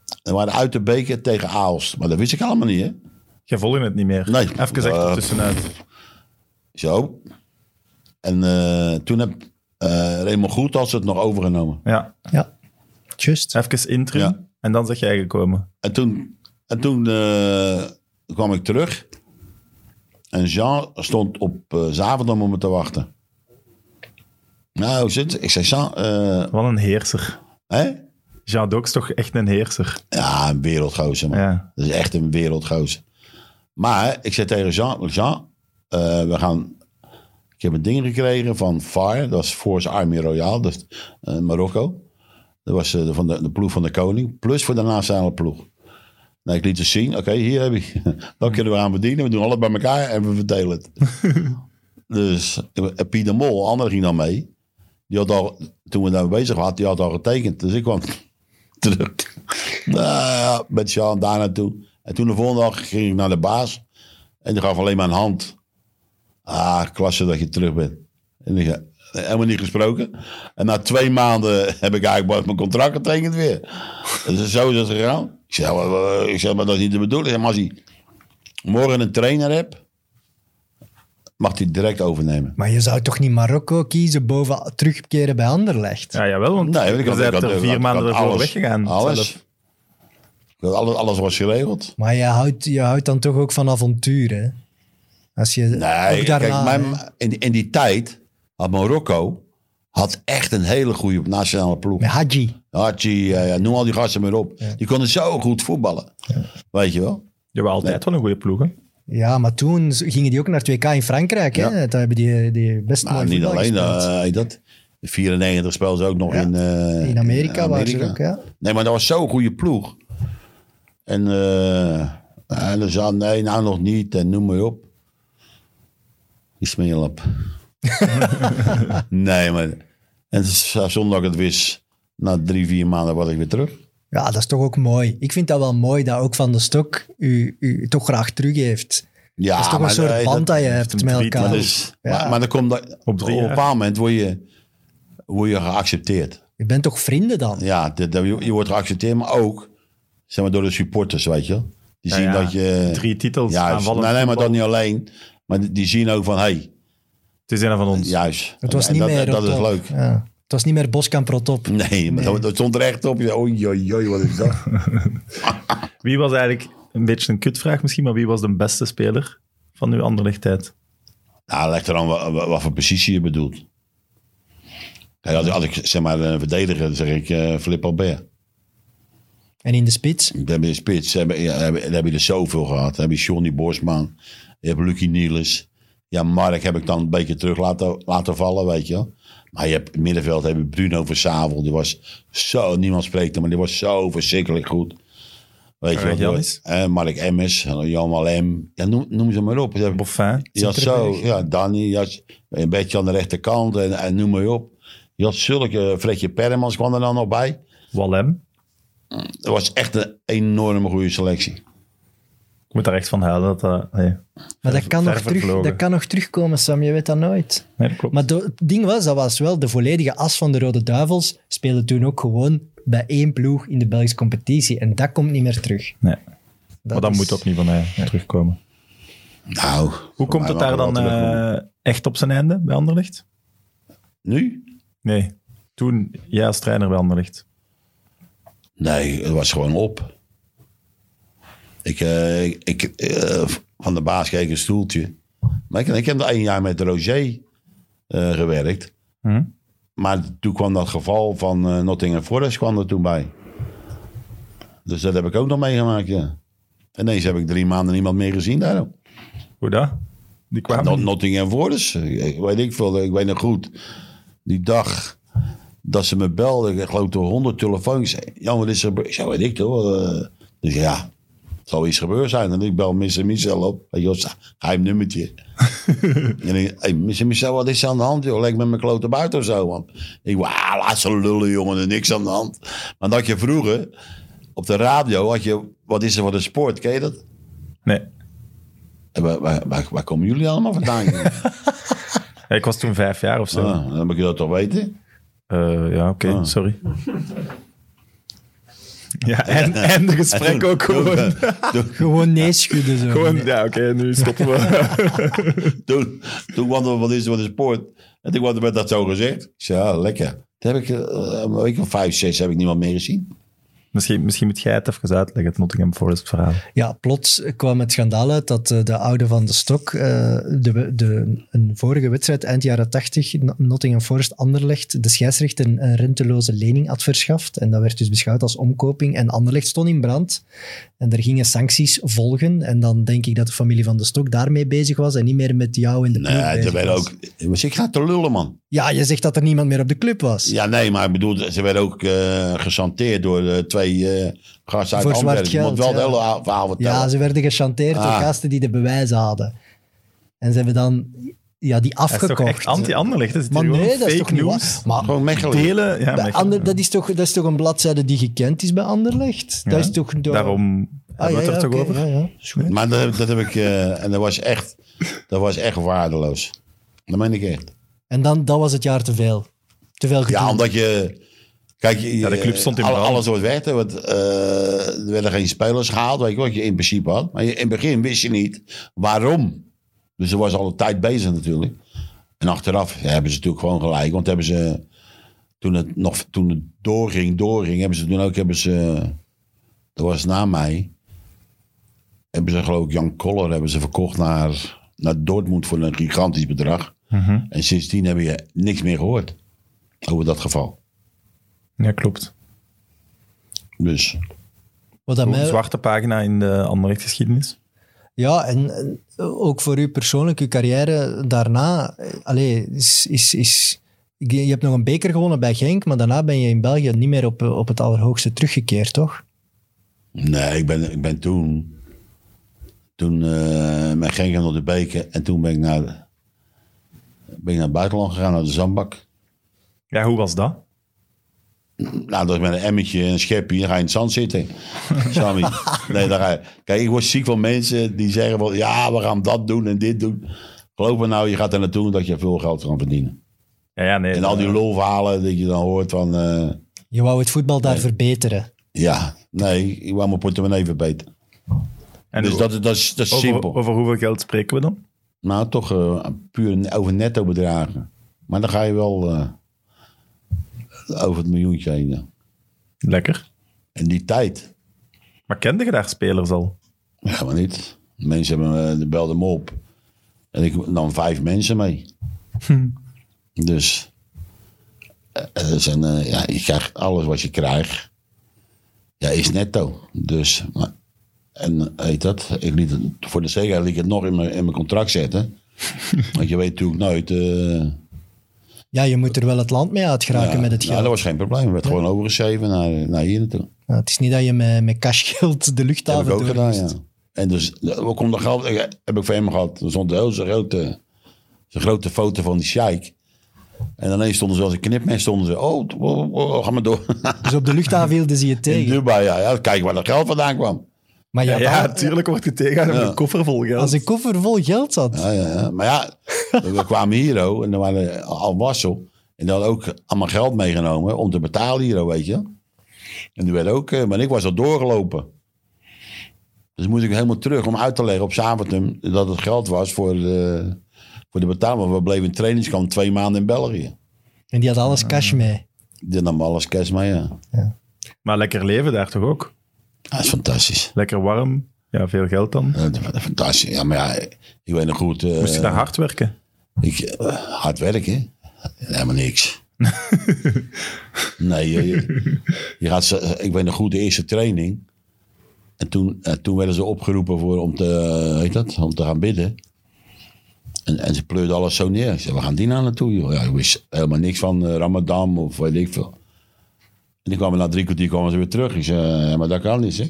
Speaker 3: En we waren uit de beker tegen Aals. Maar dat wist ik allemaal niet, hè?
Speaker 1: Je volgt het niet meer.
Speaker 3: Nee.
Speaker 1: Even zegt
Speaker 3: Eh,
Speaker 1: er tussenuit.
Speaker 3: Zo. En eh, toen heb eh Raymond Goethals het nog overgenomen.
Speaker 1: Ja,
Speaker 2: ja. Just.
Speaker 1: even interim.
Speaker 3: Ja.
Speaker 1: En dan zeg jij gekomen.
Speaker 3: En toen, en toen eh, kwam ik terug. En Jean stond op eh zaterdag om me te wachten. Nou, hoe zit het? Ik zei, Jean, eh,
Speaker 1: Wat een heerser.
Speaker 3: hè?
Speaker 1: Jean Doc is toch echt een heerser.
Speaker 3: Ja, een wereldgozer, man.
Speaker 1: Ja.
Speaker 3: Dat is echt een wereldgozer. Maar ik zei tegen Jean, Jean eh, we gaan... Ik heb een ding gekregen van FAR, dat is Force Army Royale, dat is eh, Marokko. Dat was eh, van de, de ploeg van de koning, plus voor de nationale ploeg. Nou, ik liet het zien, oké, hier heb ik. Dan kunnen we aan verdienen, we doen alles bij elkaar en we verdelen het. dus eh, Piet de Mol, ander ging dan mee. Die had al, toen we daarmee bezig waren, die had al getekend. Dus ik kwam terug. Nou ja, met Jean daar naartoe. En toen de volgende dag ging ik naar de baas. En die gaf alleen maar een hand. Ah, klasse dat je terug bent. En ik zei, helemaal niet gesproken. En na twee maanden heb ik eigenlijk pas mijn contract getekend weer. Dus zo is het gegaan. Ik zei, "Wa- wa- ik zei maar dat is niet de bedoeling. Ik zei, Massie, morgen een trainer heb, mag hij direct overnemen.
Speaker 2: Maar je zou toch niet Marokko kiezen boven terugkeren bij Anderlecht?
Speaker 1: Ja, jawel, want
Speaker 3: Nee, want ik
Speaker 1: je
Speaker 3: had, ik
Speaker 1: bent
Speaker 3: had-
Speaker 1: er
Speaker 3: ik
Speaker 1: Dus vier
Speaker 3: had
Speaker 1: maanden ervoor
Speaker 3: alles-
Speaker 1: weggegaan.
Speaker 3: Alles.
Speaker 1: zelf.
Speaker 3: Ik had Alles, alles was geregeld.
Speaker 2: Maar je houdt, je houdt dan toch ook van avonturen? Als je,
Speaker 3: Nee,
Speaker 2: ook daarna,
Speaker 3: kijk,
Speaker 2: hè?
Speaker 3: mijn, in, in die tijd had Marokko had echt een hele goede nationale ploeg.
Speaker 2: Met Hadji.
Speaker 3: Hachi, eh, ja, noem al die gasten maar op. Die konden zo goed voetballen. Weet je wel?
Speaker 1: Je hebt altijd wel een goede ploeg, hè?
Speaker 2: Ja, maar toen z- gingen die ook naar het WK in Frankrijk.
Speaker 3: Ja.
Speaker 2: Hè? Daar hebben die, die best
Speaker 3: Maar
Speaker 2: mooi
Speaker 3: Nou, niet
Speaker 2: voetbal
Speaker 3: alleen
Speaker 2: gespeeld.
Speaker 3: eh, heet dat. De 94 speelden ze ook nog
Speaker 2: Ja.
Speaker 3: in, eh,
Speaker 2: in Amerika, waren ze
Speaker 3: Amerika.
Speaker 2: er ook, ja.
Speaker 3: Nee, maar dat was zo'n goede ploeg. En eh en dan zei nee, nou nog niet. En noem maar op. Die smeerlap. nee, maar... En z- zonder dat ik het wist, na drie, vier maanden was ik weer terug.
Speaker 2: Ja, dat is toch ook mooi. Ik vind dat wel mooi dat ook Van de Stok u, u toch graag teruggeeft.
Speaker 3: Ja,
Speaker 2: dat is toch een
Speaker 3: maar
Speaker 2: soort
Speaker 3: nee,
Speaker 2: band dat,
Speaker 3: dat-
Speaker 2: je hebt
Speaker 1: een
Speaker 2: met
Speaker 1: tweet, maar
Speaker 2: elkaar.
Speaker 3: Maar, dus,
Speaker 2: Ja.
Speaker 3: maar, maar dan komt dat, op,
Speaker 1: drie
Speaker 3: op een
Speaker 1: jaar.
Speaker 3: bepaald moment word je, word je geaccepteerd.
Speaker 2: Je bent toch vrienden dan?
Speaker 3: Ja, dat- dat- je je wordt geaccepteerd, maar ook zeg maar, door de supporters, weet je. wel. Die
Speaker 1: Ja,
Speaker 3: zien
Speaker 1: ja.
Speaker 3: dat je...
Speaker 1: Drie titels,
Speaker 3: Juist,
Speaker 1: aanvallend
Speaker 3: nee, nee, maar
Speaker 1: voetbal.
Speaker 3: dat niet alleen. Maar die- die zien ook van, hé, hey,
Speaker 1: Het is een van ons.
Speaker 3: juist.
Speaker 2: Het was
Speaker 3: En
Speaker 2: niet
Speaker 3: dat,
Speaker 2: meer
Speaker 3: Dat
Speaker 2: op
Speaker 3: is
Speaker 2: top.
Speaker 3: leuk.
Speaker 2: Ja. Het was niet meer Boskamp rot op.
Speaker 3: Nee, maar Dat, dat stond er echt op. Je zei, oei, oei, oei, wat is dat?
Speaker 1: Wie was eigenlijk, een beetje een kutvraag misschien, maar wie was de beste speler van uw Anderlecht-tijd?
Speaker 3: nou, ligt er aan wa- wa- wat, voor positie je bedoelt. Kijk, als, als ik zeg maar een verdediger, dan zeg ik eh Flip Albert.
Speaker 2: En in de spits.
Speaker 3: Dan heb je de spits, dan heb je, dan heb je- dan heb je er zoveel gehad. Dan heb je Johnny Bosman, je hebt Lucky Niels. Ja, Mark heb ik dan een beetje terug laten, laten vallen, weet je wel. Maar je hebt in het middenveld heb je Bruno Versavel. Die was zo, niemand spreekt hem, maar die was zo verschrikkelijk goed. Weet je
Speaker 1: Eh,
Speaker 3: wel.
Speaker 1: Jannis?
Speaker 3: Eh, Mark Emmers, Jan Malem. Ja, noem, noem ze maar op. Ze hebben-
Speaker 1: Boffin?
Speaker 3: je had zo, ja, Danny, je had een beetje aan de rechterkant en, en noem maar op. Je had zulke, eh, Fredje Permans kwam er dan nog bij.
Speaker 1: Wallem?
Speaker 3: Dat was echt een enorme goede selectie.
Speaker 1: Ik moet daar echt van huilen. Dat, dat- nee.
Speaker 2: Maar dat kan,
Speaker 1: ver
Speaker 2: nog terug,
Speaker 1: vervlogen.
Speaker 2: dat kan nog terugkomen, Sam. Je weet dat nooit.
Speaker 1: Nee, dat klopt.
Speaker 2: Maar do- het ding was, dat was wel de volledige as van de Rode Duivels. Speelde toen ook gewoon bij één ploeg in de Belgische competitie. En dat komt niet meer terug.
Speaker 1: nee. maar dat
Speaker 2: is-
Speaker 1: moet ook niet van mij terugkomen.
Speaker 3: Nou,
Speaker 1: Hoe komt het daar dan eh, echt op zijn einde bij Anderlecht?
Speaker 3: Nu?
Speaker 1: Nee. Toen, jij als trainer bij Anderlecht.
Speaker 3: Nee, het was gewoon op. Ik, eh, ik, eh, van de baas keek een stoeltje. Maar ik, ik heb er één jaar met Roger eh, gewerkt.
Speaker 1: Hm?
Speaker 3: Maar toen kwam dat geval van eh, Nottingham Forest kwam er toen bij. Dus dat heb ik ook nog meegemaakt, ja. Ineens heb ik drie maanden niemand meer gezien daarom.
Speaker 1: Hoe dat? Ah. Die kwamen
Speaker 3: Not
Speaker 1: niet.
Speaker 3: Nottingham Forest. Ik weet ik veel. eh, Ik weet nog goed. Die dag dat ze me belden. Ik geloof door honderd telefoons. Jan, wat is er gebeurd? Ik zei, weet ik toch. eh. dus ja, het zal iets gebeurd zijn. En ik bel Mr. Michel op. Weet je, wel, geheim nummertje. en ik, hey, Mr. Michel, wat is er aan de hand? Joh? Lijkt met mijn klote buiten of zo. Man. Ik wou, ah, laat ze lullen jongen. Er is niks aan de hand. Maar dat je vroeger op de radio had je... Wat is er voor de sport? Ken je dat?
Speaker 1: Nee.
Speaker 3: En Waar, waar, waar, waar komen jullie allemaal vandaan? jongen?
Speaker 1: Ja, ik was toen vijf jaar of zo.
Speaker 3: Ah, dan moet je dat toch weten?
Speaker 1: Eh, ja, oké, sorry. Ja, en, en de gesprek ook gewoon.
Speaker 2: Gewoon nee schudden zo.
Speaker 1: gewoon ja, oké, nu stoppen we.
Speaker 3: Toen, toen kwam er wat is wat is sport. En toen kwam er met dat zo gezegd. Ik zei, ja, lekker. Toen heb ik eh, een week of vijf, zes heb ik niemand meer gezien.
Speaker 1: misschien, misschien moet jij het even uitleggen, het Nottingham Forest verhaal.
Speaker 2: Ja, plots kwam het schandaal uit dat eh, de oude van de stok eh, de, de, een vorige wedstrijd eind jaren 80, N- Nottingham Forest Anderlecht, de scheidsrechter een, een renteloze lening had verschaft. En dat werd dus beschouwd als omkoping. En Anderlecht stond in brand. En er gingen sancties volgen. En dan denk ik dat de familie van de stok daarmee bezig was en niet meer met jou in de ploeg
Speaker 3: Nee,
Speaker 2: bezig
Speaker 3: ze werden
Speaker 2: was.
Speaker 3: ook... Maar ik ga te lullen, man.
Speaker 2: Ja, je zegt dat er niemand meer op de club was.
Speaker 3: Ja, nee, maar ik bedoel, ze werden ook eh gesanteerd door eh, twee eh gasten uit
Speaker 2: Voor zwart
Speaker 3: Antwerpen. Je
Speaker 2: geld,
Speaker 3: moet wel het
Speaker 2: ja.
Speaker 3: hele a- verhaal vertellen.
Speaker 2: Ja, ze werden gechanteerd
Speaker 3: Ah.
Speaker 2: door gasten die de bewijzen hadden. En ze hebben dan ja, die
Speaker 1: Dat is
Speaker 2: afgekocht.
Speaker 1: toch echt anti-Anderlecht? Dat is
Speaker 2: Maar
Speaker 1: hier
Speaker 2: nee,
Speaker 1: gewoon
Speaker 2: dat is
Speaker 1: fake
Speaker 2: toch niet
Speaker 1: news.
Speaker 2: waar? Maar
Speaker 3: Gewoon mechelen.
Speaker 1: Delen, ja,
Speaker 2: bij
Speaker 1: maar ik-
Speaker 2: Ander- dat, is toch, dat is toch een bladzijde die gekend is bij Anderlecht?
Speaker 1: ja.
Speaker 2: Dat is toch... door-
Speaker 1: Daarom
Speaker 2: Ah,
Speaker 1: hebben we
Speaker 2: ja,
Speaker 1: het er
Speaker 2: ja,
Speaker 1: toch
Speaker 2: oké,
Speaker 1: over?
Speaker 2: ja, ja.
Speaker 3: Maar dat, dat heb ik... eh, en dat was echt... Dat was echt waardeloos. Dat meen ik echt.
Speaker 2: En dan, dat was het jaar te veel. Te veel gedoe.
Speaker 3: Ja, omdat je... Kijk, je-
Speaker 1: Ja, de club stond in
Speaker 3: alle-
Speaker 1: brand.
Speaker 3: alles wordt weg. hè, Want, eh, er werden geen spelers gehaald, weet je wat je in principe had. Maar je- in het begin wist je niet waarom. Dus er was al een tijd bezig natuurlijk. En achteraf ja, hebben ze natuurlijk gewoon gelijk. Want hebben ze, toen het, nog, toen het doorging, doorging, hebben ze toen ook, hebben ze, dat was na mij, hebben ze geloof ik Jan Koller hebben ze verkocht naar, naar Dortmund voor een gigantisch bedrag.
Speaker 1: Mhm.
Speaker 3: En sindsdien heb je niks meer gehoord over dat geval.
Speaker 1: Ja, klopt.
Speaker 3: Dus
Speaker 2: Wat aan
Speaker 1: Een
Speaker 2: mij,
Speaker 1: zwarte pagina in de Anderlecht-geschiedenis.
Speaker 2: Ja, en en ook voor u persoonlijk, uw carrière daarna, eh, allee, is, is, is, je hebt nog een beker gewonnen bij Genk, maar daarna ben je in België niet meer op, eh, op het allerhoogste teruggekeerd, toch?
Speaker 3: nee, ik ben, ik ben toen, toen eh met Genk nog de beker en toen ben ik naar, ben ik naar het buitenland gegaan, naar de Zandbak.
Speaker 1: Ja, hoe was dat?
Speaker 3: Nou, dat is met een emmetje en een schepje, dan ga je in het zand zitten. Sammy. Nee, daar ga je. Kijk, ik word ziek van mensen die zeggen van, ja, we gaan dat doen en dit doen. Geloof me nou, je gaat er naartoe dat je veel geld kan verdienen.
Speaker 1: Ja, ja nee.
Speaker 3: En al die lulverhalen dat je dan hoort van... eh,
Speaker 2: Je wou het voetbal daar verbeteren.
Speaker 3: Ja, nee, ik wou mijn portemonnee verbeteren.
Speaker 1: En
Speaker 3: dus
Speaker 1: hoe-
Speaker 3: dat, dat is, dat is
Speaker 1: over,
Speaker 3: simpel.
Speaker 1: over hoeveel geld spreken we dan?
Speaker 3: Nou, toch eh, puur over netto bedragen. Maar dan ga je wel eh, over het miljoentje heen. ja.
Speaker 1: Lekker.
Speaker 3: En die tijd,
Speaker 1: Maar kende je daar spelers al?
Speaker 3: ja, maar niet. Mensen hebben, eh, die belden me op. En ik nam vijf mensen mee. Dus eh, het is een, eh, ja, je krijgt alles wat je krijgt. Ja, is netto. Dus, maar, en eh, heet dat? Ik liet het, voor de zekerheid liet ik het nog in mijn, in mijn contract zetten. Want je weet natuurlijk nooit. eh,
Speaker 2: Ja, je moet er wel het land mee uitgeraken
Speaker 3: ja,
Speaker 2: met het
Speaker 3: Nou,
Speaker 2: geld.
Speaker 3: dat was geen probleem. Het werd gewoon overgeschreven naar, naar hier naartoe.
Speaker 2: Nou, het is niet dat je met, met cashgeld de
Speaker 3: Dat
Speaker 2: luchthaven
Speaker 3: heb ik ook
Speaker 2: door
Speaker 3: gedaan, ja.
Speaker 2: moest.
Speaker 3: En dus, ook om dat geld, ik- eh, heb ik van hem gehad. Er stond heel zo'n grote, zo'n grote foto van die sheik. En ineens stonden ze als een knipmes, stonden ze, oh, oh, oh, ga maar door.
Speaker 2: Dus op de luchthaven hielden ze je
Speaker 3: In
Speaker 2: tegen.
Speaker 3: Dubai, ja. ja kijk waar dat geld vandaan kwam.
Speaker 2: Maar ja,
Speaker 1: Ja,
Speaker 2: daar-
Speaker 1: natuurlijk wordt je tegen met een koffer vol geld.
Speaker 2: als een koffer vol geld zat.
Speaker 3: Ja, ja, ja. Maar ja, we kwamen hier, oh, en dan waren al wassel. En dan ook allemaal geld meegenomen om te betalen hier, oh, weet je. En die werd ook, eh, maar ik was al doorgelopen. Dus moest ik helemaal terug om uit te leggen op Zaventem dat het geld was voor de, voor de betaling. Want we bleven in trainingskamp twee maanden in België.
Speaker 2: En die had alles cash
Speaker 3: Ah.
Speaker 2: mee.
Speaker 3: Die nam alles cash mee, ja.
Speaker 1: Maar lekker leven daar toch ook?
Speaker 3: Dat is fantastisch.
Speaker 1: Lekker warm. Ja, veel geld dan.
Speaker 3: Dat is Fantastisch. Ja, maar ja, ik weet nog goed. eh,
Speaker 1: Moest je daar hard werken?
Speaker 3: Ik, eh, hard werken? Helemaal niks. nee, je, je- je gaat, ze- eh, ik weet nog goed de eerste training. En toen, eh, toen werden ze opgeroepen voor, om, te, eh, heet dat, om te gaan bidden. En, en ze pleurden alles zo neer. Ik zei, we gaan die nou naartoe? joh?" Ja, ik wist helemaal niks van eh, Ramadan of weet ik veel. En die kwamen na drie kwartier kwamen ze weer terug. Ik zei, "Ja, maar dat kan niet. Hè?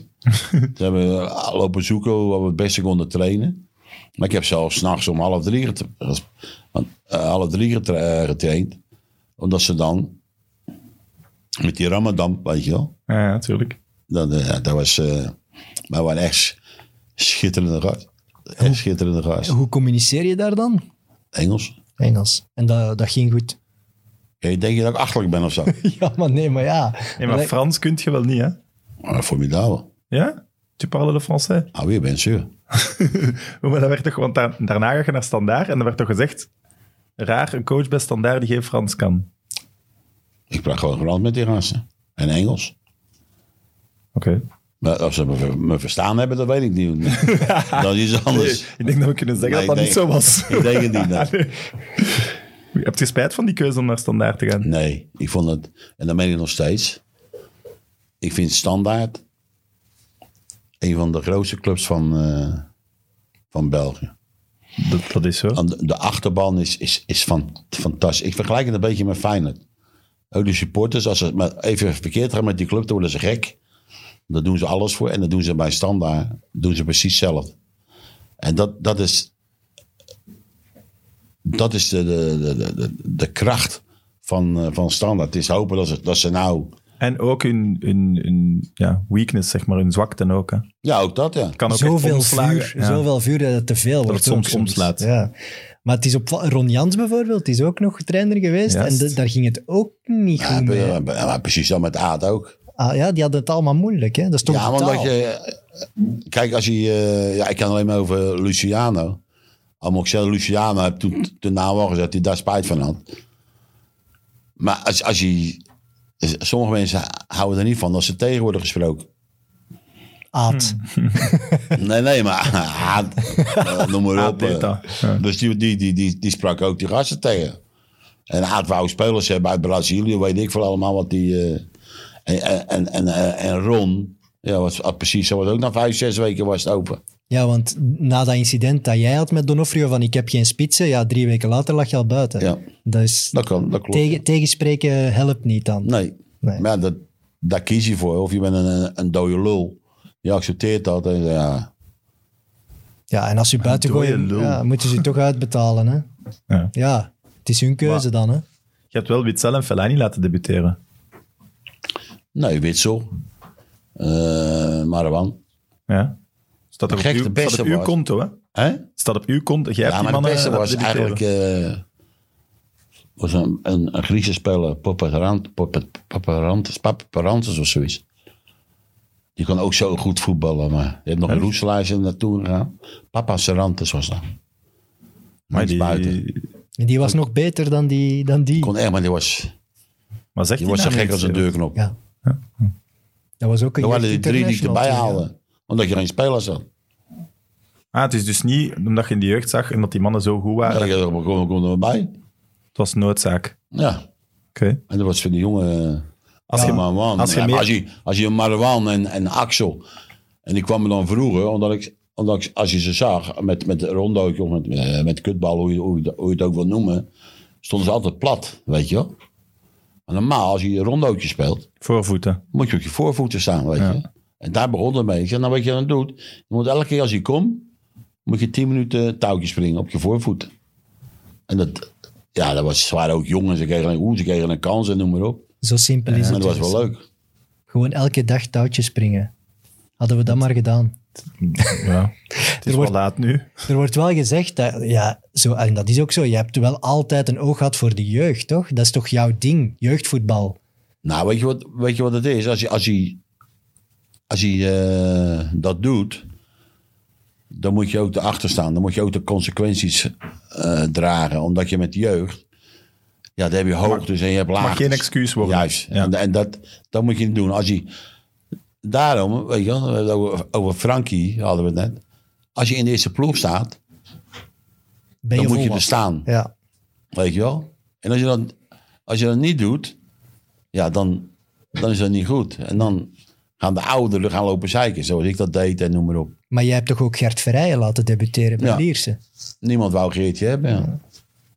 Speaker 3: ze hebben eh, lopen zoeken hoe we het beste konden trainen. Maar ik heb zelfs s'nachts om half drie, getra- ges- want, eh, half drie getra- eh, getraind. Omdat ze dan met die Ramadan, weet je wel.
Speaker 1: Ja, ja, natuurlijk.
Speaker 3: Dat, eh, ja, dat was. eh maar we waren echt schitterende gast. Echt schitterende gast.
Speaker 2: Hoe communiceer je daar dan?
Speaker 3: Engels.
Speaker 2: Engels. En dat, dat ging goed.
Speaker 3: Ja, ik denk je dat ik achterlijk ben of zo?
Speaker 2: Ja, maar nee, maar ja.
Speaker 1: Nee, maar
Speaker 2: Maar-
Speaker 1: Frans kunt je wel niet, hè?
Speaker 3: maar Eh, formidabel.
Speaker 1: Ja? Tu parles le français?
Speaker 3: Ah, weer ben je.
Speaker 1: Oh, Maar dat werd toch, want daar- daarna ga je naar Standaard en er werd toch gezegd, raar, een coach bij Standaard die geen Frans kan.
Speaker 3: Ik praat gewoon Frans met die gasten. En Engels.
Speaker 1: Oké.
Speaker 3: Maar als ze me, ver- me verstaan hebben, dat weet ik niet. dat is iets anders.
Speaker 1: Dus Ik denk dat we kunnen zeggen
Speaker 3: Nee,
Speaker 1: dat dat
Speaker 3: nee.
Speaker 1: niet zo was. Ah,
Speaker 3: Ik denk het niet. nee.
Speaker 1: Heb je spijt van die keuze om naar Standaard te gaan?
Speaker 3: Nee, ik vond het, en dat meen ik nog steeds. Ik vind Standaard een van de grootste clubs van, eh, van België.
Speaker 1: Dat, dat is zo.
Speaker 3: Want De, de achterban is, is, is van, fantastisch. Ik vergelijk het een beetje met Feyenoord. Ook de supporters, als ze het maar even verkeerd gaan met die club, dan worden ze gek. Daar doen ze alles voor en dat doen ze bij Standaard. doen ze precies zelf. En dat, dat is, dat is de, de, de- de, de, de kracht van, eh, van Standaard. Het is hopen dat ze, dat ze nou...
Speaker 1: En ook hun, hun, hun ja, weakness, zeg maar, hun zwakte ook. Hè.
Speaker 3: Ja, ook dat, ja.
Speaker 1: Kan ook echt
Speaker 2: Zoveel
Speaker 1: omslagen.
Speaker 2: vuur,
Speaker 1: Ja.
Speaker 2: zoveel vuur dat het te veel wordt.
Speaker 1: het soms
Speaker 2: ook
Speaker 1: omslaat.
Speaker 2: Ja. Maar het is op, Ron Jans bijvoorbeeld is ook nog trainer geweest.
Speaker 1: Juist.
Speaker 2: En de- daar ging het ook niet
Speaker 3: Ja,
Speaker 2: goed mee.
Speaker 3: maar- maar- maar precies zo met Aad ook.
Speaker 2: Ah, ja, die hadden het allemaal moeilijk. Hè? Dat is toch
Speaker 3: Ja,
Speaker 2: de
Speaker 3: want
Speaker 2: taal.
Speaker 3: dat je... Kijk, als je... eh, ja, ik kan alleen maar over Luciano. Al moet ik zeggen, Luciano heb toen de naam al gezet die daar spijt van had. Maar als, als je... Sommige mensen houden er niet van als ze tegen worden gesproken.
Speaker 1: Hmm.
Speaker 2: Aad.
Speaker 3: Nee, nee, maar Aad, eh, noem maar
Speaker 1: Aad
Speaker 3: op.
Speaker 1: deed
Speaker 3: eh.
Speaker 1: dat, ja.
Speaker 3: Dus die, die, die, die, die sprak ook die gasten tegen. En Aad wou spelers hebben uit Brazilië, weet ik veel allemaal wat die... eh, en, en, en, eh, en Ron, ja, was, had precies zo was ook na vijf, zes weken was het open.
Speaker 2: Ja, want na dat incident dat jij had met Donofrio van ik heb geen spitsen, ja, drie weken later lag je al buiten.
Speaker 3: Ja.
Speaker 2: Dus
Speaker 3: Dat kan, dat klopt.
Speaker 2: tegen, tegenspreken helpt niet dan.
Speaker 3: Nee.
Speaker 2: Nee.
Speaker 3: Maar ja, dat, daar kies je voor. Of je bent een, een dode lul. Je accepteert dat. En, ja.
Speaker 2: Ja, en als ze buiten
Speaker 1: dode
Speaker 2: gooien,
Speaker 1: lul.
Speaker 2: ja, moeten ze toch uitbetalen. Hè?
Speaker 1: Ja.
Speaker 2: Ja, het is hun keuze dan. Hè?
Speaker 1: Je hebt wel Witzel en Fellaini laten debuteren.
Speaker 3: Nee, Witsel. Eh Marwan.
Speaker 1: Ja. Staat er op,
Speaker 3: Gek,
Speaker 1: uw,
Speaker 3: de beste
Speaker 1: staat op uw
Speaker 3: was.
Speaker 1: konto, hè?
Speaker 3: Hè?
Speaker 1: Staat op uw konto. Jij hebt
Speaker 3: Ja,
Speaker 1: die
Speaker 3: maar de
Speaker 1: mannen
Speaker 3: beste was
Speaker 1: laten debuteren.
Speaker 3: eigenlijk... eh, was een, een, een Griekse speler, Paparant- Papa- Paparantes Paparantes of zoiets. Die kon ook zo goed voetballen, maar je hebt nog een roetslijstje naartoe gegaan. Papa Sarantes was dat.
Speaker 1: Maar, die,
Speaker 3: buiten.
Speaker 2: En die was nog beter dan die. Dan die.
Speaker 3: Kon echt, maar die was,
Speaker 1: maar zegt
Speaker 3: die
Speaker 1: die
Speaker 3: was zo
Speaker 1: nou
Speaker 3: gek als een
Speaker 1: niks,
Speaker 3: deurknop.
Speaker 2: Ja. Dat was ook een
Speaker 3: Er waren die drie die ik
Speaker 2: jeugdinternational
Speaker 3: erbij
Speaker 2: toen, ja.
Speaker 3: haalde. Omdat je geen spelers had.
Speaker 1: Ah, het is dus niet omdat je in de jeugd zag en dat die mannen zo goed
Speaker 3: Ja,
Speaker 1: waren.
Speaker 3: ik dacht, we komen, komen er maar bij.
Speaker 1: Het was noodzaak.
Speaker 3: Ja,
Speaker 1: Oké.
Speaker 3: en dat was voor die jongen. eh, Als,
Speaker 1: je-
Speaker 3: je, Marwan.
Speaker 1: als
Speaker 3: als,
Speaker 1: je
Speaker 3: je
Speaker 1: meer-
Speaker 3: als, je, als je Marwan en, en Axel. En die kwamen dan vroeger, omdat ik, omdat ik- als je ze zag met, met rondootje of met, eh, met kutbal, hoe je, hoe, je, hoe je het ook wil noemen. stonden ze altijd plat, weet je wel. Maar normaal, als je een rondootje speelt.
Speaker 1: Voorvoeten.
Speaker 3: moet je op je voorvoeten staan, weet je. En daar begon het mee. Ik zeg, nou wat je dan doet, je moet elke keer als je komt, moet je tien minuten touwtjes springen op je voorvoeten. En dat, ja, dat was, ze waren ook jong en ze kregen een hoe, ze kregen een kans en noem maar op.
Speaker 2: Zo simpel is
Speaker 3: En
Speaker 2: het.
Speaker 3: dat was
Speaker 2: dus.
Speaker 3: wel leuk.
Speaker 2: Gewoon elke dag touwtjes springen. Hadden we dat maar gedaan.
Speaker 1: Ja. Het is
Speaker 2: wordt-
Speaker 1: wel laat nu.
Speaker 2: Er wordt wel gezegd, dat, ja, zo, en dat is ook zo, je hebt wel altijd een oog gehad voor de jeugd, toch? Dat is toch jouw ding, jeugdvoetbal?
Speaker 3: Nou, weet je wat, weet je wat het is? Als je, als je, als je eh, dat doet, dan moet je ook erachter staan. Dan moet je ook de consequenties eh, dragen. Omdat je met jeugd, ja, dan heb je hoogtes en je hebt laagtes.
Speaker 1: geen excuus worden.
Speaker 3: Juist.
Speaker 1: Ja.
Speaker 3: En, en dat, dat moet je niet doen. Als je, daarom, weet je wel, we hebben het over, over Frankie hadden we het net. Als je in deze ploeg staat,
Speaker 2: Ben
Speaker 3: dan moet je er
Speaker 2: volwassen?
Speaker 3: staan.
Speaker 2: Ja,
Speaker 3: Weet je wel? En als je dat, als je dat niet doet, ja, dan, dan is dat niet goed. En dan gaan de ouderen gaan lopen zeiken, zoals ik dat deed en noem maar op.
Speaker 2: maar jij hebt toch ook Gert Verrijen laten debuteren bij
Speaker 3: Ja.
Speaker 2: Lierse?
Speaker 3: Niemand wou Geertje hebben. Ja.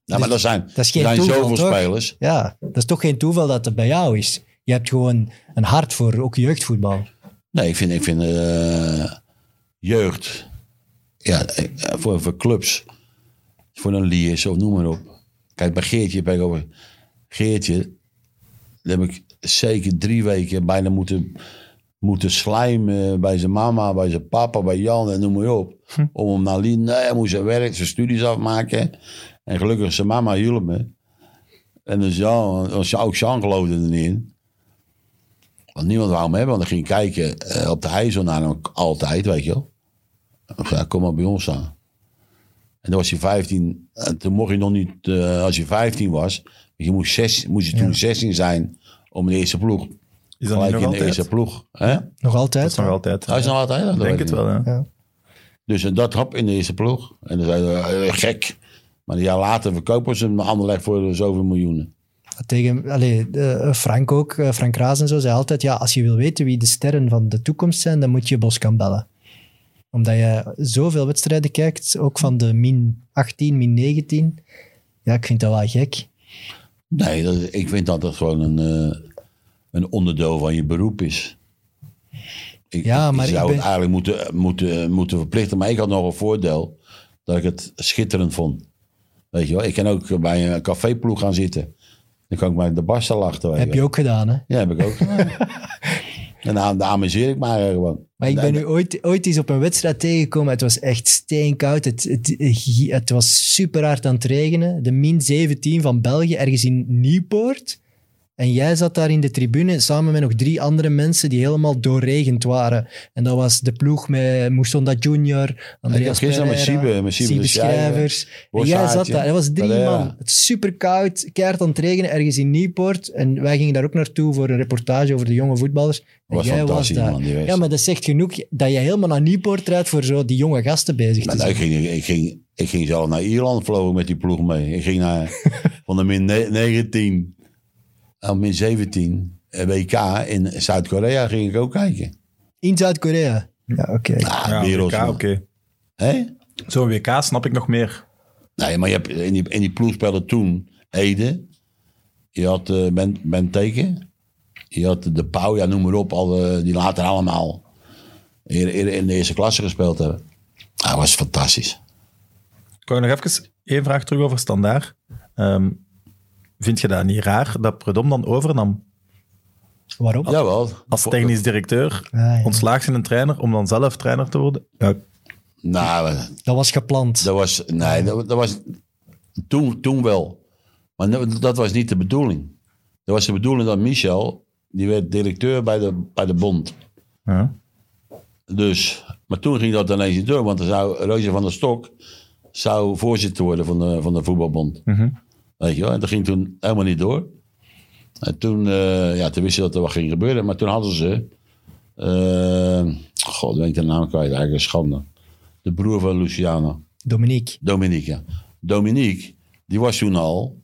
Speaker 3: Nou, maar dat zijn,
Speaker 2: Dat is geen
Speaker 3: er zijn
Speaker 2: toeval,
Speaker 3: zoveel
Speaker 2: toch?
Speaker 3: spelers.
Speaker 2: Ja, dat is toch geen toeval dat het bij jou is. Je hebt gewoon een hart voor ook jeugdvoetbal.
Speaker 3: Nee, ik vind, ik vind eh, jeugd, ja, eh, voor, voor clubs, voor een Liers of noem maar op. Kijk, bij Geertje ben ik over. Geertje, daar heb ik zeker drie weken bijna moeten, moeten slijmen bij zijn mama, bij zijn papa, bij Jan en noem maar op. Om hem naar Lien, nee, hij moest zijn werk, zijn studies afmaken. En gelukkig zijn mama hielp me. En dus Jan, ook Jean geloofde er niet in. Want niemand wou hem hebben, want dan ging hij kijken eh, op de IJssel naar hem altijd, weet je wel. Ik zei, kom maar bij ons staan. En toen was hij 15, en toen mocht je nog niet, eh, als je 15 was, je moest, zes, moest je toen 16 zijn om in de eerste ploeg.
Speaker 1: Is dat niet
Speaker 3: Gelijk
Speaker 1: nog
Speaker 3: in de
Speaker 1: altijd?
Speaker 3: eerste ploeg. Hè?
Speaker 2: Nog
Speaker 1: Dat
Speaker 2: altijd?
Speaker 1: is nog altijd.
Speaker 3: Hij is nog altijd. dat
Speaker 1: Ik
Speaker 3: weet
Speaker 1: denk
Speaker 3: ik
Speaker 1: het
Speaker 3: niet.
Speaker 1: wel, ja.
Speaker 2: Ja.
Speaker 3: Dus en dat hap in de eerste ploeg. En dan zei hij, eh, gek. Maar een jaar later verkopen ze hem ander leg voor zoveel miljoenen.
Speaker 2: Tegen allee, eh, Frank ook, eh, Frank Raas en zo, zei altijd, ja, als je wil weten wie de sterren van de toekomst zijn, dan moet je Bos gaan bellen. Omdat je zoveel wedstrijden kijkt, ook van de min 18, min 19. Ja, ik vind dat wel gek.
Speaker 3: Nee, dat, is- ik vind dat dat gewoon een, eh, een onderdeel van je beroep is. Ik,
Speaker 2: Ja, maar
Speaker 3: ik
Speaker 2: ik
Speaker 3: zou
Speaker 2: ben-
Speaker 3: het eigenlijk moeten, moeten, moeten verplichten. Maar ik had nog een voordeel dat ik het schitterend vond. Weet je wel, ik kan ook bij een caféploeg gaan zitten. Dan kan ik mij de barsten lachen. weet
Speaker 2: Heb je ook gedaan, hè?
Speaker 3: Ja, heb ik ook. gedaan. en dan, dan amuseer ik me eigenlijk gewoon.
Speaker 2: Maar ik
Speaker 3: Nee,
Speaker 2: ben
Speaker 3: nee.
Speaker 2: nu ooit, ooit eens op een wedstrijd tegengekomen. Het was echt steenkoud. Het, het, het was super hard aan het regenen. De min 17 van België, ergens in Nieuwpoort. En jij zat daar in de tribune samen met nog drie andere mensen die helemaal doorregend waren. En dat was de ploeg met Moesonda Junior, Andreas
Speaker 3: gisteren met
Speaker 2: Pereira,
Speaker 3: Siebe- met Siebe de Schrijver,
Speaker 2: Schrijvers. En jij
Speaker 3: Borsaatje,
Speaker 2: zat daar. Dat was drie
Speaker 3: Pereira.
Speaker 2: man. Het is super koud, keihard aan het regenen, ergens in Nieuwpoort. En wij gingen daar ook naartoe voor een reportage over de jonge voetballers. En
Speaker 3: was
Speaker 2: jij was
Speaker 3: fantastisch,
Speaker 2: daar.
Speaker 3: man, die wedstrijd.
Speaker 2: ja, maar dat zegt genoeg dat je helemaal naar Nieuwpoort rijdt voor zo die jonge gasten bezig
Speaker 3: Maar
Speaker 2: te
Speaker 3: nou, ik,
Speaker 2: zijn.
Speaker 3: ging, ik, ging, ik ging zelf naar Ierland vlogen met die ploeg mee. Ik ging naar, van de min ne- 19 aan min 17 eh, WK in Zuid-Korea ging ik ook kijken.
Speaker 2: In Zuid-Korea. Ja, oké.
Speaker 3: Ah,
Speaker 1: Ja,
Speaker 3: werelds,
Speaker 1: WK, oké.
Speaker 3: man. Hè?
Speaker 1: Zo'n WK snap ik nog meer.
Speaker 3: Nee, maar je hebt in die, in die ploeg speelde toen Ede. Je had eh ben, Benteke. Je had De Pauw, ja, noem maar op. Al, de- die later allemaal in, in, in de eerste klasse gespeeld hebben. Ah, dat was fantastisch.
Speaker 1: Ik wou nog even één vraag terug over standaard. Ehm, vind je dat niet raar dat Predom dan overnam
Speaker 2: Waarom?
Speaker 3: Jawel.
Speaker 1: als technisch
Speaker 3: Ah,
Speaker 1: directeur,
Speaker 2: ja.
Speaker 1: ontslaagt zijn een trainer om dan zelf trainer te worden? Ja,
Speaker 3: Nou,
Speaker 2: Dat was gepland.
Speaker 3: Dat was, nee, dat, dat was toen, toen wel. Maar dat- dat was niet de bedoeling. Dat was de bedoeling dat Michel, die werd directeur bij de, bij de bond.
Speaker 1: ja.
Speaker 3: Dus, maar toen ging dat ineens niet door, want er zou Reuze van der Stok zou voorzitter worden van de, van de voetbalbond. Weet je wel, en dat ging toen helemaal niet door. En toen, eh, ja, toen wisten ze dat er wat ging gebeuren, maar toen hadden ze, eh god, weet ik de naam kwijt, eigenlijk een schande. De broer van Luciano.
Speaker 2: Dominique.
Speaker 3: Dominique, ja. Dominique, die was toen al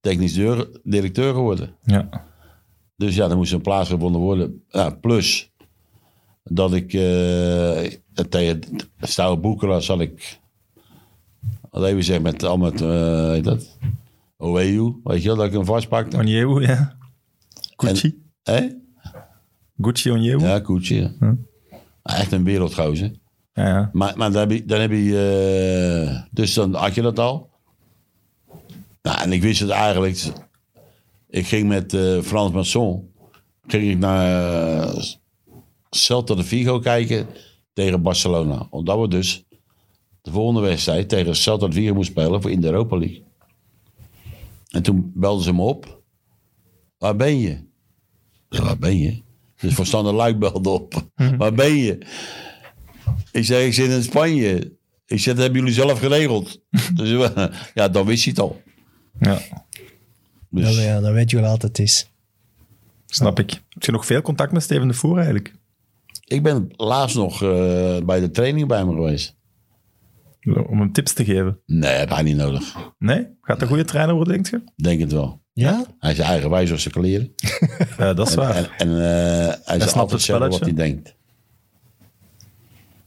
Speaker 3: technisch deur- directeur geworden.
Speaker 1: Ja.
Speaker 3: Dus ja, er moest een plaats gevonden worden. Ja, plus dat ik eh, tegen Stouwe Boekelaar zal ik... Wat even zeggen, met, al met, eh, heet dat? Oeu, weet je wel, dat ik hem vastpakte.
Speaker 1: Onyewu, ja. Gucci.
Speaker 3: Hé?
Speaker 1: Gucci Onyewu. Ja.
Speaker 3: Ja, Koetje. ja. Echt een wereldgozer.
Speaker 1: Ja,
Speaker 3: Maar, maar dan heb je... Dan heb je eh, dus dan had je dat al. Nou, en ik wist het eigenlijk. Ik ging met eh, Frans Masson ging ik naar eh, Celta de Vigo kijken tegen Barcelona. Omdat we dus de volgende wedstrijd tegen Celta de Vigo moesten spelen voor in de Europa League. En toen belden ze me op. Waar ben je? Ja, waar ben je? Dus verstander Luik belde op. Waar ben je? Ik zei, ik zit in Spanje. Ik zei, dat hebben jullie zelf geregeld. dus eh, ja, dan wist hij het al.
Speaker 1: Ja,
Speaker 3: Dus,
Speaker 2: Dat, ja, dat weet je wel altijd is.
Speaker 1: snap ik. Heb je nog veel contact met Steven de Voer eigenlijk?
Speaker 3: Ik ben laatst nog eh, bij de training bij me geweest.
Speaker 1: Om hem tips te geven.
Speaker 3: Nee, heb hij niet nodig.
Speaker 1: Nee? Gaat een goede trainer worden, denk je?
Speaker 3: Denk het wel.
Speaker 2: Ja?
Speaker 3: Hij is eigenwijs als zijn kleren.
Speaker 1: Eh, dat is
Speaker 3: En,
Speaker 1: waar.
Speaker 3: en, en eh, hij
Speaker 1: snapt
Speaker 3: is altijd
Speaker 1: het
Speaker 3: zeggen wat hij
Speaker 1: spelletje.
Speaker 3: denkt.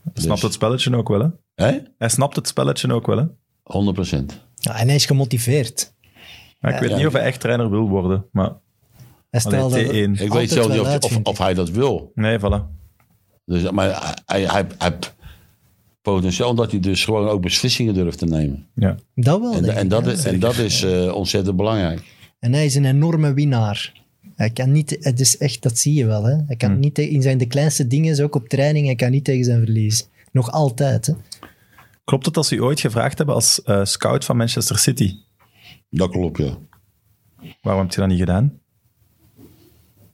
Speaker 3: dus-
Speaker 1: Hij snapt het spelletje ook wel, hè?
Speaker 3: Hè?
Speaker 1: Hij snapt het spelletje ook wel, hè?
Speaker 3: 100 procent.
Speaker 2: Ja, En hij is gemotiveerd.
Speaker 1: Maar ik weet
Speaker 3: Ja.
Speaker 1: niet of hij echt trainer wil worden. Maar
Speaker 2: Hij stelde
Speaker 1: Allee, T1.
Speaker 3: Ik weet zelf niet of, of, of hij dat wil.
Speaker 1: nee, voilà.
Speaker 3: Dus, maar hij, hij, hij heeft potentieel omdat hij dus gewoon ook beslissingen durft te nemen.
Speaker 1: Ja.
Speaker 2: Dat wel,
Speaker 3: En,
Speaker 2: denk
Speaker 3: en,
Speaker 2: ik,
Speaker 3: dat,
Speaker 2: ja.
Speaker 3: is- en dat is eh, ontzettend belangrijk.
Speaker 2: En hij is een enorme winnaar. Hij kan niet, het is echt, dat zie je wel. Hè? Hij kan niet te- in zijn de kleinste dingen, zo ook op training, hij kan niet tegen zijn verliezen. Nog altijd. Hè?
Speaker 1: Klopt het dat ze u ooit gevraagd hebben als eh, scout van Manchester City?
Speaker 3: Dat klopt, ja.
Speaker 1: Waarom heb je dat niet gedaan?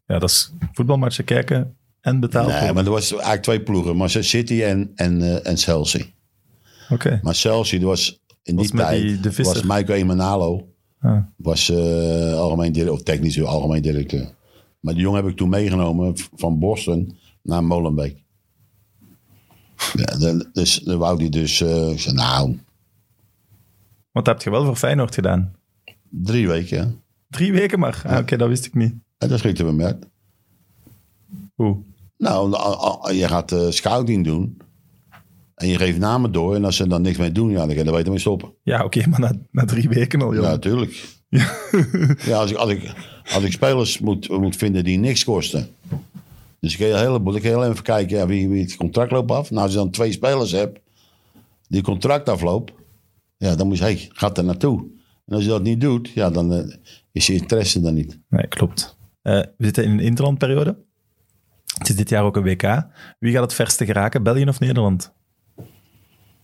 Speaker 1: Ja, dat is voetbalmatchen kijken en betaald
Speaker 3: Nee,
Speaker 1: worden.
Speaker 3: maar er was eigenlijk twee ploegen. Manchester City en, en, eh, en Chelsea.
Speaker 1: Oké.
Speaker 3: Maar Chelsea er was in
Speaker 1: Was
Speaker 3: die
Speaker 1: met
Speaker 3: tijd...
Speaker 1: die De Visser.
Speaker 3: was Michael Emanalo.
Speaker 1: Ah.
Speaker 3: Was eh, algemeen directeur, of technisch eh, algemeen directeur. Maar die jongen heb ik toen meegenomen v- van Boston naar Molenbeek. Ja, dan, dus, dan wou hij dus... eh, ik zei, nou,
Speaker 1: Want dat heb je wel voor Feyenoord gedaan.
Speaker 3: drie weken. hè.
Speaker 1: Drie weken maar. Ah, Oké, dat wist ik niet.
Speaker 3: En dat schikte we met.
Speaker 1: Oeh.
Speaker 3: Nou, a- a- je gaat eh, scouting doen. En je geeft namen door. En als ze dan niks mee doen, ja, dan kan je er beter mee stoppen.
Speaker 1: Ja, oké, maar na, na drie weken al, joh.
Speaker 3: Ja, natuurlijk. Ja, als ik, als ik, als ik spelers moet, moet vinden die niks kosten. Dus ik ga heel, ik ga heel even kijken ja, wie, wie het contract loopt af. Nou, als je dan twee spelers hebt die contract afloopt, ja, dan moet je, hey, gaat er naartoe. En als je dat niet doet, ja, dan eh, is je interesse dan niet.
Speaker 1: Nee, klopt. Eh, we zitten in een interlandperiode. Het is dit jaar ook een WK. Wie gaat het verste geraken, België of Nederland?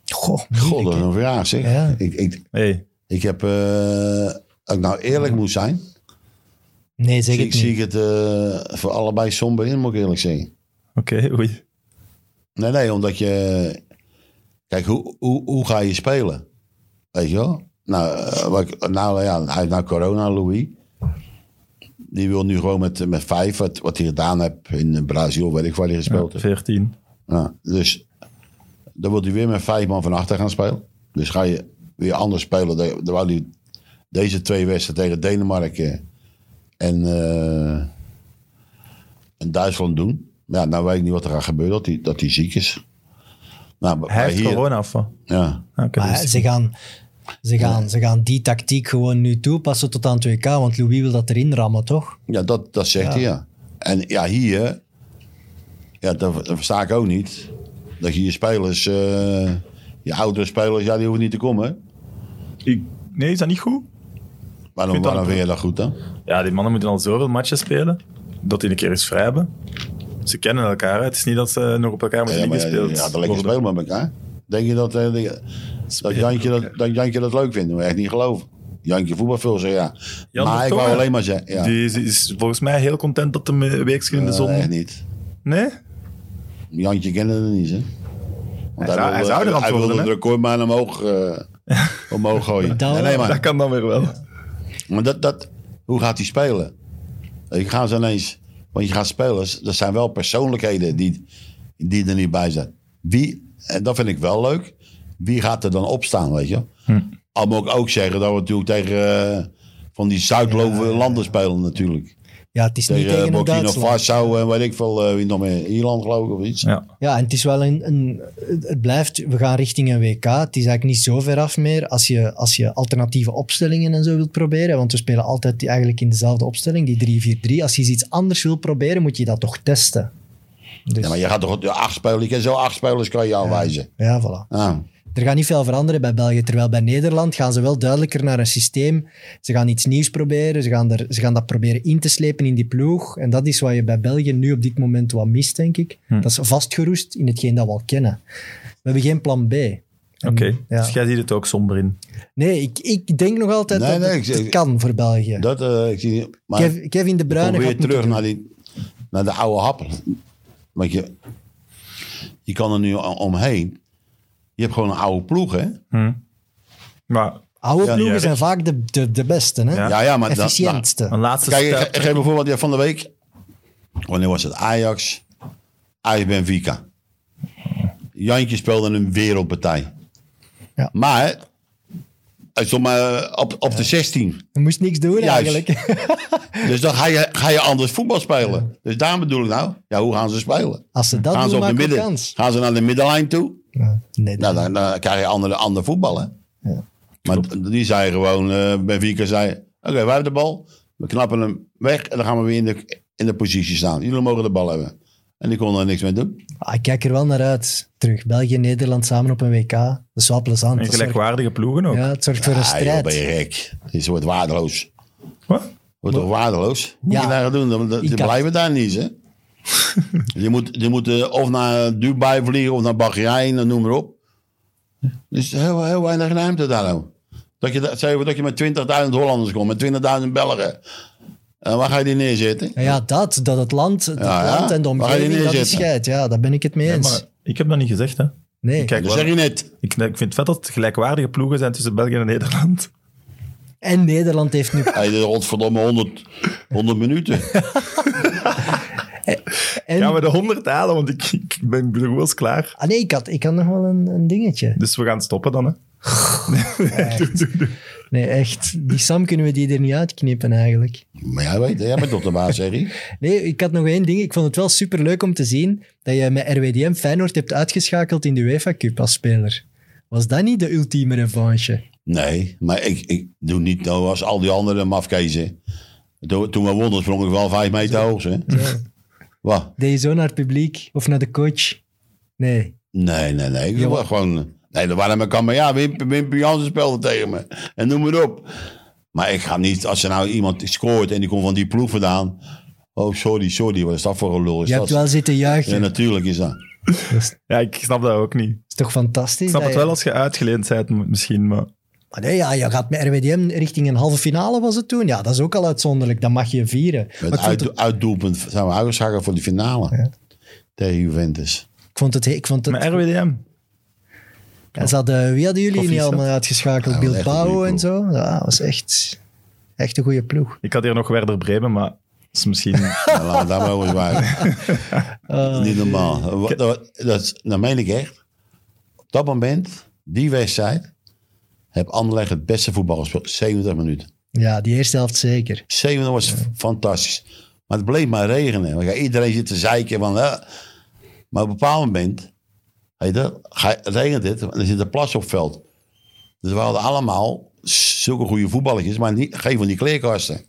Speaker 2: Goh,
Speaker 3: God,
Speaker 2: moeilijk,
Speaker 3: dat
Speaker 2: hè.
Speaker 3: is een vraag zeg.
Speaker 2: Ja.
Speaker 3: Ik, ik,
Speaker 1: Hey,
Speaker 3: ik heb, eh, als ik nou eerlijk moet zijn,
Speaker 2: Nee, zeg
Speaker 3: zie,
Speaker 2: het
Speaker 3: ik- zie
Speaker 2: niet.
Speaker 3: ik het eh, voor allebei somber in, moet ik eerlijk zeggen.
Speaker 1: oké, oei.
Speaker 3: Nee, nee, omdat je... Kijk, hoe, hoe, hoe ga je spelen? Weet je wel? Nou, eh, wat ik- nou ja, hij heeft nou corona, Louis. Die wil nu gewoon met, met vijf, wat, wat hij gedaan heeft in Brazil, weet ik waar hij gespeeld heeft.
Speaker 1: 14.
Speaker 3: Ja, dus dan wil hij weer met vijf man van achter gaan spelen. Dus ga je weer anders spelen. Dan dan wou hij deze twee wedstrijden tegen Denemarken en, eh, en Duitsland doen. Ja, nou weet ik niet wat er gaat gebeuren, dat hij, dat hij ziek is. Nou, maar
Speaker 1: Hij
Speaker 3: maar
Speaker 1: heeft corona of wat?
Speaker 3: Ja,
Speaker 1: Ah, oké,
Speaker 2: Maar
Speaker 1: dus-
Speaker 2: ze gaan, ze, gaan, ze gaan die tactiek gewoon nu toepassen tot aan 2K, want Louis wil dat erin rammen, toch?
Speaker 3: ja dat, dat zegt hij, ja. En ja, hier, ja, dat, dat versta ik ook niet. Dat je je spelers, eh, je oudere spelers, ja, die hoeven niet te komen.
Speaker 1: Ik- nee, is dat niet goed?
Speaker 3: Waarom,
Speaker 1: vind dat
Speaker 3: waarom
Speaker 1: ook-
Speaker 3: vind je dat goed dan?
Speaker 1: Ja, die mannen moeten al zoveel matchen spelen, dat die een keer eens vrij hebben. Ze kennen elkaar, hè. het is niet dat ze nog op elkaar moeten
Speaker 3: Ja, maar ja,
Speaker 1: ingespeeld
Speaker 3: ja, dus dan lekker
Speaker 1: worden.
Speaker 3: spelen met elkaar. Denk je dat, eh, die- dat, Jantje, dat, dat Jantje dat leuk vindt? Dat moet ik echt niet geloven. Jantje voetbalfilser, ja.
Speaker 1: Jan
Speaker 3: maar
Speaker 1: de
Speaker 3: ik
Speaker 1: Tong,
Speaker 3: wou
Speaker 1: hè?
Speaker 3: alleen maar zeggen. Ja.
Speaker 1: Die is, is volgens mij heel content dat hem een weekje in de
Speaker 3: Eh,
Speaker 1: zon...
Speaker 3: echt niet.
Speaker 1: nee?
Speaker 3: Jantje kende het niet, hè. Want
Speaker 1: zou- hij zou eraan
Speaker 3: Hij wilde
Speaker 1: worden,
Speaker 3: het
Speaker 1: hè?
Speaker 3: record maar omhoog, eh, omhoog gooien.
Speaker 2: Dat-
Speaker 3: nee, nee,
Speaker 1: Dat
Speaker 3: maar,
Speaker 1: kan dan weer wel.
Speaker 3: maar dat, dat, hoe gaat hij spelen? Ik ga ze ineens... Want je gaat spelers, dat zijn wel persoonlijkheden die, die er niet bij zijn. Wie, en dat vind ik wel leuk, wie gaat er dan opstaan, weet je wel?
Speaker 2: Hm.
Speaker 3: Al moet ik ook zeggen dat we natuurlijk tegen eh, van die Zuidloven landen spelen natuurlijk.
Speaker 2: Ja, het is niet
Speaker 3: Tegen
Speaker 2: tegen
Speaker 3: eh,
Speaker 2: een
Speaker 3: Burkina
Speaker 2: Duitsland.
Speaker 3: Faso en weet ik veel, eh, wie nog meer, Ierland geloof ik of iets.
Speaker 1: Ja.
Speaker 2: Ja, en het is wel een, een. Het blijft, we gaan richting een WK. Het is eigenlijk niet zo ver af meer als je, als je alternatieve opstellingen en zo wilt proberen. Want we spelen altijd die, eigenlijk in dezelfde opstelling, die 3-4-3. Als je eens iets anders wilt proberen, moet je dat toch testen. Dus,
Speaker 3: Ja,
Speaker 2: ja,
Speaker 3: maar je gaat toch ja, acht spelers, je kan zo acht spelers kan je aanwijzen.
Speaker 2: voilà.
Speaker 3: Ah,
Speaker 2: Er gaat niet veel veranderen bij België. Terwijl bij Nederland gaan ze wel duidelijker naar een systeem. Ze gaan iets nieuws proberen. Ze gaan, er, ze gaan dat proberen in te slepen in die ploeg. En dat is wat je bij België nu op dit moment wat mist, denk ik.
Speaker 1: Hm.
Speaker 2: Dat is vastgeroest in hetgeen dat we al kennen. We hebben geen plan B.
Speaker 1: Oké,
Speaker 2: Ja.
Speaker 1: dus jij ziet het ook somber in.
Speaker 2: Nee, ik, ik denk nog altijd
Speaker 3: Nee,
Speaker 2: dat
Speaker 3: nee,
Speaker 2: het,
Speaker 3: ik-
Speaker 2: het kan voor België.
Speaker 3: dat, eh, ik zie, maar
Speaker 2: Kev- Kevin De Bruyne
Speaker 3: kom
Speaker 2: gaat
Speaker 3: weer
Speaker 2: moeten
Speaker 3: terug
Speaker 2: doen.
Speaker 3: naar, die, naar de oude hap. Want je, je kan er nu o- omheen. Je hebt gewoon een oude ploeg, hè?
Speaker 1: Maar
Speaker 2: Oude
Speaker 3: Ja,
Speaker 2: ploegen
Speaker 1: niet
Speaker 2: zijn
Speaker 1: erg.
Speaker 2: vaak de, de, de beste, hè?
Speaker 1: Ja.
Speaker 3: Ja, ja, maar dat-
Speaker 2: Efficiëntste.
Speaker 1: een laatste
Speaker 3: Kijk, ik,
Speaker 1: stuip-
Speaker 3: ge- geef bijvoorbeeld ja, van de week. Wanneer was het? Ajax. Ajax Benfica. Jantje speelde een wereldpartij.
Speaker 2: Ja.
Speaker 3: Maar hij stond maar eh, op, op de 16.
Speaker 2: Je moest niks doen
Speaker 3: Juist.
Speaker 2: eigenlijk.
Speaker 3: Dus dan ga je, ga je anders voetbal spelen. Dus daarom bedoel ik nou, ja, hoe gaan ze spelen?
Speaker 2: Als ze dat
Speaker 3: gaan,
Speaker 2: doen,
Speaker 3: ze op de
Speaker 2: maken we
Speaker 3: midden,
Speaker 2: kans.
Speaker 3: gaan ze naar de middenlijn toe?
Speaker 2: Ja. Nee,
Speaker 3: Nou,
Speaker 2: dat-
Speaker 3: dan, dan krijg je andere, ander voetbal, hè?
Speaker 2: Ja.
Speaker 3: Maar d- die zei gewoon, eh Benfica zei, oké, wij hebben de bal. We knappen hem weg en dan gaan we weer in de, in de positie staan. Jullie mogen de bal hebben. En die konden er niks mee doen.
Speaker 2: Ah, ik kijk er wel naar uit. Terug België-Nederland samen op een WK. Dat is wel plezant.
Speaker 1: en
Speaker 2: Dat zorgt-
Speaker 1: gelijkwaardige ploegen ook.
Speaker 2: ja, het zorgt voor een
Speaker 3: Ah, joh, ben je
Speaker 2: strijd.
Speaker 3: gek. Het wordt waardeloos.
Speaker 1: Wat?
Speaker 3: Wordt toch waardeloos? Moet
Speaker 2: Ja.
Speaker 3: je daar gaan doen? Dan- dan-
Speaker 2: Ik
Speaker 3: Ze
Speaker 2: kan-
Speaker 3: blijven daar niet, hè? je moet, je moet eh, of naar Dubai vliegen of naar Bahrein, eh, noem maar op. Dus heel, heel weinig ruimte daarom. Dat je, dat, zeg maar dat je met 20.000 Hollanders komt, met 20.000 Belgen. En waar ga je die neerzetten?
Speaker 2: Ja, ja, dat, dat het land, het
Speaker 3: Ja, Ah, ja.
Speaker 2: land en de
Speaker 3: Waar ga je
Speaker 2: omgeving, dat is
Speaker 3: neerzetten?
Speaker 2: scheidt. Ja, daar ben ik het mee
Speaker 1: Ja,
Speaker 2: eens.
Speaker 1: maar ik heb dat niet gezegd, hè.
Speaker 2: nee.
Speaker 1: Kijk,
Speaker 3: Dat
Speaker 1: wel-
Speaker 3: zeg je net.
Speaker 1: ik, ik vind het vet dat het gelijkwaardige ploegen zijn tussen België en Nederland.
Speaker 2: En Nederland heeft nu...
Speaker 3: Hij is godverdomme 100, 100 minuten.
Speaker 2: En,
Speaker 1: Gaan we de 100 halen, want ik, ik ben ik ben wel eens klaar.
Speaker 2: Ah nee, ik had, ik had nog wel een, een dingetje.
Speaker 1: Dus we gaan stoppen dan, hè.
Speaker 2: Nee, echt. Die Sam kunnen we die er niet uitknippen eigenlijk.
Speaker 3: Maar jij weet, jij bent toch de baas, zeg je?
Speaker 2: Nee, ik had nog één ding. Ik vond het wel superleuk om te zien dat je met RWDM Feyenoord hebt uitgeschakeld in de UEFA Cup als speler. Was dat niet de ultieme revanche?
Speaker 3: Nee, maar ik, ik doe niet nou als al die anderen mafkezen. Toen, toen we wonnen sprong ik wel vijf meter hoog, hè? Wat?
Speaker 2: Deed je zo naar het publiek of naar de coach? Nee.
Speaker 3: Nee, nee, nee. Ik
Speaker 2: Jawel.
Speaker 3: was gewoon... Nee, dat waren mijn kameraden. Ja, Wim, Wim Jansen speelde tegen me. En noem maar op. Maar ik ga niet... Als er nou iemand scoort en die komt van die ploeg vandaan... Oh, sorry, sorry, wat is dat voor een lul? Is
Speaker 2: Je
Speaker 3: Dus dat?
Speaker 2: hebt wel zitten
Speaker 3: Ja,
Speaker 2: juichen.
Speaker 3: natuurlijk is dat.
Speaker 1: Ja, ik snap dat ook niet.
Speaker 2: is toch fantastisch?
Speaker 1: Ik snap
Speaker 2: dat
Speaker 1: het
Speaker 2: je-
Speaker 1: wel als je uitgeleend bent m- misschien, maar...
Speaker 2: Maar nee, ja, je gaat met RWDM richting een halve finale was het toen. Ja, dat is ook al uitzonderlijk. Dat mag je vieren. Maar
Speaker 3: Het
Speaker 2: ik, vond
Speaker 3: uit,
Speaker 2: het,
Speaker 3: uitdoelpunt zijn we uitgeschakeld voor de finale tegen Juventus.
Speaker 2: ik vond het... he- Ik vond het
Speaker 1: Met RWDM.
Speaker 2: ja, ze hadden, wie hadden jullie
Speaker 1: Koffie
Speaker 2: niet
Speaker 1: zat.
Speaker 2: allemaal uitgeschakeld?
Speaker 3: Ja, wel echt een
Speaker 2: Bilbao
Speaker 3: goeie
Speaker 2: en
Speaker 3: ploeg.
Speaker 2: zo. Ja, dat was echt, echt een goede ploeg.
Speaker 1: Ik had hier nog Werder Bremen, maar dat is misschien...
Speaker 3: Nou, laat daar mogen we zwijgen. Niet normaal. Wat- Dat, dat, dat meen ik echt. Op dat moment, die wedstrijd, heb Anderlecht het beste voetbal gespeeld. 70 minuten.
Speaker 2: Ja, die eerste helft zeker.
Speaker 3: 70 was fantastisch. Maar het bleef maar regenen. Want ja, Iedereen zit te zeiken. Van, eh. Maar op een bepaald moment weet je, ga- regent het en er zit een plas op het veld. Dus we hadden allemaal zulke goede voetballetjes, maar niet, geen van die kleerkasten.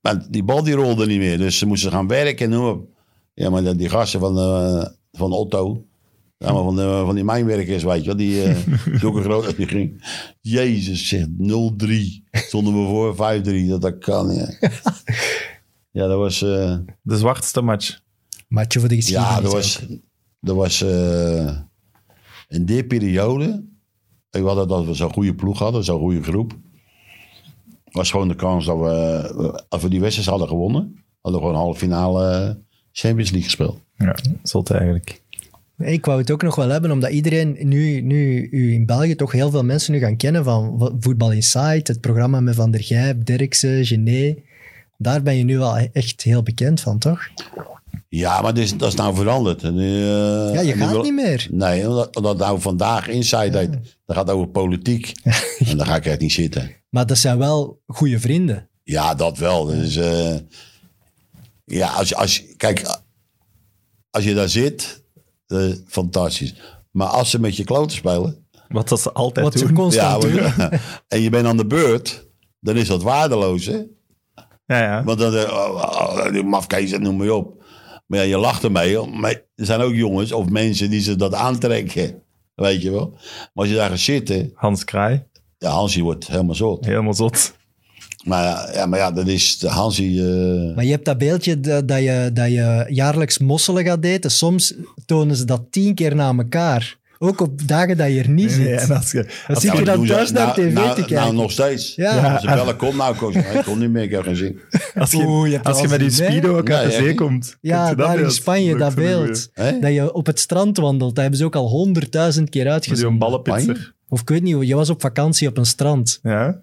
Speaker 3: Maar die bal die rolde niet meer, dus ze moesten gaan werken. en Noem maar op. Ja, maar dat- die gasten van, eh, van Otto, ja, maar van, de, van die mijnwerkers, weet je wel, die eh, zulke groot als die ging. Jezus, zegt 0-3. Stonden we voor 5-3, dat, dat kan. Ja, ja dat was... eh,
Speaker 1: De zwartste match.
Speaker 2: Matje voor de geschiedenis.
Speaker 3: ja, dat
Speaker 2: ook.
Speaker 3: was, dat was eh, in die periode. Ik had het dat we zo'n goede ploeg hadden, zo'n goede groep. Was gewoon de kans dat we, eh, als we die wedstrijd hadden gewonnen, hadden we gewoon halve finale eh, Champions League gespeeld.
Speaker 1: Ja, zot eigenlijk.
Speaker 2: Ik wou het ook nog wel hebben, omdat iedereen nu, nu u in België toch heel veel mensen nu gaan kennen van Vo- Voetbal Insight, het programma met Van der Gijp, Derksen, Gené. Daar ben je nu wel e-, echt heel bekend van, toch?
Speaker 3: Ja, maar dit is- dat is nou veranderd. En, eh,
Speaker 2: Ja, je
Speaker 3: en
Speaker 2: gaat
Speaker 3: nu wil-
Speaker 2: niet meer.
Speaker 3: Nee, omdat, omdat nou vandaag Inside heet, dat gaat over politiek. en daar ga ik echt niet zitten.
Speaker 2: Maar dat zijn wel goede vrienden.
Speaker 3: Ja, dat wel. Dus, eh, ja, als, je- als, je- kijk, als je daar zit, eh, fantastisch. Maar als ze met je kloten spelen,
Speaker 1: Wat dat ze altijd
Speaker 2: Wat ze
Speaker 1: doen.
Speaker 3: ja,
Speaker 2: constant doen.
Speaker 3: en je bent aan de beurt, dan is dat waardeloos, hè?
Speaker 1: Ja, ja.
Speaker 3: Want dan, eh, oh, oh, die mafkees, noem maar op. Maar ja, je lacht ermee. Maar er zijn ook jongens of mensen die ze dat aantrekken. Weet je wel. Maar als je daar gaat zitten,
Speaker 1: Hans Kraai,
Speaker 3: ja, Hansie wordt helemaal zot.
Speaker 1: helemaal zot.
Speaker 3: Maar ja, maar ja dat is de Hansie... eh,
Speaker 2: Maar je hebt dat beeldje dat, dat je, dat je jaarlijks mosselen gaat daten. Soms tonen ze dat tien keer na elkaar. Ook op dagen dat je er niet zit.
Speaker 1: Ja, en als je, als
Speaker 2: zit
Speaker 1: je-
Speaker 2: je
Speaker 3: maar
Speaker 2: dan
Speaker 3: doen ze-
Speaker 2: thuis naar
Speaker 3: nou-
Speaker 2: tv
Speaker 3: nou,
Speaker 2: te
Speaker 3: Nou,
Speaker 2: kijken?
Speaker 3: nog steeds.
Speaker 2: Ja.
Speaker 3: Ja. Ze bellen, kom nou, coach. Nee, Ik kom niet meer, ik heb geen zin.
Speaker 1: als je,
Speaker 2: Oeh, je hebt
Speaker 1: als je
Speaker 2: wel
Speaker 1: met die
Speaker 2: gezien, hè?
Speaker 1: speedo ook uit de
Speaker 3: Ja, ja.
Speaker 1: zee komt.
Speaker 2: Ja,
Speaker 1: Kent je dat
Speaker 2: daar in
Speaker 1: beeld?
Speaker 2: Spanje, dat
Speaker 1: vind ik een
Speaker 2: beeld.
Speaker 3: goeie. Hè?
Speaker 2: Dat je op het strand wandelt. Dat hebben ze ook al honderdduizend keer
Speaker 1: goeie. Met
Speaker 2: uitgezonden.
Speaker 1: Zo'n ballenpitser.
Speaker 2: Of ik weet niet, je was op vakantie op een strand.
Speaker 1: Ja? Ah,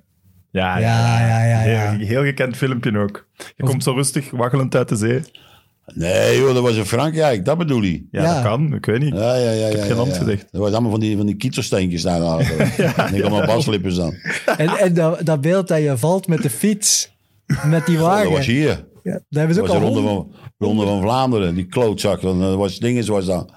Speaker 1: Ja,
Speaker 2: Ja, ja, ja, ja.
Speaker 1: Heel, heel gekend filmpje ook. Je komt zo rustig waggelend uit de zee.
Speaker 3: Nee, joh, dat was in Frankrijk, dat bedoel je.
Speaker 1: Ja,
Speaker 2: Ja.
Speaker 1: dat kan. Ik weet niet.
Speaker 3: Ja, ja, ja. Ik
Speaker 1: heb geen hand gezegd.
Speaker 3: Dat was allemaal van die, van die kietelsteentjes daar. aan de achterkant. en ik had mijn baslippers dan.
Speaker 2: En, en dat, dat beeld dat je valt met de fiets, met die
Speaker 3: Dat was
Speaker 2: wagen.
Speaker 3: hier.
Speaker 2: Ja, dat hebben ze ook
Speaker 3: Dat was
Speaker 2: al
Speaker 3: de Ronde
Speaker 2: honderd-
Speaker 3: van, Ronde van Vlaanderen, die klootzak. Dan, eh, was, ding is, was dat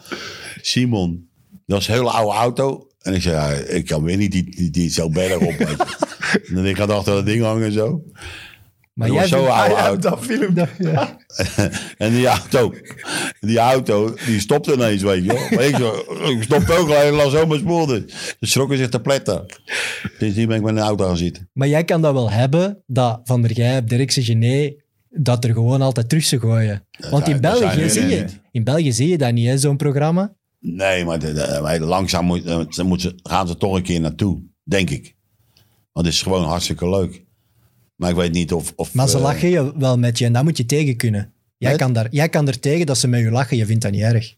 Speaker 3: Simon. Dat was een hele oude auto. En ik zei, ja, ik kan weer niet die, die, die zo berg op. weet je. en ik had achter dat ding hangen en zo.
Speaker 2: Maar
Speaker 3: Dat
Speaker 2: jij
Speaker 3: was zo
Speaker 2: vindt-
Speaker 3: oude
Speaker 1: Ah, ja,
Speaker 3: auto.
Speaker 1: dat filmpje.
Speaker 2: dat- ja.
Speaker 3: En die auto, die auto, die stopte ineens, weet je wel. Maar ik, zo- ik stopte ook, alleen las zo mijn spoor dus. Ze schrokken zich te pletten. Sindsdien ben ik met een auto gaan zitten.
Speaker 2: Maar jij kan dat wel hebben, dat Van der Gijp, Dirkse, Gené, dat er gewoon altijd terug ze gooien. Want in
Speaker 3: zijn- dat
Speaker 2: België,
Speaker 3: zijn
Speaker 2: zie
Speaker 3: jullie
Speaker 2: je, in België zie je dat niet, hè, zo'n programma.
Speaker 3: Nee, maar de- de- maar langzaam moet, eh, ze moeten- gaan ze toch een keer naartoe, denk ik. Want het is gewoon hartstikke leuk. Maar ik weet niet of... of
Speaker 2: Maar ze
Speaker 3: eh,
Speaker 2: lachen je wel met je en dat moet je tegen kunnen. Jij
Speaker 3: Met?
Speaker 2: kan, daar, jij kan er tegen dat ze met je lachen, je vindt dat niet erg.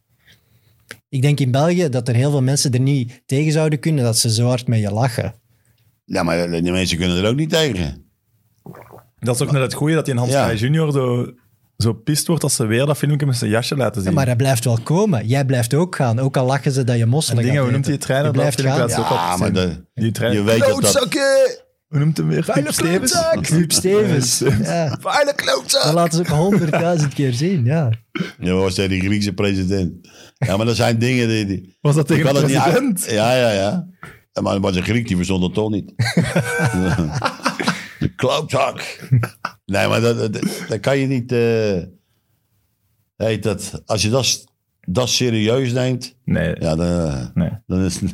Speaker 2: Ik denk in België dat er heel veel mensen er niet tegen zouden kunnen dat ze zo hard met je lachen.
Speaker 3: Ja, maar die mensen kunnen er ook niet tegen.
Speaker 1: Dat is ook net het goeie, dat die in Hans
Speaker 3: Ja.
Speaker 1: Kraaij junior zo, zo pist wordt als ze weer dat filmpje met zijn jasje laten zien.
Speaker 2: Maar dat blijft wel komen. Jij blijft ook gaan, ook al lachen ze dat je mosselen
Speaker 1: en dingen,
Speaker 2: gaat
Speaker 1: hoe noemt
Speaker 2: eten.
Speaker 1: die trainer?
Speaker 2: Je blijft
Speaker 1: dat filmpje
Speaker 2: gaan.
Speaker 1: laatst
Speaker 3: Ja,
Speaker 1: ook al
Speaker 3: Ah, maar
Speaker 1: gezien.
Speaker 3: de-
Speaker 1: die trainer.
Speaker 3: je weet dat dat...
Speaker 1: Hoe noemt hem weer? Philip Stevens?
Speaker 2: Club Stevens. Ja,
Speaker 3: Vuile
Speaker 2: dat laten ze ook honderdduizend keer zien, ja.
Speaker 3: Ja, was tegen die Griekse president. Ja, maar dat zijn dingen die... die
Speaker 1: Was dat tegen
Speaker 3: Ik
Speaker 1: de
Speaker 3: kan het niet uit-
Speaker 1: president?
Speaker 3: Ja, ja, ja. Ja, Maar het was een Griek, die verstond het toch niet. de klootzak. Nee, maar dat, dat, dat kan je niet... eh, heet dat, als je dat, dat serieus neemt,
Speaker 1: Nee.
Speaker 3: ja, dan,
Speaker 1: Nee.
Speaker 3: dan is het...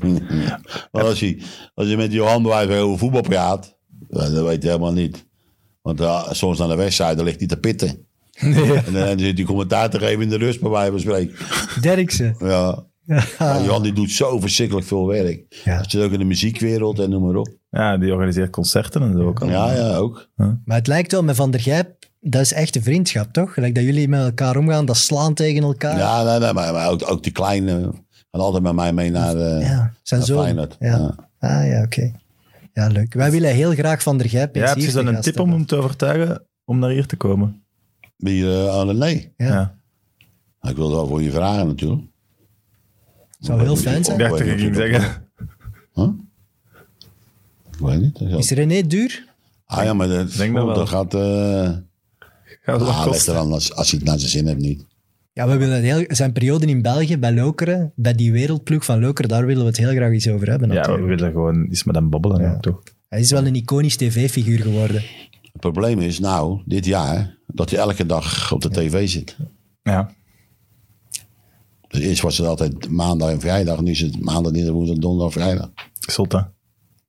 Speaker 3: maar als je, als je met Johan Blijf over voetbal praat, ja, dat weet je helemaal niet. Want eh, soms aan de wedstrijd, dan ligt hij te pitten. En dan zit die commentaar te geven in de rust, bij wijze van spreken.
Speaker 2: Derksen.
Speaker 3: Ja. Ja, Johan die doet zo verschrikkelijk veel werk.
Speaker 2: Ja.
Speaker 3: Dat zit ook in de muziekwereld en noem maar op.
Speaker 1: Ja, die organiseert concerten en zo ook al.
Speaker 3: Ja, ja, ook.
Speaker 2: Maar het lijkt wel met Van der Gijp, dat is echt een vriendschap, toch? Gelijk dat jullie met elkaar omgaan, dat slaan tegen elkaar.
Speaker 3: Ja, nee, nee, maar, maar ook, ook die kleine gaan altijd met mij mee naar, eh
Speaker 2: Ja, zijn
Speaker 3: naar
Speaker 2: zoon.
Speaker 3: Feyenoord.
Speaker 2: Ja. Ah ja, oké. Ja, leuk. Wij willen heel graag Van der Gijp.
Speaker 1: Ja,
Speaker 2: eens
Speaker 1: heb je
Speaker 2: hier
Speaker 1: dan
Speaker 2: te
Speaker 1: een
Speaker 2: gast
Speaker 1: tip om
Speaker 2: hebben.
Speaker 1: hem te overtuigen om naar hier te komen?
Speaker 3: Wie, eh, Anne? nee.
Speaker 2: Ja.
Speaker 1: Ja.
Speaker 3: Nou, Ik wil wel voor je vragen natuurlijk.
Speaker 2: Zou heel fijn
Speaker 1: Ik
Speaker 2: zijn.
Speaker 1: dacht dat je ging zeggen.
Speaker 3: Huh? Ik weet niet. dat is-
Speaker 2: Is René duur?
Speaker 3: Ah ja, maar dat,
Speaker 1: Denk dat
Speaker 3: dat,
Speaker 1: wel.
Speaker 3: gaat... eh
Speaker 1: Gaat wel
Speaker 3: ah, ligt
Speaker 1: kosten.
Speaker 3: eraan als, als hij het naar zijn zin heeft niet.
Speaker 2: Ja, we willen heel, zijn periode in België bij Lokeren, bij die wereldploeg van Lokeren, daar willen we het heel graag iets over hebben.
Speaker 1: Ja, we
Speaker 2: natuurlijk.
Speaker 1: willen gewoon iets met hem babbelen, ja. toch?
Speaker 2: Hij is wel een iconisch tv-figuur geworden.
Speaker 3: Het probleem is nou, dit jaar, dat hij elke dag op de tv zit.
Speaker 1: Ja.
Speaker 3: Dus eerst was het altijd maandag en vrijdag. Nu is het maandag, dinsdag, woensdag, donderdag, vrijdag.
Speaker 1: Zot, hè?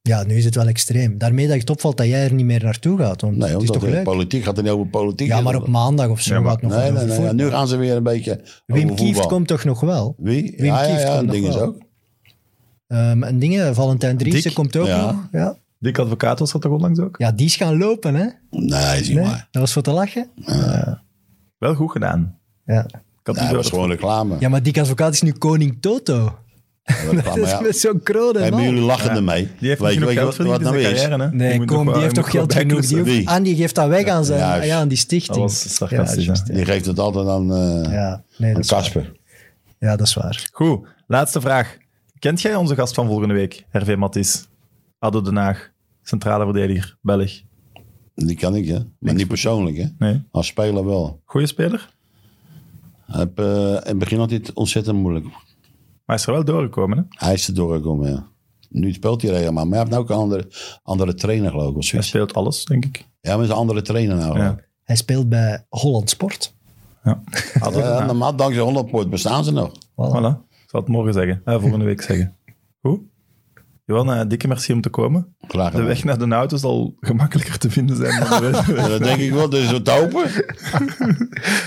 Speaker 2: Ja, nu is het wel extreem. Daarmee dat het opvalt dat jij er niet meer naartoe gaat. Want
Speaker 3: Nee,
Speaker 2: het is
Speaker 3: omdat
Speaker 2: toch
Speaker 3: de
Speaker 2: leuk?
Speaker 3: politiek gaat er niet over politiek.
Speaker 2: Ja, maar op maandag of zo.
Speaker 1: Ja, maar-
Speaker 2: gaat nog
Speaker 3: Nee,
Speaker 2: wel
Speaker 3: nee,
Speaker 2: over
Speaker 3: nee.
Speaker 2: voetbal.
Speaker 3: Nu gaan ze weer een beetje
Speaker 2: Wim
Speaker 3: over
Speaker 2: Kieft
Speaker 3: voetbal.
Speaker 2: komt toch nog wel?
Speaker 3: Wie?
Speaker 2: Wim
Speaker 3: ja, ja,
Speaker 2: Kieft komt
Speaker 3: ja, dat
Speaker 2: nog
Speaker 3: ding is
Speaker 2: wel.
Speaker 3: ook.
Speaker 2: Ehm, en dingen, Valentijn Driessen
Speaker 1: Dik?
Speaker 2: komt ook
Speaker 3: Ja.
Speaker 2: nog. Ja.
Speaker 1: Dick Advocaat was dat toch onlangs ook?
Speaker 2: ja, die is gaan lopen, hè?
Speaker 3: Nee, zie
Speaker 2: Nee?
Speaker 3: maar.
Speaker 2: Dat was voor te lachen.
Speaker 1: Wel goed gedaan.
Speaker 2: Ja,
Speaker 1: Ik had
Speaker 3: Nee,
Speaker 1: niet
Speaker 3: dat was
Speaker 1: door.
Speaker 3: gewoon reclame.
Speaker 2: ja maar die advocaat is nu koning Toto.
Speaker 3: Dat was reclame,
Speaker 2: Dat is
Speaker 3: ja.
Speaker 2: met zo'n kroon en
Speaker 3: Hebben
Speaker 2: al.
Speaker 3: jullie lachen ermee?
Speaker 1: Die heeft niet
Speaker 3: Weet je-
Speaker 1: genoeg
Speaker 3: weet je
Speaker 1: geld
Speaker 3: wat- wat
Speaker 1: verdiend in
Speaker 3: nou
Speaker 1: zijn
Speaker 3: is?
Speaker 1: carrière, hè?
Speaker 2: Nee,
Speaker 1: moet
Speaker 2: kom,
Speaker 1: nog
Speaker 2: die
Speaker 1: wel-
Speaker 2: heeft
Speaker 1: moet
Speaker 2: toch
Speaker 1: wel
Speaker 2: geld genoeg. Die
Speaker 1: bijklussen.
Speaker 2: hoeft,
Speaker 3: Wie?
Speaker 2: aan die geeft dat weg aan, zijn, ah,
Speaker 3: juist.
Speaker 2: ja, aan die stichting.
Speaker 1: Dat was sarcastisch,
Speaker 2: ja, juist,
Speaker 1: hè?
Speaker 3: Die geeft het altijd aan, eh,
Speaker 2: ja, nee,
Speaker 3: aan
Speaker 2: dat is waar.
Speaker 3: Casper.
Speaker 2: Ja, dat is waar.
Speaker 1: Goed, laatste vraag. Kent jij onze gast van volgende week, Hervé Mattis? Addo Den Haag, centrale verdediger, Belg.
Speaker 3: Die kan ik, hè? Maar niet persoonlijk, hè?
Speaker 1: Nee.
Speaker 3: Als speler wel.
Speaker 1: Goeie speler,
Speaker 3: Hij heeft, eh, in het begin had hij het ontzettend moeilijk.
Speaker 1: maar is er wel doorgekomen. Hè?
Speaker 3: Hij is er doorgekomen, ja. Nu speelt hij helemaal. Maar hij heeft nou ook een andere, andere trainer, geloof ik. Of
Speaker 1: Hij
Speaker 3: zoiets.
Speaker 1: speelt alles, denk ik.
Speaker 3: Ja, maar is een andere trainer nou. geloof ik.
Speaker 2: Hij speelt bij Holland Sport.
Speaker 1: Ja. Addo Den
Speaker 3: Ja,
Speaker 1: Haag.
Speaker 3: normaal dankzij Hollandpoort bestaan ze nog.
Speaker 2: Voilà.
Speaker 1: Voilà. Ik zal het morgen zeggen, eh, volgende week zeggen. Goed. Johan, eh, dikke merci om te komen.
Speaker 3: Graag
Speaker 1: De
Speaker 3: gedaan.
Speaker 1: weg naar de auto zal gemakkelijker te vinden zijn dan de weg.
Speaker 3: Ja, dat denk ik wel. Dus het open.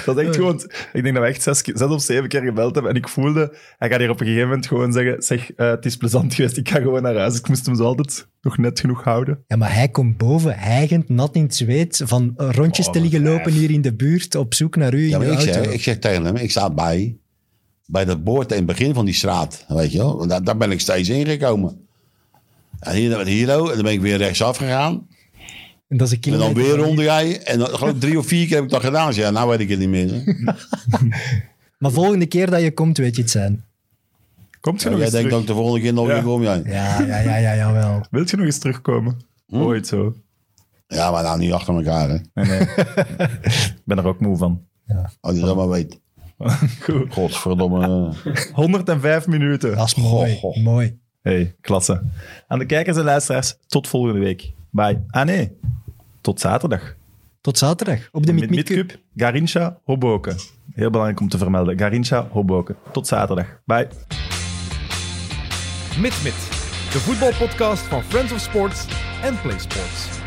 Speaker 1: Dat is echt gewoon... Ik denk dat we echt zes, keer- zes of zeven keer gebeld hebben. En ik voelde... Hij gaat hier op een gegeven moment gewoon zeggen... Zeg, eh, het is plezant geweest. Ik ga gewoon naar huis. Ik moest hem zo altijd nog net genoeg houden.
Speaker 2: Ja, maar hij komt boven, hijgend, nat in het zweet, van rondjes te liggen lopen hier in de buurt, op zoek naar u in
Speaker 3: Ja, maar
Speaker 2: de
Speaker 3: ik
Speaker 2: auto.
Speaker 3: zeg, ik zeg tegen hem, ik sta bij, bij dat boord in het begin van die straat. Weet je wel, daar, daar ben ik steeds ingekomen. En hier, met Hero, en dan ben ik weer rechtsaf gegaan.
Speaker 2: en dat is een
Speaker 3: En dan
Speaker 2: kilometer
Speaker 3: weer
Speaker 2: van hier.
Speaker 3: rond jij. En dan, geloof ik drie of vier keer heb ik dat gedaan. Ik zeg, Ja, nou weet ik het niet meer. zeg.
Speaker 2: Maar volgende keer dat je komt, weet je het zijn.
Speaker 1: Komt je
Speaker 3: Ja,
Speaker 1: nog
Speaker 3: jij
Speaker 1: eens
Speaker 3: denkt
Speaker 1: terug?
Speaker 3: dat ik de volgende keer nog
Speaker 1: Ja.
Speaker 3: weer kom. Ja.
Speaker 2: Ja, ja, ja, ja, jawel.
Speaker 1: Wilt je nog eens terugkomen?
Speaker 3: Hm?
Speaker 1: Ooit zo.
Speaker 3: ja, maar nou niet achter elkaar. Hè.
Speaker 1: Nee, nee. ik ben er ook moe van.
Speaker 3: Als je dat maar weet.
Speaker 1: Goed.
Speaker 3: Godverdomme.
Speaker 1: 105 minuten.
Speaker 2: Dat is mooi,
Speaker 3: Goh.
Speaker 2: mooi.
Speaker 1: Hey, klasse. Aan de kijkers en luisteraars, tot volgende week. Bye. Ah nee, tot zaterdag.
Speaker 2: Tot zaterdag op de Meet Cup.
Speaker 1: Midcup, Garincha, Hoboken. Heel belangrijk om te vermelden. Garincha, Hoboken. Tot zaterdag. Bye.
Speaker 4: MidMid, de voetbalpodcast van Friends of Sports en PlaySports.